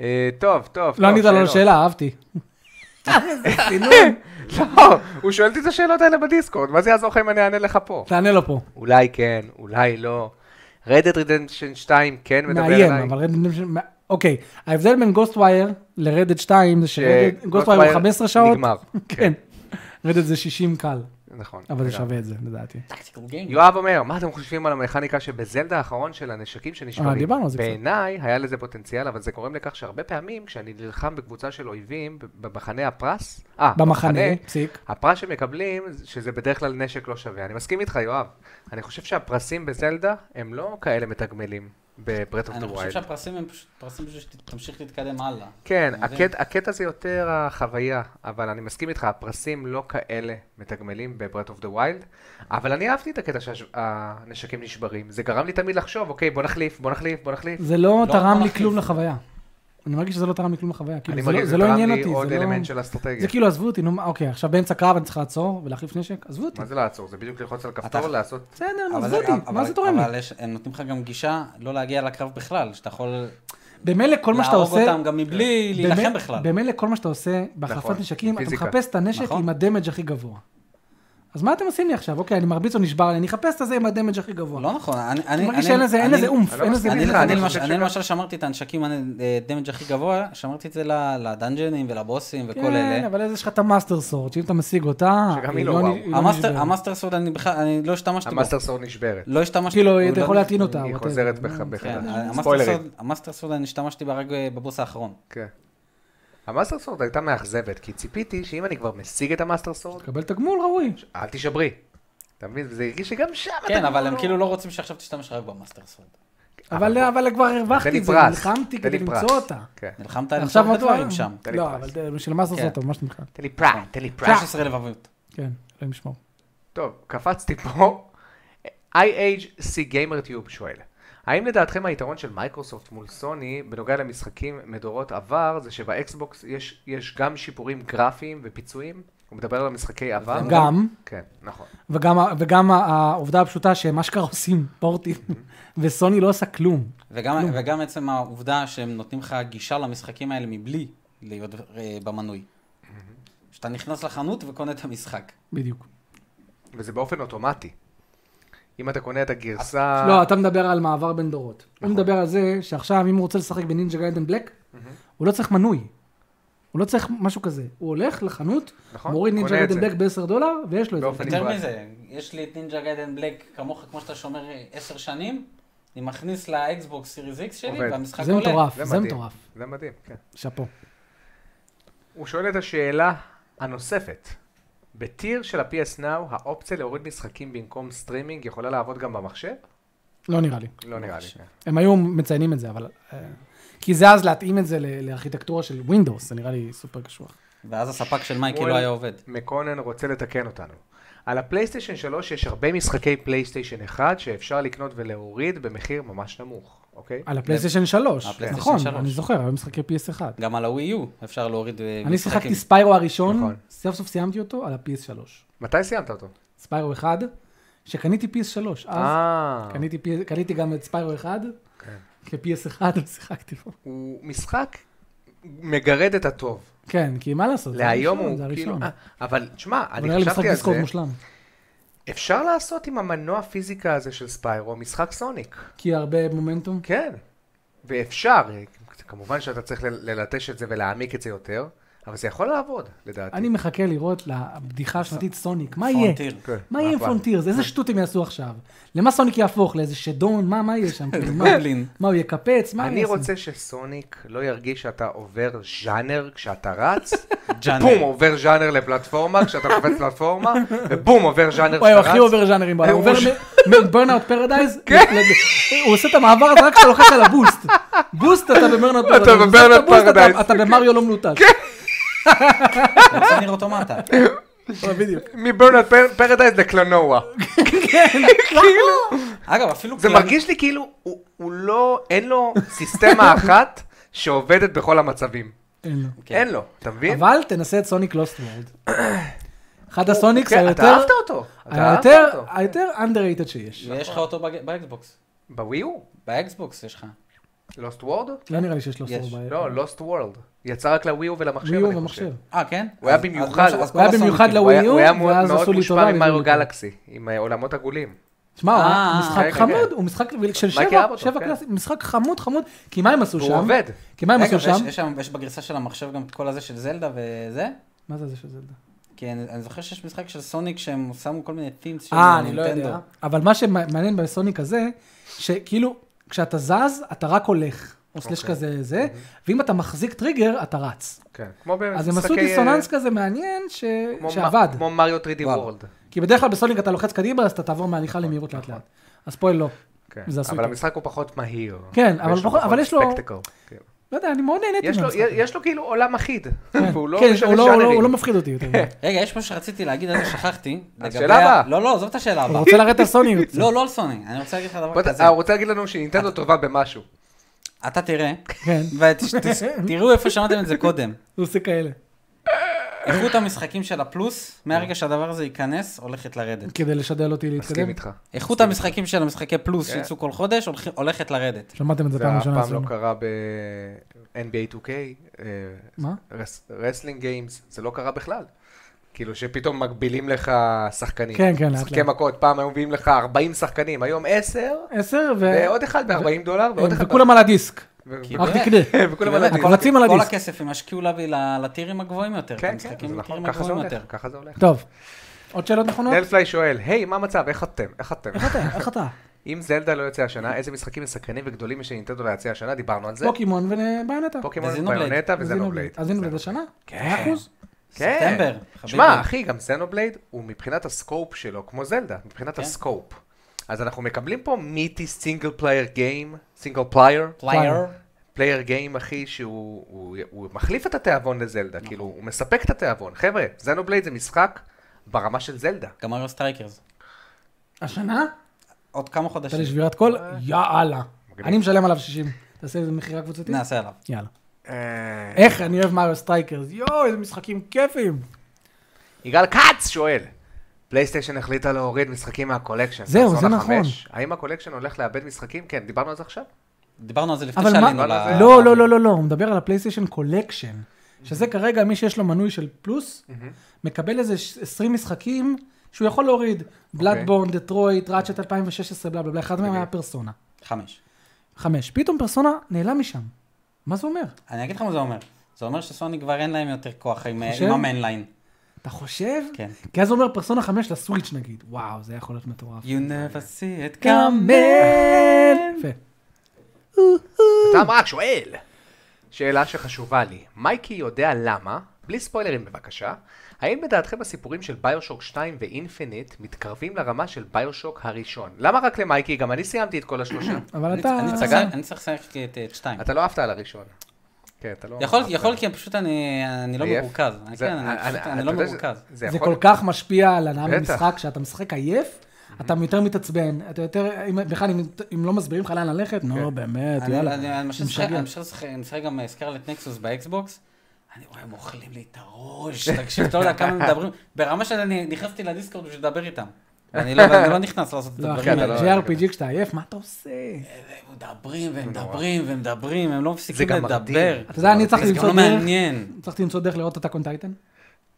Speaker 2: אה, טוב, טוב.
Speaker 1: לא
Speaker 2: טוב,
Speaker 1: ענית לו על
Speaker 2: שאלות.
Speaker 1: השאלה, אהבתי.
Speaker 2: לא, הוא שואל אותי את השאלות האלה בדיסקורד, מה זה יעזור לך אם אני אענה לך פה?
Speaker 1: תענה לו פה.
Speaker 2: אולי כן, אולי לא. רדד רדמפשן 2 כן מדבר
Speaker 1: מאיים,
Speaker 2: אליי.
Speaker 1: אבל... רדמפשן- אוקיי, ההבדל בין גוסטווייר לרדד 2 זה שגוסטווייר הוא
Speaker 2: Ghostwire
Speaker 1: 15 שעות.
Speaker 2: נגמר.
Speaker 1: כן. רדד זה 60 קל,
Speaker 2: נכון.
Speaker 1: אבל זה
Speaker 2: לגמרי.
Speaker 1: שווה את זה, לדעתי.
Speaker 2: אה,
Speaker 3: טקטיקל גיים.
Speaker 2: יואב אומר, מה אתם חושבים על המכניקה שבזלדה האחרון של הנשקים
Speaker 1: אה,
Speaker 2: שנשברים?
Speaker 1: דיברנו על זה קצת.
Speaker 2: בעיניי היה לזה פוטנציאל, אבל זה גורם לכך שהרבה פעמים כשאני נלחם בקבוצה של אויבים, במחנה הפרס, אה,
Speaker 1: במחנה, פסיק.
Speaker 2: הפרס שמקבלים, שזה בדרך כלל נשק לא שווה. אני מסכים איתך, יואב. אני חושב שהפרסים בזלדה הם לא כאלה מתגמלים בברט אוף דה
Speaker 3: אני חושב
Speaker 2: ווילד.
Speaker 3: שהפרסים הם פשוט פרסים בשביל שתמשיך להתקדם הלאה.
Speaker 2: כן,
Speaker 3: אתה מבין?
Speaker 2: הקט, הקטע זה יותר החוויה, אבל אני מסכים איתך, הפרסים לא כאלה מתגמלים בברט אוף דה ווילד, אבל אני אהבתי את הקטע שהנשקים נשברים. זה גרם לי תמיד לחשוב, אוקיי, בוא נחליף, בוא נחליף, בוא נחליף.
Speaker 1: זה לא
Speaker 3: לא
Speaker 1: תרם לי
Speaker 3: מחליף.
Speaker 1: כלום לחוויה. אני מרגיש שזה לא תרם לי כלום לחוויה. כאילו,
Speaker 2: אני
Speaker 1: זה לא-
Speaker 2: מרגיש,
Speaker 1: זה לא עניין
Speaker 2: תרם
Speaker 1: אותי,
Speaker 2: לי
Speaker 1: זה
Speaker 2: עוד
Speaker 1: לא-
Speaker 2: אלמנט של
Speaker 1: זה
Speaker 2: אסטרטגיה.
Speaker 1: כאילו, עזבו אותי, נו, מה- אוקיי, עכשיו באמצע קרב אני צריך לעצור ולהחליף נשק? עזבו אותי.
Speaker 2: מה זה לעצור? זה בדיוק ללחוץ על כפתור,
Speaker 3: אתה-
Speaker 2: לעשות...
Speaker 1: בסדר, נו,
Speaker 3: אבל
Speaker 1: עזבו אותי, מה
Speaker 3: אבל-
Speaker 1: זה תורם לי?
Speaker 3: אבל יש- הם נותנים לך גם גישה לא להגיע לקרב בכלל, שאתה יכול
Speaker 1: במילא כל מה שאתה
Speaker 3: להרוג
Speaker 1: עושה... כן.
Speaker 3: אותם גם מבלי
Speaker 1: במילא-
Speaker 3: להילחם בכלל.
Speaker 1: במילא כל מה שאתה עושה בהחלפת
Speaker 2: נכון,
Speaker 1: נשקים, אתה
Speaker 2: פיזיקה.
Speaker 1: מחפש את הנשק
Speaker 3: נכון.
Speaker 1: עם הדמג' הכי גבוה. אז מה אתם עושים לי עכשיו? אוקיי, אני מרביץ או נשבר לי, אני אחפש את הזה עם הדמג' הכי גבוה.
Speaker 3: לא נכון, אני...
Speaker 1: אני
Speaker 3: אני-
Speaker 1: מרגיש
Speaker 3: אני-
Speaker 1: שאין לזה- אין
Speaker 3: אני-
Speaker 1: לזה אומף,
Speaker 2: אני לא
Speaker 1: אין לזה...
Speaker 2: מסכים
Speaker 3: אני
Speaker 1: אין
Speaker 2: איתך,
Speaker 1: לזה
Speaker 3: אני
Speaker 1: משהו.
Speaker 3: למשל-
Speaker 2: חושב
Speaker 3: אני
Speaker 2: שגם-
Speaker 3: למשל שמרתי את הנשקים, הדמג' הכי גבוה, שמרתי את זה ל- לדאנג'נים ולבוסים וכל
Speaker 1: כן,
Speaker 3: אלה.
Speaker 1: אבל אז יש לך את המאסטר סורד, שאם אתה משיג אותה...
Speaker 2: שגם היא לא וואו.
Speaker 1: נ- היא לא
Speaker 3: המאסטר-
Speaker 1: נשברת.
Speaker 3: המאסטר סוד, אני בכלל, אני לא השתמשתי בו.
Speaker 2: המאסטר סורד נשברת.
Speaker 3: לא השתמשתי
Speaker 1: כאילו,
Speaker 3: הוא
Speaker 1: אתה
Speaker 3: לא-
Speaker 1: יכול להטעין אותה.
Speaker 2: היא
Speaker 1: whatever.
Speaker 2: חוזרת
Speaker 1: לא,
Speaker 2: בך
Speaker 1: לא,
Speaker 2: בחדש.
Speaker 3: כן, המאסטר
Speaker 2: ספוילרים.
Speaker 3: סוד- המאסטר סוד, אני השתמשתי רק אה, בבוס האחרון.
Speaker 2: כן. המאסטר סורד הייתה מאכזבת, כי ציפיתי שאם אני כבר משיג את המאסטר סורד,
Speaker 1: תקבל תגמול ראוי.
Speaker 2: אל תשברי. אתה מבין? וזה הרגיש שגם שם אתה...
Speaker 3: כן, אבל הם כאילו לא רוצים שעכשיו תשתמש רק במאסטר סוד.
Speaker 1: אבל אבל כבר הרווחתי
Speaker 2: לי
Speaker 1: את זה,
Speaker 2: פרס,
Speaker 1: נלחמתי
Speaker 2: תן לי
Speaker 1: כדי
Speaker 2: פרס.
Speaker 1: למצוא אותה.
Speaker 2: כן.
Speaker 3: נלחמת על
Speaker 1: עכשיו
Speaker 3: הרבה
Speaker 1: עוד
Speaker 3: דברים שם.
Speaker 2: תן לי
Speaker 1: לא,
Speaker 2: פרס.
Speaker 1: אבל ד- בשביל המאסטר
Speaker 3: כן.
Speaker 1: סוד אתה ממש נלחם.
Speaker 2: תן לי פריים, תן לי פריים.
Speaker 3: 16 לבבות.
Speaker 1: כן, אלוהים ישמור.
Speaker 2: טוב, קפצתי פה. IHC GamerTube שואל, האם לדעתכם היתרון של מייקרוסופט מול סוני בנוגע למשחקים מדורות עבר זה שבאקסבוקס יש, יש גם שיפורים גרפיים ופיצויים? הוא מדבר על משחקי עבר?
Speaker 1: גם,
Speaker 2: כן, נכון.
Speaker 1: וגם ה- וגם ה- העובדה הפשוטה שהם אשכרה עושים פורטים, וסוני לא עושה כלום.
Speaker 3: וגם, וגם עצם העובדה שהם נותנים לך גישה למשחקים האלה מבלי להיות אה, במנוי. שאתה נכנס לחנות וקונה את המשחק.
Speaker 1: בדיוק.
Speaker 2: וזה באופן אוטומטי. אם אתה קונה את הגרסה...
Speaker 1: לא, אתה מדבר על מעבר בין דורות. הוא
Speaker 2: נכון.
Speaker 1: מדבר על זה שעכשיו, אם הוא רוצה לשחק בנינג'ה גיידן בלק, הוא לא צריך מנוי. הוא לא צריך משהו כזה. הוא הולך לחנות,
Speaker 2: נכון,
Speaker 1: מוריד
Speaker 2: קונה
Speaker 1: נינג'ה
Speaker 2: את
Speaker 1: גיידן
Speaker 2: זה.
Speaker 1: בלק ב-10 דולר, ויש לו את זה.
Speaker 2: באופן
Speaker 3: יותר
Speaker 2: נפרד.
Speaker 3: מזה, יש לי את נינג'ה גיידן בלק כמוך, כמו שאתה שומר אה, עשר שנים, אני מכניס לאקסבוקס סיריס איקס שלי,
Speaker 2: עובד.
Speaker 3: והמשחק
Speaker 1: זה
Speaker 3: עולה.
Speaker 1: מטורף, זה
Speaker 2: מדהים,
Speaker 1: מטורף.
Speaker 2: זה מדהים, כן.
Speaker 1: שאפו.
Speaker 2: הוא שואל את השאלה הנוספת. בטיר של ה-PS Now, האופציה להוריד משחקים במקום סטרימינג יכולה לעבוד גם במחשב?
Speaker 1: לא נראה לי.
Speaker 2: לא נראה לי.
Speaker 3: חושב.
Speaker 1: הם היו מציינים את זה, אבל... אה, כי זה אז להתאים את זה ל- לארכיטקטורה של Windows, זה נראה לי סופר קשוח.
Speaker 3: ואז הספק של מייקי
Speaker 2: שמואל
Speaker 3: לא היה עובד.
Speaker 2: מקונן רוצה לתקן אותנו. על הפלייסטיישן 3 יש הרבה משחקי פלייסטיישן 1 שאפשר לקנות ולהוריד במחיר ממש נמוך, אוקיי?
Speaker 1: על הפלייסטיישן 3,
Speaker 3: הפלייסטיישן
Speaker 1: נכון,
Speaker 3: שלוש.
Speaker 1: אני זוכר, היו משחקי PS1.
Speaker 3: גם על הווי יו אפשר להוריד אה,
Speaker 1: אני
Speaker 3: משחקים.
Speaker 1: שיחקתי ספיירו הראשון,
Speaker 2: נכון.
Speaker 1: סוף סוף סיימתי אותו על ה-PS3.
Speaker 2: מתי סיימת אותו?
Speaker 1: ספיירו 1, שקניתי PS3, אז
Speaker 2: אה,
Speaker 1: קניתי PS קניתי גם את ספיירו 1,
Speaker 2: כן.
Speaker 1: כ-PS1 ושיחקתי בו.
Speaker 2: הוא משחק מגרד את הטוב.
Speaker 1: כן, כי מה לעשות, זה
Speaker 2: להיום
Speaker 1: הראשון,
Speaker 2: הוא
Speaker 1: זה
Speaker 2: כאילו...
Speaker 1: הראשון.
Speaker 2: אה, אבל תשמע,
Speaker 1: אבל נראה לי
Speaker 2: אני
Speaker 1: משחק
Speaker 2: חשבתי על
Speaker 1: דיסקורד
Speaker 2: זה,
Speaker 1: מושלם.
Speaker 2: אפשר לעשות עם המנוע פיזיקה הזה של ספיירו משחק סוניק.
Speaker 1: כי הרבה מומנטום.
Speaker 2: כן, ואפשר, אה, כמובן שאתה צריך ל- ללטש את זה ולהעמיק את זה יותר, אבל זה יכול לעבוד, לדעתי.
Speaker 1: אני מחכה לראות לבדיחה השנתית סוניק, מה יהיה?
Speaker 3: פרונטיר.
Speaker 2: כן,
Speaker 1: מה יהיה עם
Speaker 2: הפעם?
Speaker 1: פרונטירס? איזה שטות הם יעשו עכשיו? למה סוניק יהפוך? לאיזה שדון? מה, מה יהיה שם? כאילו, מה-
Speaker 3: גובלין.
Speaker 1: מה, הוא יקפץ? מה הוא
Speaker 2: אני
Speaker 1: יעשה?
Speaker 2: רוצה שסוניק לא ירגיש שאתה עובר ז'אנר כשאתה רץ,
Speaker 3: ג'אנר.
Speaker 2: בום עובר ז'אנר לפלטפורמה כשאתה קופץ פלטפורמה, ובום עובר ז'אנר
Speaker 1: וואי,
Speaker 2: כשאתה
Speaker 1: הוא
Speaker 2: רץ.
Speaker 1: הכי עובר ז'אנרים בעולם. הוא עובר
Speaker 2: הוא ש- כן.
Speaker 1: מברנאוט פרדייז, הוא עושה את המעבר הזה רק כשאתה לוחץ על הבוסט. בוסט אתה במרנאוט פרדייז.
Speaker 2: אתה ב-Burnout Paradise. כן.
Speaker 1: אתה במריו לא מלוטש.
Speaker 3: רוצה ניר אוטומטה.
Speaker 1: בדיוק.
Speaker 2: מברנד פרדייז לקלנואה.
Speaker 1: כן,
Speaker 2: כאילו,
Speaker 1: נכון.
Speaker 3: אגב, אפילו...
Speaker 2: זה
Speaker 3: קלן-
Speaker 2: מרגיש לי כאילו הוא- הוא לא, אין לו סיסטמה אחת שעובדת בכל המצבים.
Speaker 1: אין לו.
Speaker 3: כן.
Speaker 2: אין לו, אתה מבין?
Speaker 1: אבל תנסה את סוניק לוסט וורד. אחד הסוניקס
Speaker 2: כן, אתה
Speaker 1: היותר...
Speaker 2: אהבת אותו. אתה אהבת
Speaker 1: היותר,
Speaker 2: אותו.
Speaker 1: היותר underrated שיש.
Speaker 3: ויש לך אותו בג- באקסבוקס.
Speaker 2: בווי הוא?
Speaker 3: באקסבוקס יש לך.
Speaker 2: לוסט וורד?
Speaker 1: לא נראה לי שיש לו
Speaker 3: יש.
Speaker 1: סור בעיה.
Speaker 2: לא, לוסט וורד. יצא רק לווי הוא ולמחשב,
Speaker 1: מיו
Speaker 2: אני חושב.
Speaker 1: במחשב.
Speaker 3: אה, כן?
Speaker 2: הוא היה
Speaker 3: אז- אז
Speaker 2: במיוחד.
Speaker 3: כל הס- אז
Speaker 1: הוא היה
Speaker 3: כל
Speaker 1: במיוחד
Speaker 3: הסוניקים.
Speaker 2: הוא היה-
Speaker 1: לווי U,
Speaker 2: הוא היה מאוד
Speaker 1: ואז
Speaker 2: מאוד
Speaker 1: עשו לי טובה
Speaker 2: מושפע
Speaker 1: והביאו לי
Speaker 2: ממריו
Speaker 1: אותו.
Speaker 2: גלקסי, עם אה, עולמות עגולים.
Speaker 1: שמע, הוא היה
Speaker 3: אה,
Speaker 1: משחק
Speaker 2: כן,
Speaker 1: חמוד,
Speaker 2: כן.
Speaker 1: הוא משחק של
Speaker 2: מייקי
Speaker 1: שבע,
Speaker 2: אבוטבול,
Speaker 1: שבע
Speaker 2: כן.
Speaker 1: קלאסי, משחק חמוד חמוד, כי מה הם עשו שם?
Speaker 2: והוא עובד.
Speaker 1: כי מה הם
Speaker 3: רגע,
Speaker 1: עשו
Speaker 3: ויש
Speaker 1: שם?
Speaker 3: יש שם- יש בגרסה של המחשב גם את כל הזה של זלדה וזה?
Speaker 1: מה זה זה של זלדה?
Speaker 3: כי אני אני זוכר שיש משחק של סוניק שהם שמו כל מיני טימס
Speaker 2: כאילו,
Speaker 3: של
Speaker 1: אה, אני לא
Speaker 3: נינטנדו.
Speaker 1: יודע. אבל מה שמעניין בסוניק הזה, שכאילו, כשאתה זז, אתה רק הולך. או סלש
Speaker 2: אוקיי.
Speaker 1: כזה זה, ואם אתה מחזיק טריגר, אתה רץ.
Speaker 2: כן, כמו
Speaker 1: אז הם עשו
Speaker 2: במשחקי, אה,
Speaker 1: דיסוננס כזה מעניין ש-
Speaker 2: כמו
Speaker 1: שעבד.
Speaker 2: מ- כמו מריו 3D
Speaker 3: וואו.
Speaker 2: וורלד.
Speaker 1: כי בדרך כלל בסוניק אתה לוחץ קדימה, אז אתה תעבור מהליכה למהירות לאט לאט. אז פה לא.
Speaker 2: כן.
Speaker 1: זה עשוי
Speaker 2: נכון, אבל
Speaker 1: טוב.
Speaker 2: המשחק הוא פחות מהיר.
Speaker 1: כן, אבל
Speaker 2: ויש לו
Speaker 1: פחות- אבל יש לו-
Speaker 2: spectacle, כן.
Speaker 1: לא יודע, אני מאוד
Speaker 2: יש
Speaker 1: נהניתי
Speaker 2: לו-
Speaker 1: מהמשחק.
Speaker 2: יש לו כאילו עולם אחיד. והוא לא
Speaker 1: כן,
Speaker 2: משנה
Speaker 1: הוא לא- הוא לא-
Speaker 2: ז'אנרים. כן.
Speaker 1: הוא לא מפחיד אותי יותר.
Speaker 3: רגע, יש משהו שרציתי להגיד, אז שכחתי. לגבי
Speaker 2: השאלה
Speaker 3: ה-
Speaker 2: הבאה.
Speaker 3: לא, לא, עזוב את השאלה
Speaker 1: הוא
Speaker 3: הבאה.
Speaker 1: רוצה לרדת על סוניות.
Speaker 3: לא, לא על סוני, אני רוצה להגיד לך דבר
Speaker 1: לא
Speaker 2: בוא ת-
Speaker 3: כזה.
Speaker 2: אה, הוא רוצה להגיד לנו שנינטנדו טובה במשהו.
Speaker 3: אתה תראה,
Speaker 1: כן,
Speaker 3: ותראו איפה שמעתם את זה קודם.
Speaker 1: הוא עושה כאלה.
Speaker 3: איכות המשחקים של הפלוס, מהרגע שהדבר הזה ייכנס, הולכת לרדת.
Speaker 1: כדי לשדל אותי להתקדם.
Speaker 2: מסכים איתך.
Speaker 3: איכות המשחקים של המשחקי פלוס
Speaker 2: כן.
Speaker 3: שיצאו כל חודש, הולכ- הולכת לרדת.
Speaker 1: שמעתם את זה
Speaker 2: זה
Speaker 1: פעם
Speaker 2: אף
Speaker 1: ראשונה
Speaker 2: פעם לא
Speaker 1: אצלנו.
Speaker 2: קרה ב-NBA 2K, אה,
Speaker 1: מה?
Speaker 2: רס- רסלינג גיימס, זה לא קרה בכלל. כאילו שפתאום מגבילים לך שחקנים.
Speaker 1: כן, כן, לאט
Speaker 2: משחקי
Speaker 1: לאט.
Speaker 2: מכות, פעם היו מביאים לך 40 שחקנים, היום 10,
Speaker 1: עשר ו... כן,
Speaker 2: ועוד אחד ב-40 דולר, ועוד אחד... ב-
Speaker 1: וכולם על הדיסק.
Speaker 2: ו-
Speaker 3: כי
Speaker 2: ו-
Speaker 1: רק
Speaker 3: באמת,
Speaker 1: תקנה.
Speaker 2: וכולם
Speaker 3: כי באמת,
Speaker 2: על
Speaker 1: אבל
Speaker 3: כל-
Speaker 1: רצים על
Speaker 3: כל
Speaker 1: הדיסק.
Speaker 3: הכסף הם השקיעו להביא ל- לטירים הגבוהים יותר.
Speaker 2: כן, כן, זה
Speaker 3: זה
Speaker 2: נכון, ככה זה
Speaker 3: הגבוהים יותר.
Speaker 2: הולך, ככה זה הולך.
Speaker 1: טוב, עוד שאלות נכונות?
Speaker 2: נל פליי שואל, היי, מה המצב, איך אתם? איך אתם?
Speaker 1: איך אתה? איך אתה?
Speaker 2: אם זלדה לא יוצא השנה, איזה משחקים מסקרנים וגדולים יש לנינטנדו להציע השנה? דיברנו על זה.
Speaker 1: פוקימון וביונטה.
Speaker 2: פוקימון,
Speaker 3: וזינובלייד.
Speaker 2: ביונטה וזנובלייד.
Speaker 1: אז הנה, זה שנה?
Speaker 2: כן.
Speaker 1: אחוז?
Speaker 2: כן.
Speaker 3: ספטמבר,
Speaker 2: שמע,
Speaker 3: חביבי.
Speaker 2: אחי, גם זנובלייד הוא מבחינת הסקופ שלו, כמו זלדה, מבחינת
Speaker 3: כן.
Speaker 2: הסקופ. אז אנחנו מקבלים פה מיטי סינגל פלייר גיים, סינגל פלייר,
Speaker 3: פלייר.
Speaker 2: פלייר גיים, אחי, שהוא הוא- הוא מחליף את התיאבון לזלדה,
Speaker 3: נכון.
Speaker 2: כאילו, הוא מספק את התיאבון. חבר'ה, זנובלייד זה משחק ברמה של זלדה.
Speaker 3: גם מריו סטרייקרס.
Speaker 1: השנה?
Speaker 3: עוד כמה
Speaker 1: אתה
Speaker 3: חודשים.
Speaker 1: לשבירת קול? יאללה.
Speaker 2: מגניב.
Speaker 1: אני משלם עליו 60. תעשה איזה מכירה קבוצתית?
Speaker 3: נעשה עליו.
Speaker 1: יאללה. איך, אני אוהב מריו סטרייקרס. יואו, איזה משחקים כיפים.
Speaker 2: יגאל כץ שואל, פלייסטיישן החליטה להוריד משחקים מהקולקשן.
Speaker 1: זהו,
Speaker 2: פרסונה
Speaker 1: זה נכון.
Speaker 2: חמש. האם הקולקשן הולך לאבד משחקים? כן, דיברנו על זה עכשיו.
Speaker 3: דיברנו על זה לפני
Speaker 1: אבל
Speaker 3: שעלינו.
Speaker 1: מה...
Speaker 3: ל-
Speaker 1: לא, לא, לא, לא, לא, הוא מדבר על הפלייסטיישן קולקשן. שזה כרגע מי שיש לו מנוי של פלוס, מקבל איזה ש- 20 משחקים שהוא יכול להוריד. בלאדבורן, דטרויט, ראצ'ט 2016, בלה בלה בלה, אחד מהם היה פרסונה.
Speaker 3: חמש.
Speaker 1: חמש. פתאום פרסונה נעלם משם. מה זה אומר?
Speaker 3: אני אגיד לך מה זה אומר. זה אומר שסוני כבר אין להם יותר כוח עם
Speaker 1: חושב?
Speaker 3: עם המיינליין.
Speaker 1: אתה חושב?
Speaker 3: כן.
Speaker 1: כי אז הוא אומר פרסונה 5 לסוויץ' נגיד. וואו, זה יכול להיות מטורף.
Speaker 3: You never see it coming.
Speaker 1: קאמן! יפה.
Speaker 2: אתה רק שואל. שאלה שחשובה לי, מייקי יודע למה, בלי ספוילרים בבקשה, האם בדעתכם הסיפורים של ביושוק 2 ואינפיניט מתקרבים לרמה של ביושוק הראשון? למה רק למייקי? גם אני סיימתי את כל השלושה.
Speaker 1: אבל
Speaker 3: אני
Speaker 1: אתה...
Speaker 3: אני צריך לשחק- אני צריך לשחק את- את שתיים.
Speaker 2: אתה לא אהבת על הראשון. כן, אתה לא...
Speaker 3: יכול,
Speaker 2: אהבת.
Speaker 3: יכול כי פשוט אני, אני לא
Speaker 2: עייף?
Speaker 3: מרוכז. אני-
Speaker 2: זה- אה,
Speaker 3: כן, אני פשוט-
Speaker 2: אתה
Speaker 3: אני לא
Speaker 2: יודע שזה-
Speaker 3: מרוכז.
Speaker 1: זה
Speaker 2: יכול-
Speaker 1: כל כך משפיע על הנאה
Speaker 2: בטח.
Speaker 1: במשחק, שאתה משחק עייף, אתה יותר מתעצבן, אתה יותר, אם- בכלל אם- אם לא מסבירים לך לאן ללכת, נו באמת,
Speaker 3: כן. אני-
Speaker 1: יאללה,
Speaker 3: אני אני
Speaker 1: זה
Speaker 3: משחק-
Speaker 1: משגע.
Speaker 3: אני משחק- אני משחק גם אה, סקרלט נקסוס באקסבוקס. אני רואה, הם אוכלים לי את הראש. תקשיב, אתה לא יודע כמה הם מדברים. ברמה שאני נכנסתי לדיסקורד בשביל לדבר איתם. ואני לא- ואני לא נכנס לעשות את
Speaker 1: לא אחי,
Speaker 3: הדברים
Speaker 2: כן, אתה
Speaker 3: האלה.
Speaker 2: לא-
Speaker 1: JRPG כשאתה עייף, מה אתה עושה?
Speaker 3: הם מדברים והם
Speaker 1: לא.
Speaker 3: מדברים והם מדברים, הם לא מפסיקים
Speaker 2: גם
Speaker 3: לדבר.
Speaker 2: מרדים.
Speaker 1: אתה יודע, אני
Speaker 2: זה
Speaker 1: צריך
Speaker 3: זה גם
Speaker 1: למצוא
Speaker 3: לא
Speaker 1: דרך,
Speaker 3: מעניין.
Speaker 1: צריך למצוא דרך לראות את הטאקון טייטן.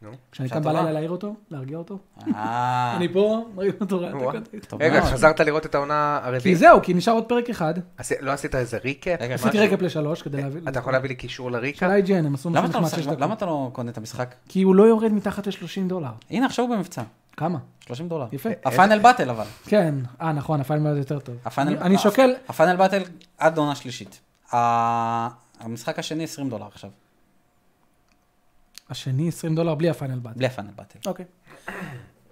Speaker 2: נו.
Speaker 1: כשאני
Speaker 3: בשעה
Speaker 1: קם
Speaker 3: טובה.
Speaker 1: בלילה להעיר אותו, להרגיע אותו.
Speaker 3: אה,
Speaker 1: אני פה, מרים אותו, רואה את
Speaker 2: נו,
Speaker 1: הטאקון טייטן.
Speaker 3: טוב
Speaker 2: רגע,
Speaker 3: מאוד.
Speaker 2: חזרת לראות את העונה הרביעית?
Speaker 1: כי זהו, כי נשאר עוד פרק אחד.
Speaker 2: עשי- לא עשית איזה ריקאפ?
Speaker 3: רגע,
Speaker 2: משהו?
Speaker 1: עשיתי רקע לשלוש כדי להביא...
Speaker 2: אתה יכול להביא לי קישור לריקאפ?
Speaker 1: של IGN, הם עשו
Speaker 3: למה
Speaker 1: משהו
Speaker 3: אתה לא
Speaker 1: נחמד
Speaker 3: משחק-
Speaker 1: שש דקות.
Speaker 3: למה אתה לא קונה את המשחק?
Speaker 1: כי הוא לא יורד מתחת ל-30 דולר.
Speaker 3: הנה, עכשיו הוא במבצע.
Speaker 1: כמה?
Speaker 3: 30 דולר.
Speaker 1: יפה.
Speaker 3: הפיינל באטל אבל.
Speaker 1: כן, אה נכון, הפיינל הזה יותר טוב.
Speaker 3: הפאנל-
Speaker 1: אני- אני שוקל,
Speaker 3: הפאנל באטל עד עונה שלישית. ה- המשחק השני 20 דולר עכשיו,
Speaker 1: השני 20 דולר בלי הפיינל באט.
Speaker 3: בלי הפאנל באטל.
Speaker 1: אוקיי.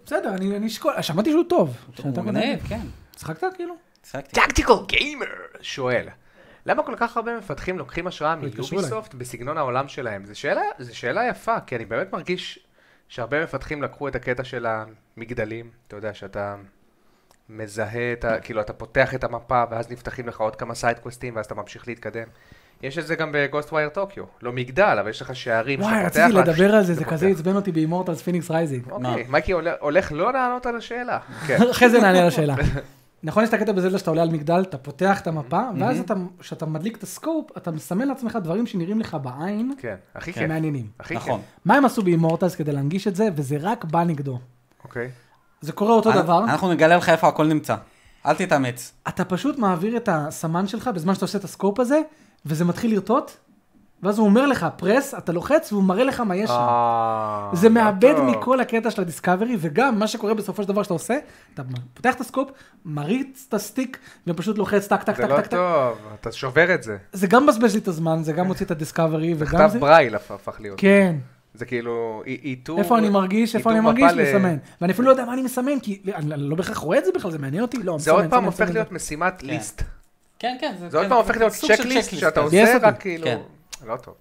Speaker 1: בסדר, אני אני אשקול, שמעתי שהוא טוב.
Speaker 3: הוא מנהל, כן.
Speaker 1: שחקת כאילו?
Speaker 3: שיחקתי.
Speaker 2: טקטיקל גיימר שואל, למה כל כך הרבה מפתחים לוקחים השראה
Speaker 1: התקשרו
Speaker 2: מיוביסופט בסגנון העולם שלהם? זו שאלה, זו שאלה יפה, כי אני באמת מרגיש שהרבה מפתחים לקחו את הקטע של המגדלים, אתה יודע שאתה מזהה את ה... כאילו אתה פותח את המפה ואז נפתחים לך עוד כמה סיידקווסטים ואז אתה ממשיך להתקדם. יש את זה גם בגוסט ווייר טוקיו, לא מגדל, אבל יש לך שערים
Speaker 1: וואי,
Speaker 2: שאתה
Speaker 1: רציתי
Speaker 2: פותח,
Speaker 1: לדבר על זה, זה
Speaker 2: ופותח.
Speaker 1: כזה עצבן אותי באימורטלס פיניקס רייזינג.
Speaker 2: אוקיי, מייקי הולך- הולך לא לענות על השאלה. כן.
Speaker 1: אחרי זה נענה על השאלה. נכון, יש את הקטע בזלדה שאתה עולה על מגדל, אתה פותח את המפה, ואז אתה- כשאתה מדליק את הסקופ, אתה מסמן לעצמך דברים שנראים לך בעין,
Speaker 2: כן, הכי כן.
Speaker 1: שמעניינים.
Speaker 2: הכי כן.
Speaker 3: נכון.
Speaker 1: מה הם עשו באימורטלס כדי להנגיש את זה, וזה רק בא נגדו.
Speaker 2: אוקיי.
Speaker 1: זה קורה אותו
Speaker 3: אנ-
Speaker 2: אה,
Speaker 1: דבר.
Speaker 3: אנחנו נגלה לך איפה הכל נמצא. אל תתאמץ.
Speaker 1: אתה פשוט מעביר את הסמן שלך בזמן שאתה עושה את הסקופ הזה, וזה מתחיל לרטוט, ואז הוא אומר לך, פרס, אתה לוחץ, והוא מראה לך מה יש שם.
Speaker 2: אה,
Speaker 1: זה מאבד
Speaker 2: טוב.
Speaker 1: מכל הקטע של הדיסקאברי, וגם מה שקורה בסופו של דבר שאתה עושה, אתה פותח את הסקופ, מריץ את הסטיק, ופשוט לוחץ טק טק
Speaker 2: זה
Speaker 1: טק
Speaker 2: לא
Speaker 1: טק טק.
Speaker 2: טוב, כן. אתה שובר את זה.
Speaker 1: זה גם מבזבז לי את הזמן, זה גם מוציא את הדיסקאברי, וגם זה...
Speaker 2: כתב ברייל הפ- הפך להיות.
Speaker 1: כן.
Speaker 2: זה כאילו אי- איתור...
Speaker 1: איפה אני מרגיש, איפה
Speaker 2: איתור
Speaker 1: אני
Speaker 2: מפה
Speaker 1: מרגיש,
Speaker 2: ל-
Speaker 1: מסמן. ואני אפילו לא יודע מה אני מסמן, כי אני אני לא בהכרח רואה את זה בכלל, זה מעניין אותי, לא, מסמן,
Speaker 2: זה עוד פעם
Speaker 1: מסמן,
Speaker 2: הופך
Speaker 1: מסמן.
Speaker 2: להיות משימת ליסט.
Speaker 3: כן, כן.
Speaker 2: זה עוד
Speaker 3: כן,
Speaker 2: פעם הופך להיות
Speaker 3: סוג של
Speaker 2: צ'קליסט
Speaker 3: checklist
Speaker 2: שאתה
Speaker 3: כזה.
Speaker 1: Yes,
Speaker 2: עושה,
Speaker 1: אותי.
Speaker 2: רק כאילו...
Speaker 3: כן.
Speaker 2: לא טוב.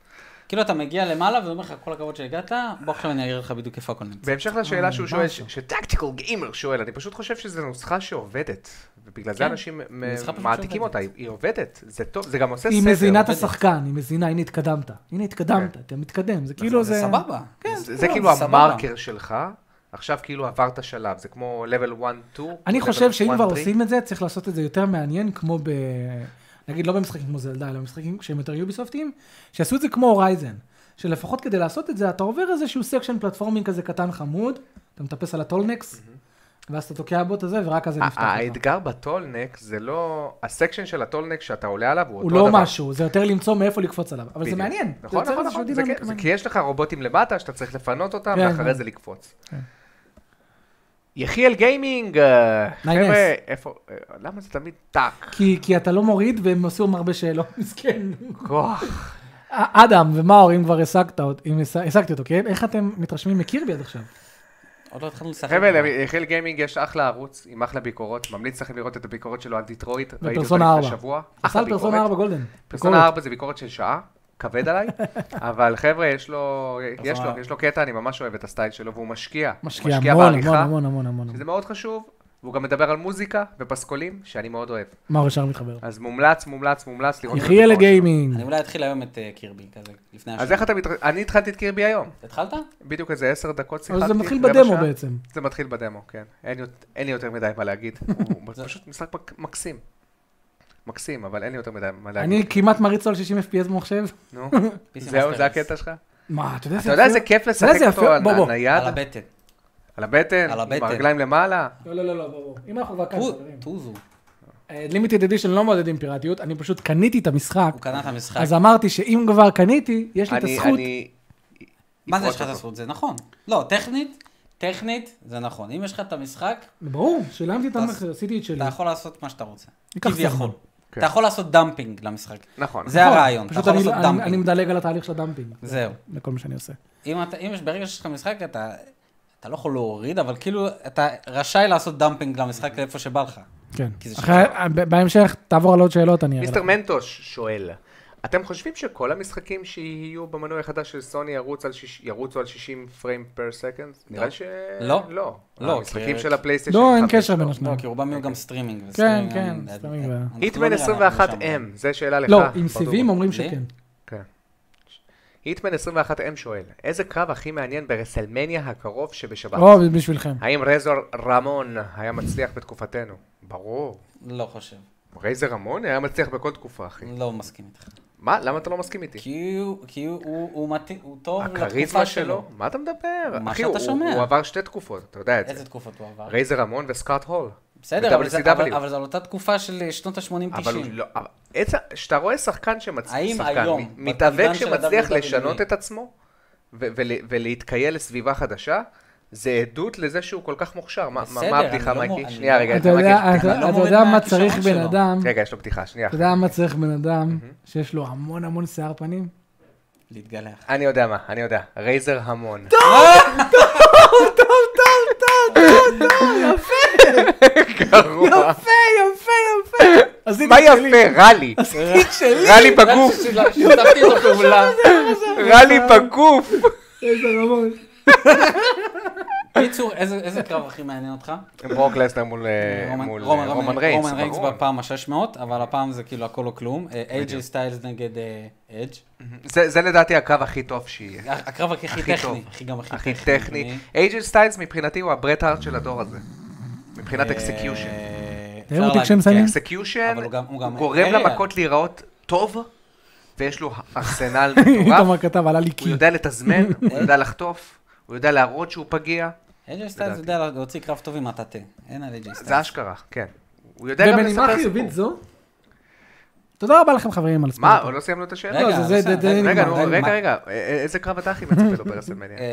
Speaker 3: כאילו אתה מגיע למעלה ואומר לך, כל הכבוד שהגעת, בוא עכשיו אני אראה לך בדיוק איפה הכל נמצא.
Speaker 2: בהמשך לשאלה שהוא שואל,
Speaker 1: משהו.
Speaker 2: שטקטיקל גיימר שואל, אני פשוט חושב שזו נוסחה שעובדת. ובגלל זה
Speaker 3: כן,
Speaker 2: אנשים מ-
Speaker 3: נוסחה פשוט
Speaker 2: מעתיקים אותה,
Speaker 3: שעובדת.
Speaker 2: היא היא עובדת. זה טוב, זה גם עושה סדר. כן.
Speaker 1: היא מזינה את
Speaker 2: זה-
Speaker 1: השחקן, היא מזינה, הנה התקדמת. הנה התקדמת, אתה מתקדם, זה כאילו זה...
Speaker 3: זה סבבה. כן,
Speaker 2: זה
Speaker 1: זה
Speaker 2: זה כאילו
Speaker 3: סבבה.
Speaker 2: המרקר שלך, עכשיו כאילו עברת שלב, זה כמו level 1-2.
Speaker 1: אני
Speaker 2: level
Speaker 1: חושב שאם כבר
Speaker 2: 1-3.
Speaker 1: עושים את זה, צריך לעשות את זה יותר מעניין, כמו ב... נגיד, לא במשחקים כמו זלדה, אלא במשחקים שהם יותר יוביסופטיים, שיעשו את זה כמו הורייזן. שלפחות כדי לעשות את זה, אתה עובר איזשהו סקשן פלטפורמינג כזה קטן חמוד, אתה מטפס על הטולנקס, ואז אתה תוקע בו את הזה, ורק
Speaker 2: אה,
Speaker 1: אז זה נפתח לך.
Speaker 2: האתגר בטולנק זה לא, הסקשן של הטולנק שאתה עולה עליו הוא
Speaker 1: הוא
Speaker 2: אותו דבר.
Speaker 1: לא משהו, זה יותר למצוא מאיפה לקפוץ עליו, אבל זה
Speaker 2: בדיוק.
Speaker 1: מעניין. זה
Speaker 2: נכון,
Speaker 1: יוצר
Speaker 2: נכון,
Speaker 1: איזשהו
Speaker 2: נכון. זה
Speaker 1: דינמיקה
Speaker 2: כן, זה
Speaker 1: מעניינת.
Speaker 2: כי יש לך רובוטים למטה שאתה צריך לפנות אותם
Speaker 1: כן,
Speaker 2: ואחרי
Speaker 1: כן.
Speaker 2: זה לקפוץ.
Speaker 1: כן.
Speaker 2: יחיאל גיימינג, אה,
Speaker 1: נייס.
Speaker 2: חבר'ה, איפה, אה, למה זה תמיד טאק?
Speaker 1: כי, כי אתה לא מוריד והם עשו הרבה שאלות, מסכן.
Speaker 2: כוח.
Speaker 1: אדם ומאור, אם כבר השגת, אות- אם הש- השגתי אותו, כן? איך אתם מתרשמים מקירבי עד עכשיו?
Speaker 3: עוד לא התחלנו לשחק.
Speaker 2: חבר'ה, ליחיאל גיימינג יש אחלה ערוץ עם אחלה ביקורות, ממליץ לכם לראות את הביקורות שלו על דיטרויט, ראיתי אותה
Speaker 1: בפרסונה
Speaker 2: לפני
Speaker 1: 4.
Speaker 2: שבוע.
Speaker 1: עשה
Speaker 2: אחלה
Speaker 1: על פרסונה
Speaker 2: ביקורת.
Speaker 1: 4 גולדן.
Speaker 2: פרסונה 4 זה ביקורת של שעה, כבד עליי, אבל חבר'ה, יש לו, יש לו, יש לו קטע, אני ממש אוהב את הסטייל שלו, והוא משקיע. הוא
Speaker 1: משקיע המון, המון,
Speaker 2: בעריכה,
Speaker 1: המון, המון, המון.
Speaker 2: שזה מאוד חשוב, והוא גם מדבר על מוזיקה ופסקולים, שאני מאוד אוהב.
Speaker 1: מאור ישר מתחבר.
Speaker 2: אז מומלץ, מומלץ, מומלץ לראות את
Speaker 1: יחיה
Speaker 2: הביקורת
Speaker 1: לגיימינג.
Speaker 3: אני אולי אתחיל היום את אה, קירבי, כזה, לפני
Speaker 2: שלו. אז איך אתה מתרשם? אני התחלתי את קירבי היום,
Speaker 3: התחלת?
Speaker 2: בדיוק איזה עשר דקות שיחקתי.
Speaker 1: אבל זה מתחיל
Speaker 2: רבע
Speaker 1: בדמו
Speaker 2: שעה.
Speaker 1: בעצם.
Speaker 2: זה מתחיל בדמו, כן. אין יות- אין לי יותר מדי מה להגיד. הוא
Speaker 3: זה-
Speaker 2: פשוט משחק מק- מקסים. מקסים, אבל אין לי יותר מדי מה להגיד.
Speaker 1: אני כמעט מריץ לו על 60 FPS במחשב.
Speaker 2: נו,
Speaker 3: PC
Speaker 2: זהו,
Speaker 3: Master
Speaker 2: זה
Speaker 3: Race.
Speaker 2: הקטע שלך?
Speaker 1: מה, אתה יודע
Speaker 2: אתה יודע איזה כיף
Speaker 1: אתה יודע
Speaker 2: לשחק
Speaker 1: איזה
Speaker 2: אותו
Speaker 1: יפה?
Speaker 2: על
Speaker 1: בוא, בוא.
Speaker 2: הנייד?
Speaker 3: על הבטן.
Speaker 2: על הבטן?
Speaker 3: על הבטן.
Speaker 2: עם הרגליים למעלה?
Speaker 1: לא, לא, לא, לא, ברור. אם אנחנו כבר כאן,
Speaker 3: טו-
Speaker 1: חברים.
Speaker 3: טוזו.
Speaker 1: לימיטד אדישן לא מעודדים פיראטיות, אני פשוט קניתי את המשחק,
Speaker 3: הוא קנה את המשחק.
Speaker 1: אז אמרתי שאם כבר קניתי, יש לי את
Speaker 2: אני-
Speaker 1: הזכות.
Speaker 2: אני-
Speaker 3: מה זה יש לך את
Speaker 2: אותו.
Speaker 3: הזכות? זה נכון. לא, טכנית, טכנית זה נכון. אם יש לך את המשחק,
Speaker 1: ברור, שילמתי את
Speaker 3: אתה-
Speaker 1: המחיר, עשיתי את שלי.
Speaker 3: אתה יכול לעשות מה שאתה רוצה.
Speaker 1: ייקח זמן.
Speaker 3: כביכול.
Speaker 2: כן.
Speaker 3: אתה יכול לעשות דמפינג למשחק.
Speaker 2: נכון.
Speaker 3: זה
Speaker 1: נכון,
Speaker 3: הרעיון, אתה
Speaker 1: פשוט
Speaker 3: יכול
Speaker 1: אני-
Speaker 3: לעשות
Speaker 1: אני-
Speaker 3: דמפינג.
Speaker 1: אני מדלג על התהליך של הדמפינג.
Speaker 3: זהו.
Speaker 1: זה כל מה שאני עושה.
Speaker 3: אם אתה, אם יש, ברגע שיש לך משחק, אתה, אתה לא יכול להוריד, אבל כאילו, אתה רשאי לעשות דמפינג למשחק לאיפה שבא לך.
Speaker 1: כן.
Speaker 3: כי זה
Speaker 1: אחרי- ב- בהמשך, תעבור על עוד שאלות, אני אראה
Speaker 2: מיסטר
Speaker 1: לך.
Speaker 2: מנטוש שואל, אתם חושבים שכל המשחקים שיהיו במנוי החדש של סוני ירוץ על שיש- ירוצו על 60 פריים פר סקנד? נראה ש...
Speaker 3: לא.
Speaker 2: לא.
Speaker 3: לא,
Speaker 2: המשחקים
Speaker 3: כי-
Speaker 2: של הפלייסטיישן
Speaker 1: לא, אין
Speaker 2: 5,
Speaker 1: קשר בין השניים.
Speaker 3: לא, כי רובם יהיו גם
Speaker 2: אוקיי.
Speaker 3: סטרימינג.
Speaker 1: כן,
Speaker 3: וסטרימינג,
Speaker 1: כן,
Speaker 3: אני-
Speaker 1: סטרימינג
Speaker 3: אני-
Speaker 1: ו-
Speaker 3: אנחנו לא
Speaker 2: היטמן
Speaker 3: נראה, אנחנו לא
Speaker 2: 21M,
Speaker 3: שם.
Speaker 2: זה שאלה לך.
Speaker 1: לא, עם
Speaker 2: ברדוגו.
Speaker 1: סיבים אומרים
Speaker 3: לי?
Speaker 1: שכן.
Speaker 2: כן. היטמן 21M שואל, איזה קרב הכי מעניין ברסלמניה הקרוב שבשבת?
Speaker 1: או, לא, בשבילכם.
Speaker 2: האם רזור רמון היה מצליח בתקופתנו? ברור.
Speaker 3: לא חושב.
Speaker 2: רייזר רמון היה מצליח בכל תקופה, אחי.
Speaker 3: לא מסכים איתך.
Speaker 2: מה? למה אתה לא מסכים איתי?
Speaker 3: כי הוא- כי הוא- הוא הוא מתאים, הוא טוב לתקופה
Speaker 2: הכריזמה שלו?
Speaker 3: שלו.
Speaker 2: מה אתה מדבר?
Speaker 3: מה
Speaker 2: אחי,
Speaker 3: שאתה
Speaker 2: הוא-
Speaker 3: שומע.
Speaker 2: הוא עבר שתי תקופות, אתה יודע את
Speaker 3: איזה
Speaker 2: זה.
Speaker 3: תקופות הוא עבר?
Speaker 2: רייזר רמון וסקארט הול.
Speaker 3: בסדר, אבל זה-
Speaker 2: ב-WCW.
Speaker 3: אבל- אבל זו אותה תקופה של שנות
Speaker 2: אבל הוא
Speaker 3: ה-80-90.
Speaker 2: לא... אבל- עצם- כשאתה רואה שחקן שמצליח,
Speaker 3: האם
Speaker 2: שחקן,
Speaker 3: היום,
Speaker 2: מ-
Speaker 3: בעידן
Speaker 2: מתאבק
Speaker 3: של E?
Speaker 2: שמצליח
Speaker 3: ה-WWE?
Speaker 2: לשנות את עצמו ו- ול- ולהתקייל לסביבה חדשה, זה עדות לזה שהוא כל כך מוכשר. מה- מה- מה
Speaker 3: בסדר,
Speaker 2: הבדיחה,
Speaker 3: אני לא מור-
Speaker 2: מייקי?
Speaker 3: אני
Speaker 2: שנייה
Speaker 3: לא-
Speaker 2: רגע,
Speaker 1: אתה
Speaker 2: אני
Speaker 1: יודע- אה,
Speaker 2: מבקש בדיחה.
Speaker 1: אתה-
Speaker 3: לא
Speaker 1: אתה
Speaker 3: מוריד
Speaker 1: יודע מה
Speaker 3: מהכישרון
Speaker 1: צריך בן
Speaker 3: שלו.
Speaker 1: אדם?
Speaker 2: רגע, יש לו בדיחה, שנייה.
Speaker 1: אתה יודע מה צריך בן אדם שיש לו המון המון שיער פנים?
Speaker 3: להתגלח.
Speaker 2: אני יודע מה, אני יודע. רייזר המון.
Speaker 1: יפה, יפה, יפה. עשיתי
Speaker 2: מה
Speaker 1: את שלי.
Speaker 2: יפה? רע לי.
Speaker 1: עשיתי את שלי.
Speaker 2: רע לי בגוף.
Speaker 3: שיתפתי אותו פעולה.
Speaker 2: רע לי בגוף.
Speaker 1: איזה רמון.
Speaker 3: קיצור, איזה איזה קרב הכי מעניין אותך?
Speaker 2: ברוק לסנר מול אה,
Speaker 3: רומן-
Speaker 2: מול, אה,
Speaker 3: רומן-
Speaker 2: רומן ריינס.
Speaker 3: רומן ריינס
Speaker 2: ברור.
Speaker 3: בפעם ה-600, אבל הפעם זה כאילו הכל או כלום. אייג'י סטיילס נגד אה, אדג'.
Speaker 2: זה זה לדעתי הקו הכי טוב שיהיה.
Speaker 3: הקרב הכי הכי
Speaker 2: הכי
Speaker 3: טכני,
Speaker 2: טוב.
Speaker 3: הכי גם
Speaker 2: הכי
Speaker 3: הכי
Speaker 2: טכני. אייג'ל סטיילס מבחינתי הוא הברט הארט של הדור הזה. מבחינת אקסקיושן.
Speaker 3: אה,
Speaker 1: תראה אותי
Speaker 3: אפשר
Speaker 1: כשהם
Speaker 3: להגיד,
Speaker 1: שמים.
Speaker 3: כן.
Speaker 2: אקסקיושן,
Speaker 3: אבל הוא גם- הוא גם אה,
Speaker 2: הוא גורם
Speaker 3: אריאל.
Speaker 2: למכות להיראות טוב, ויש לו ארסנל
Speaker 1: איתמר
Speaker 2: מטורף.
Speaker 1: כתב, עלה לי
Speaker 2: הוא
Speaker 1: קי.
Speaker 2: יודע לתזמן, הוא יודע לחטוף, הוא יודע להראות שהוא פגיע. אה,
Speaker 3: AJ סטיילס יודע להוציא קרב טוב עם מטאטה, אין על AJ סטיילס.
Speaker 2: זה אשכרה, כן. הוא יודע גם
Speaker 1: ובנימה
Speaker 2: לספר סיפור.
Speaker 1: חיובית זו, תודה רבה לכם חברים על ספורט.
Speaker 2: מה, עוד לא סיימנו את השאלה?
Speaker 1: רגע, זה- זה- זה
Speaker 2: רגע,
Speaker 1: נגמר,
Speaker 2: נו,
Speaker 1: זה
Speaker 2: רגע, רגע, א- א- איזה קרב אתה הכי מצפה לו ברסלמניה?
Speaker 3: אה,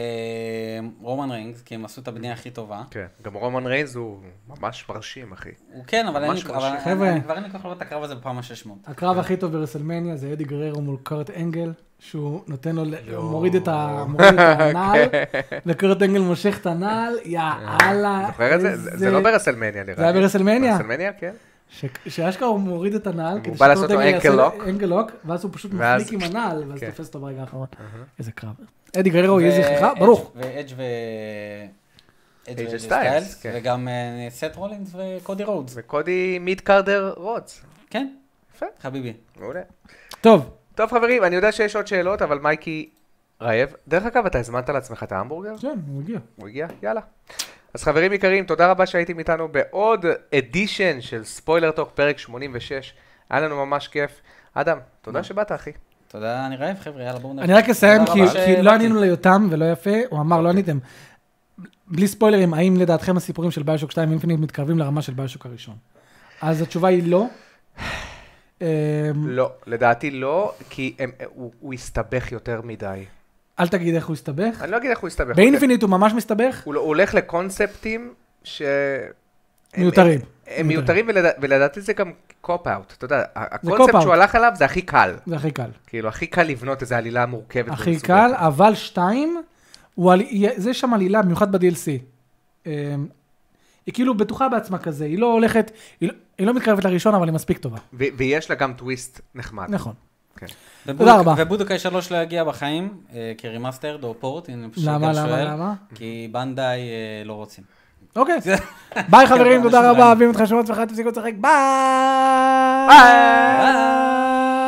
Speaker 3: רומן ריינגס, כי הם עשו את הבנייה הכי טובה.
Speaker 2: כן, גם רומן ריינז הוא ממש מרשים,
Speaker 1: אה,
Speaker 2: אחי.
Speaker 3: הוא כן, אבל אין לי
Speaker 2: ממש
Speaker 3: אבל
Speaker 2: מרשים.
Speaker 3: אני-
Speaker 1: חבר'ה.
Speaker 3: אני כבר אין לי כוח לראות את הקרב הזה בפעם ה-600.
Speaker 1: הקרב הכי טוב ברסלמניה זה אדי גררו מול קרט אנגל, שהוא נותן לו, ל-
Speaker 2: לא.
Speaker 1: הוא מוריד את ה- מוריד את הנעל, וקרט אנגל מושך את הנעל, יא אללה.
Speaker 2: כן. אה, זוכר את זה? זה- זה לא ברסלמניה נראה לי.
Speaker 1: זה היה ברסלמניה.
Speaker 2: ברסלמניה, כן.
Speaker 1: ש- שאשכרה הוא מוריד את הנעל,
Speaker 2: בא לעשות לו
Speaker 1: יעשה
Speaker 2: ankle
Speaker 1: לו
Speaker 2: lock.
Speaker 1: ankle lock, ואז הוא פשוט
Speaker 2: ואז-
Speaker 1: מפליק עם הנעל, ואז
Speaker 2: כן.
Speaker 1: תופס אותו ברגע האחרון. איזה קרב. אדי גררו, יהיה לא, זכרך,
Speaker 3: ואדג'-
Speaker 2: אה,
Speaker 1: ברוך.
Speaker 3: ואדג' ו... אדג'
Speaker 2: אדג'
Speaker 3: וסטיילס,
Speaker 2: וסטיילס, כן.
Speaker 3: וגם אה, סט רולינס וקודי רודס.
Speaker 2: וקודי מיד קרדר רוץ.
Speaker 3: כן,
Speaker 2: יפה.
Speaker 3: חביבי.
Speaker 2: מעולה.
Speaker 1: טוב,
Speaker 2: טוב חברים, אני יודע שיש עוד שאלות, אבל מייקי רעב. דרך אגב, אתה הזמנת לעצמך את ההמבורגר?
Speaker 1: כן, הוא הגיע.
Speaker 2: הוא הגיע? יאללה. אז חברים יקרים, תודה רבה שהייתם איתנו בעוד אדישן של ספוילר טוק, פרק 86. היה לנו ממש כיף. אדם, תודה שבאת, אחי.
Speaker 3: תודה, אני רעב, חבר'ה, יאללה, בואו נ...
Speaker 1: אני רק אסיים,
Speaker 3: נכון. תודה
Speaker 1: כי-
Speaker 3: רבה
Speaker 1: כי
Speaker 3: שבאתי. אוקיי.
Speaker 1: לא ענינו ליותם ולא יפה, הוא אמר, לא עניתם. בלי ספוילרים, האם לדעתכם הסיפורים של ביושוק 2 אינפיניט מתקרבים לרמה של ביושוק הראשון? אז התשובה היא לא. אמ,
Speaker 2: לא, לדעתי לא, כי הם- הוא- הוא הסתבך יותר מדי.
Speaker 1: אל תגיד איך הוא הסתבך.
Speaker 2: אני לא אגיד איך הוא הסתבך.
Speaker 1: באינפיניט הוא ממש מסתבך,
Speaker 2: הוא לא- הוא הולך לקונספטים ש... הם-
Speaker 1: מיותרים.
Speaker 2: הם מיותרים, ולד- ולדעתי זה גם קופ-אאוט. אתה יודע, ה-
Speaker 1: cop-out.
Speaker 2: הקונספט שהוא הלך עליו זה הכי קל.
Speaker 1: זה הכי קל.
Speaker 2: כאילו, הכי קל לבנות איזו עלילה מורכבת.
Speaker 1: הכי
Speaker 2: ומסובכת.
Speaker 1: קל, אבל 2, זה שם עלילה, במיוחד ב-DLC. אמ, היא כאילו בטוחה בעצמה כזה, היא לא הולכת, היא לא- היא לא מתקרבת לראשון, אבל היא מספיק טובה.
Speaker 2: ו- ויש לה גם טוויסט נחמד.
Speaker 1: נכון.
Speaker 2: כן.
Speaker 3: ובודוק-
Speaker 1: תודה רבה.
Speaker 3: ובודוקאי 3 לא יגיע בחיים, אה, כרימאסטרד או פורט, הנה, פשוט
Speaker 1: למה,
Speaker 3: גם
Speaker 1: למה,
Speaker 3: שואל,
Speaker 1: למה?
Speaker 3: כי בנדאי אה, לא רוצים.
Speaker 1: אוקיי. ביי חברים,
Speaker 3: אנשים
Speaker 1: תודה רבה,
Speaker 3: רעים.
Speaker 1: אה. אוהבים אתכם שמות וחיים, תפסיקו לשחק, ביי!
Speaker 2: ביי!
Speaker 3: ביי!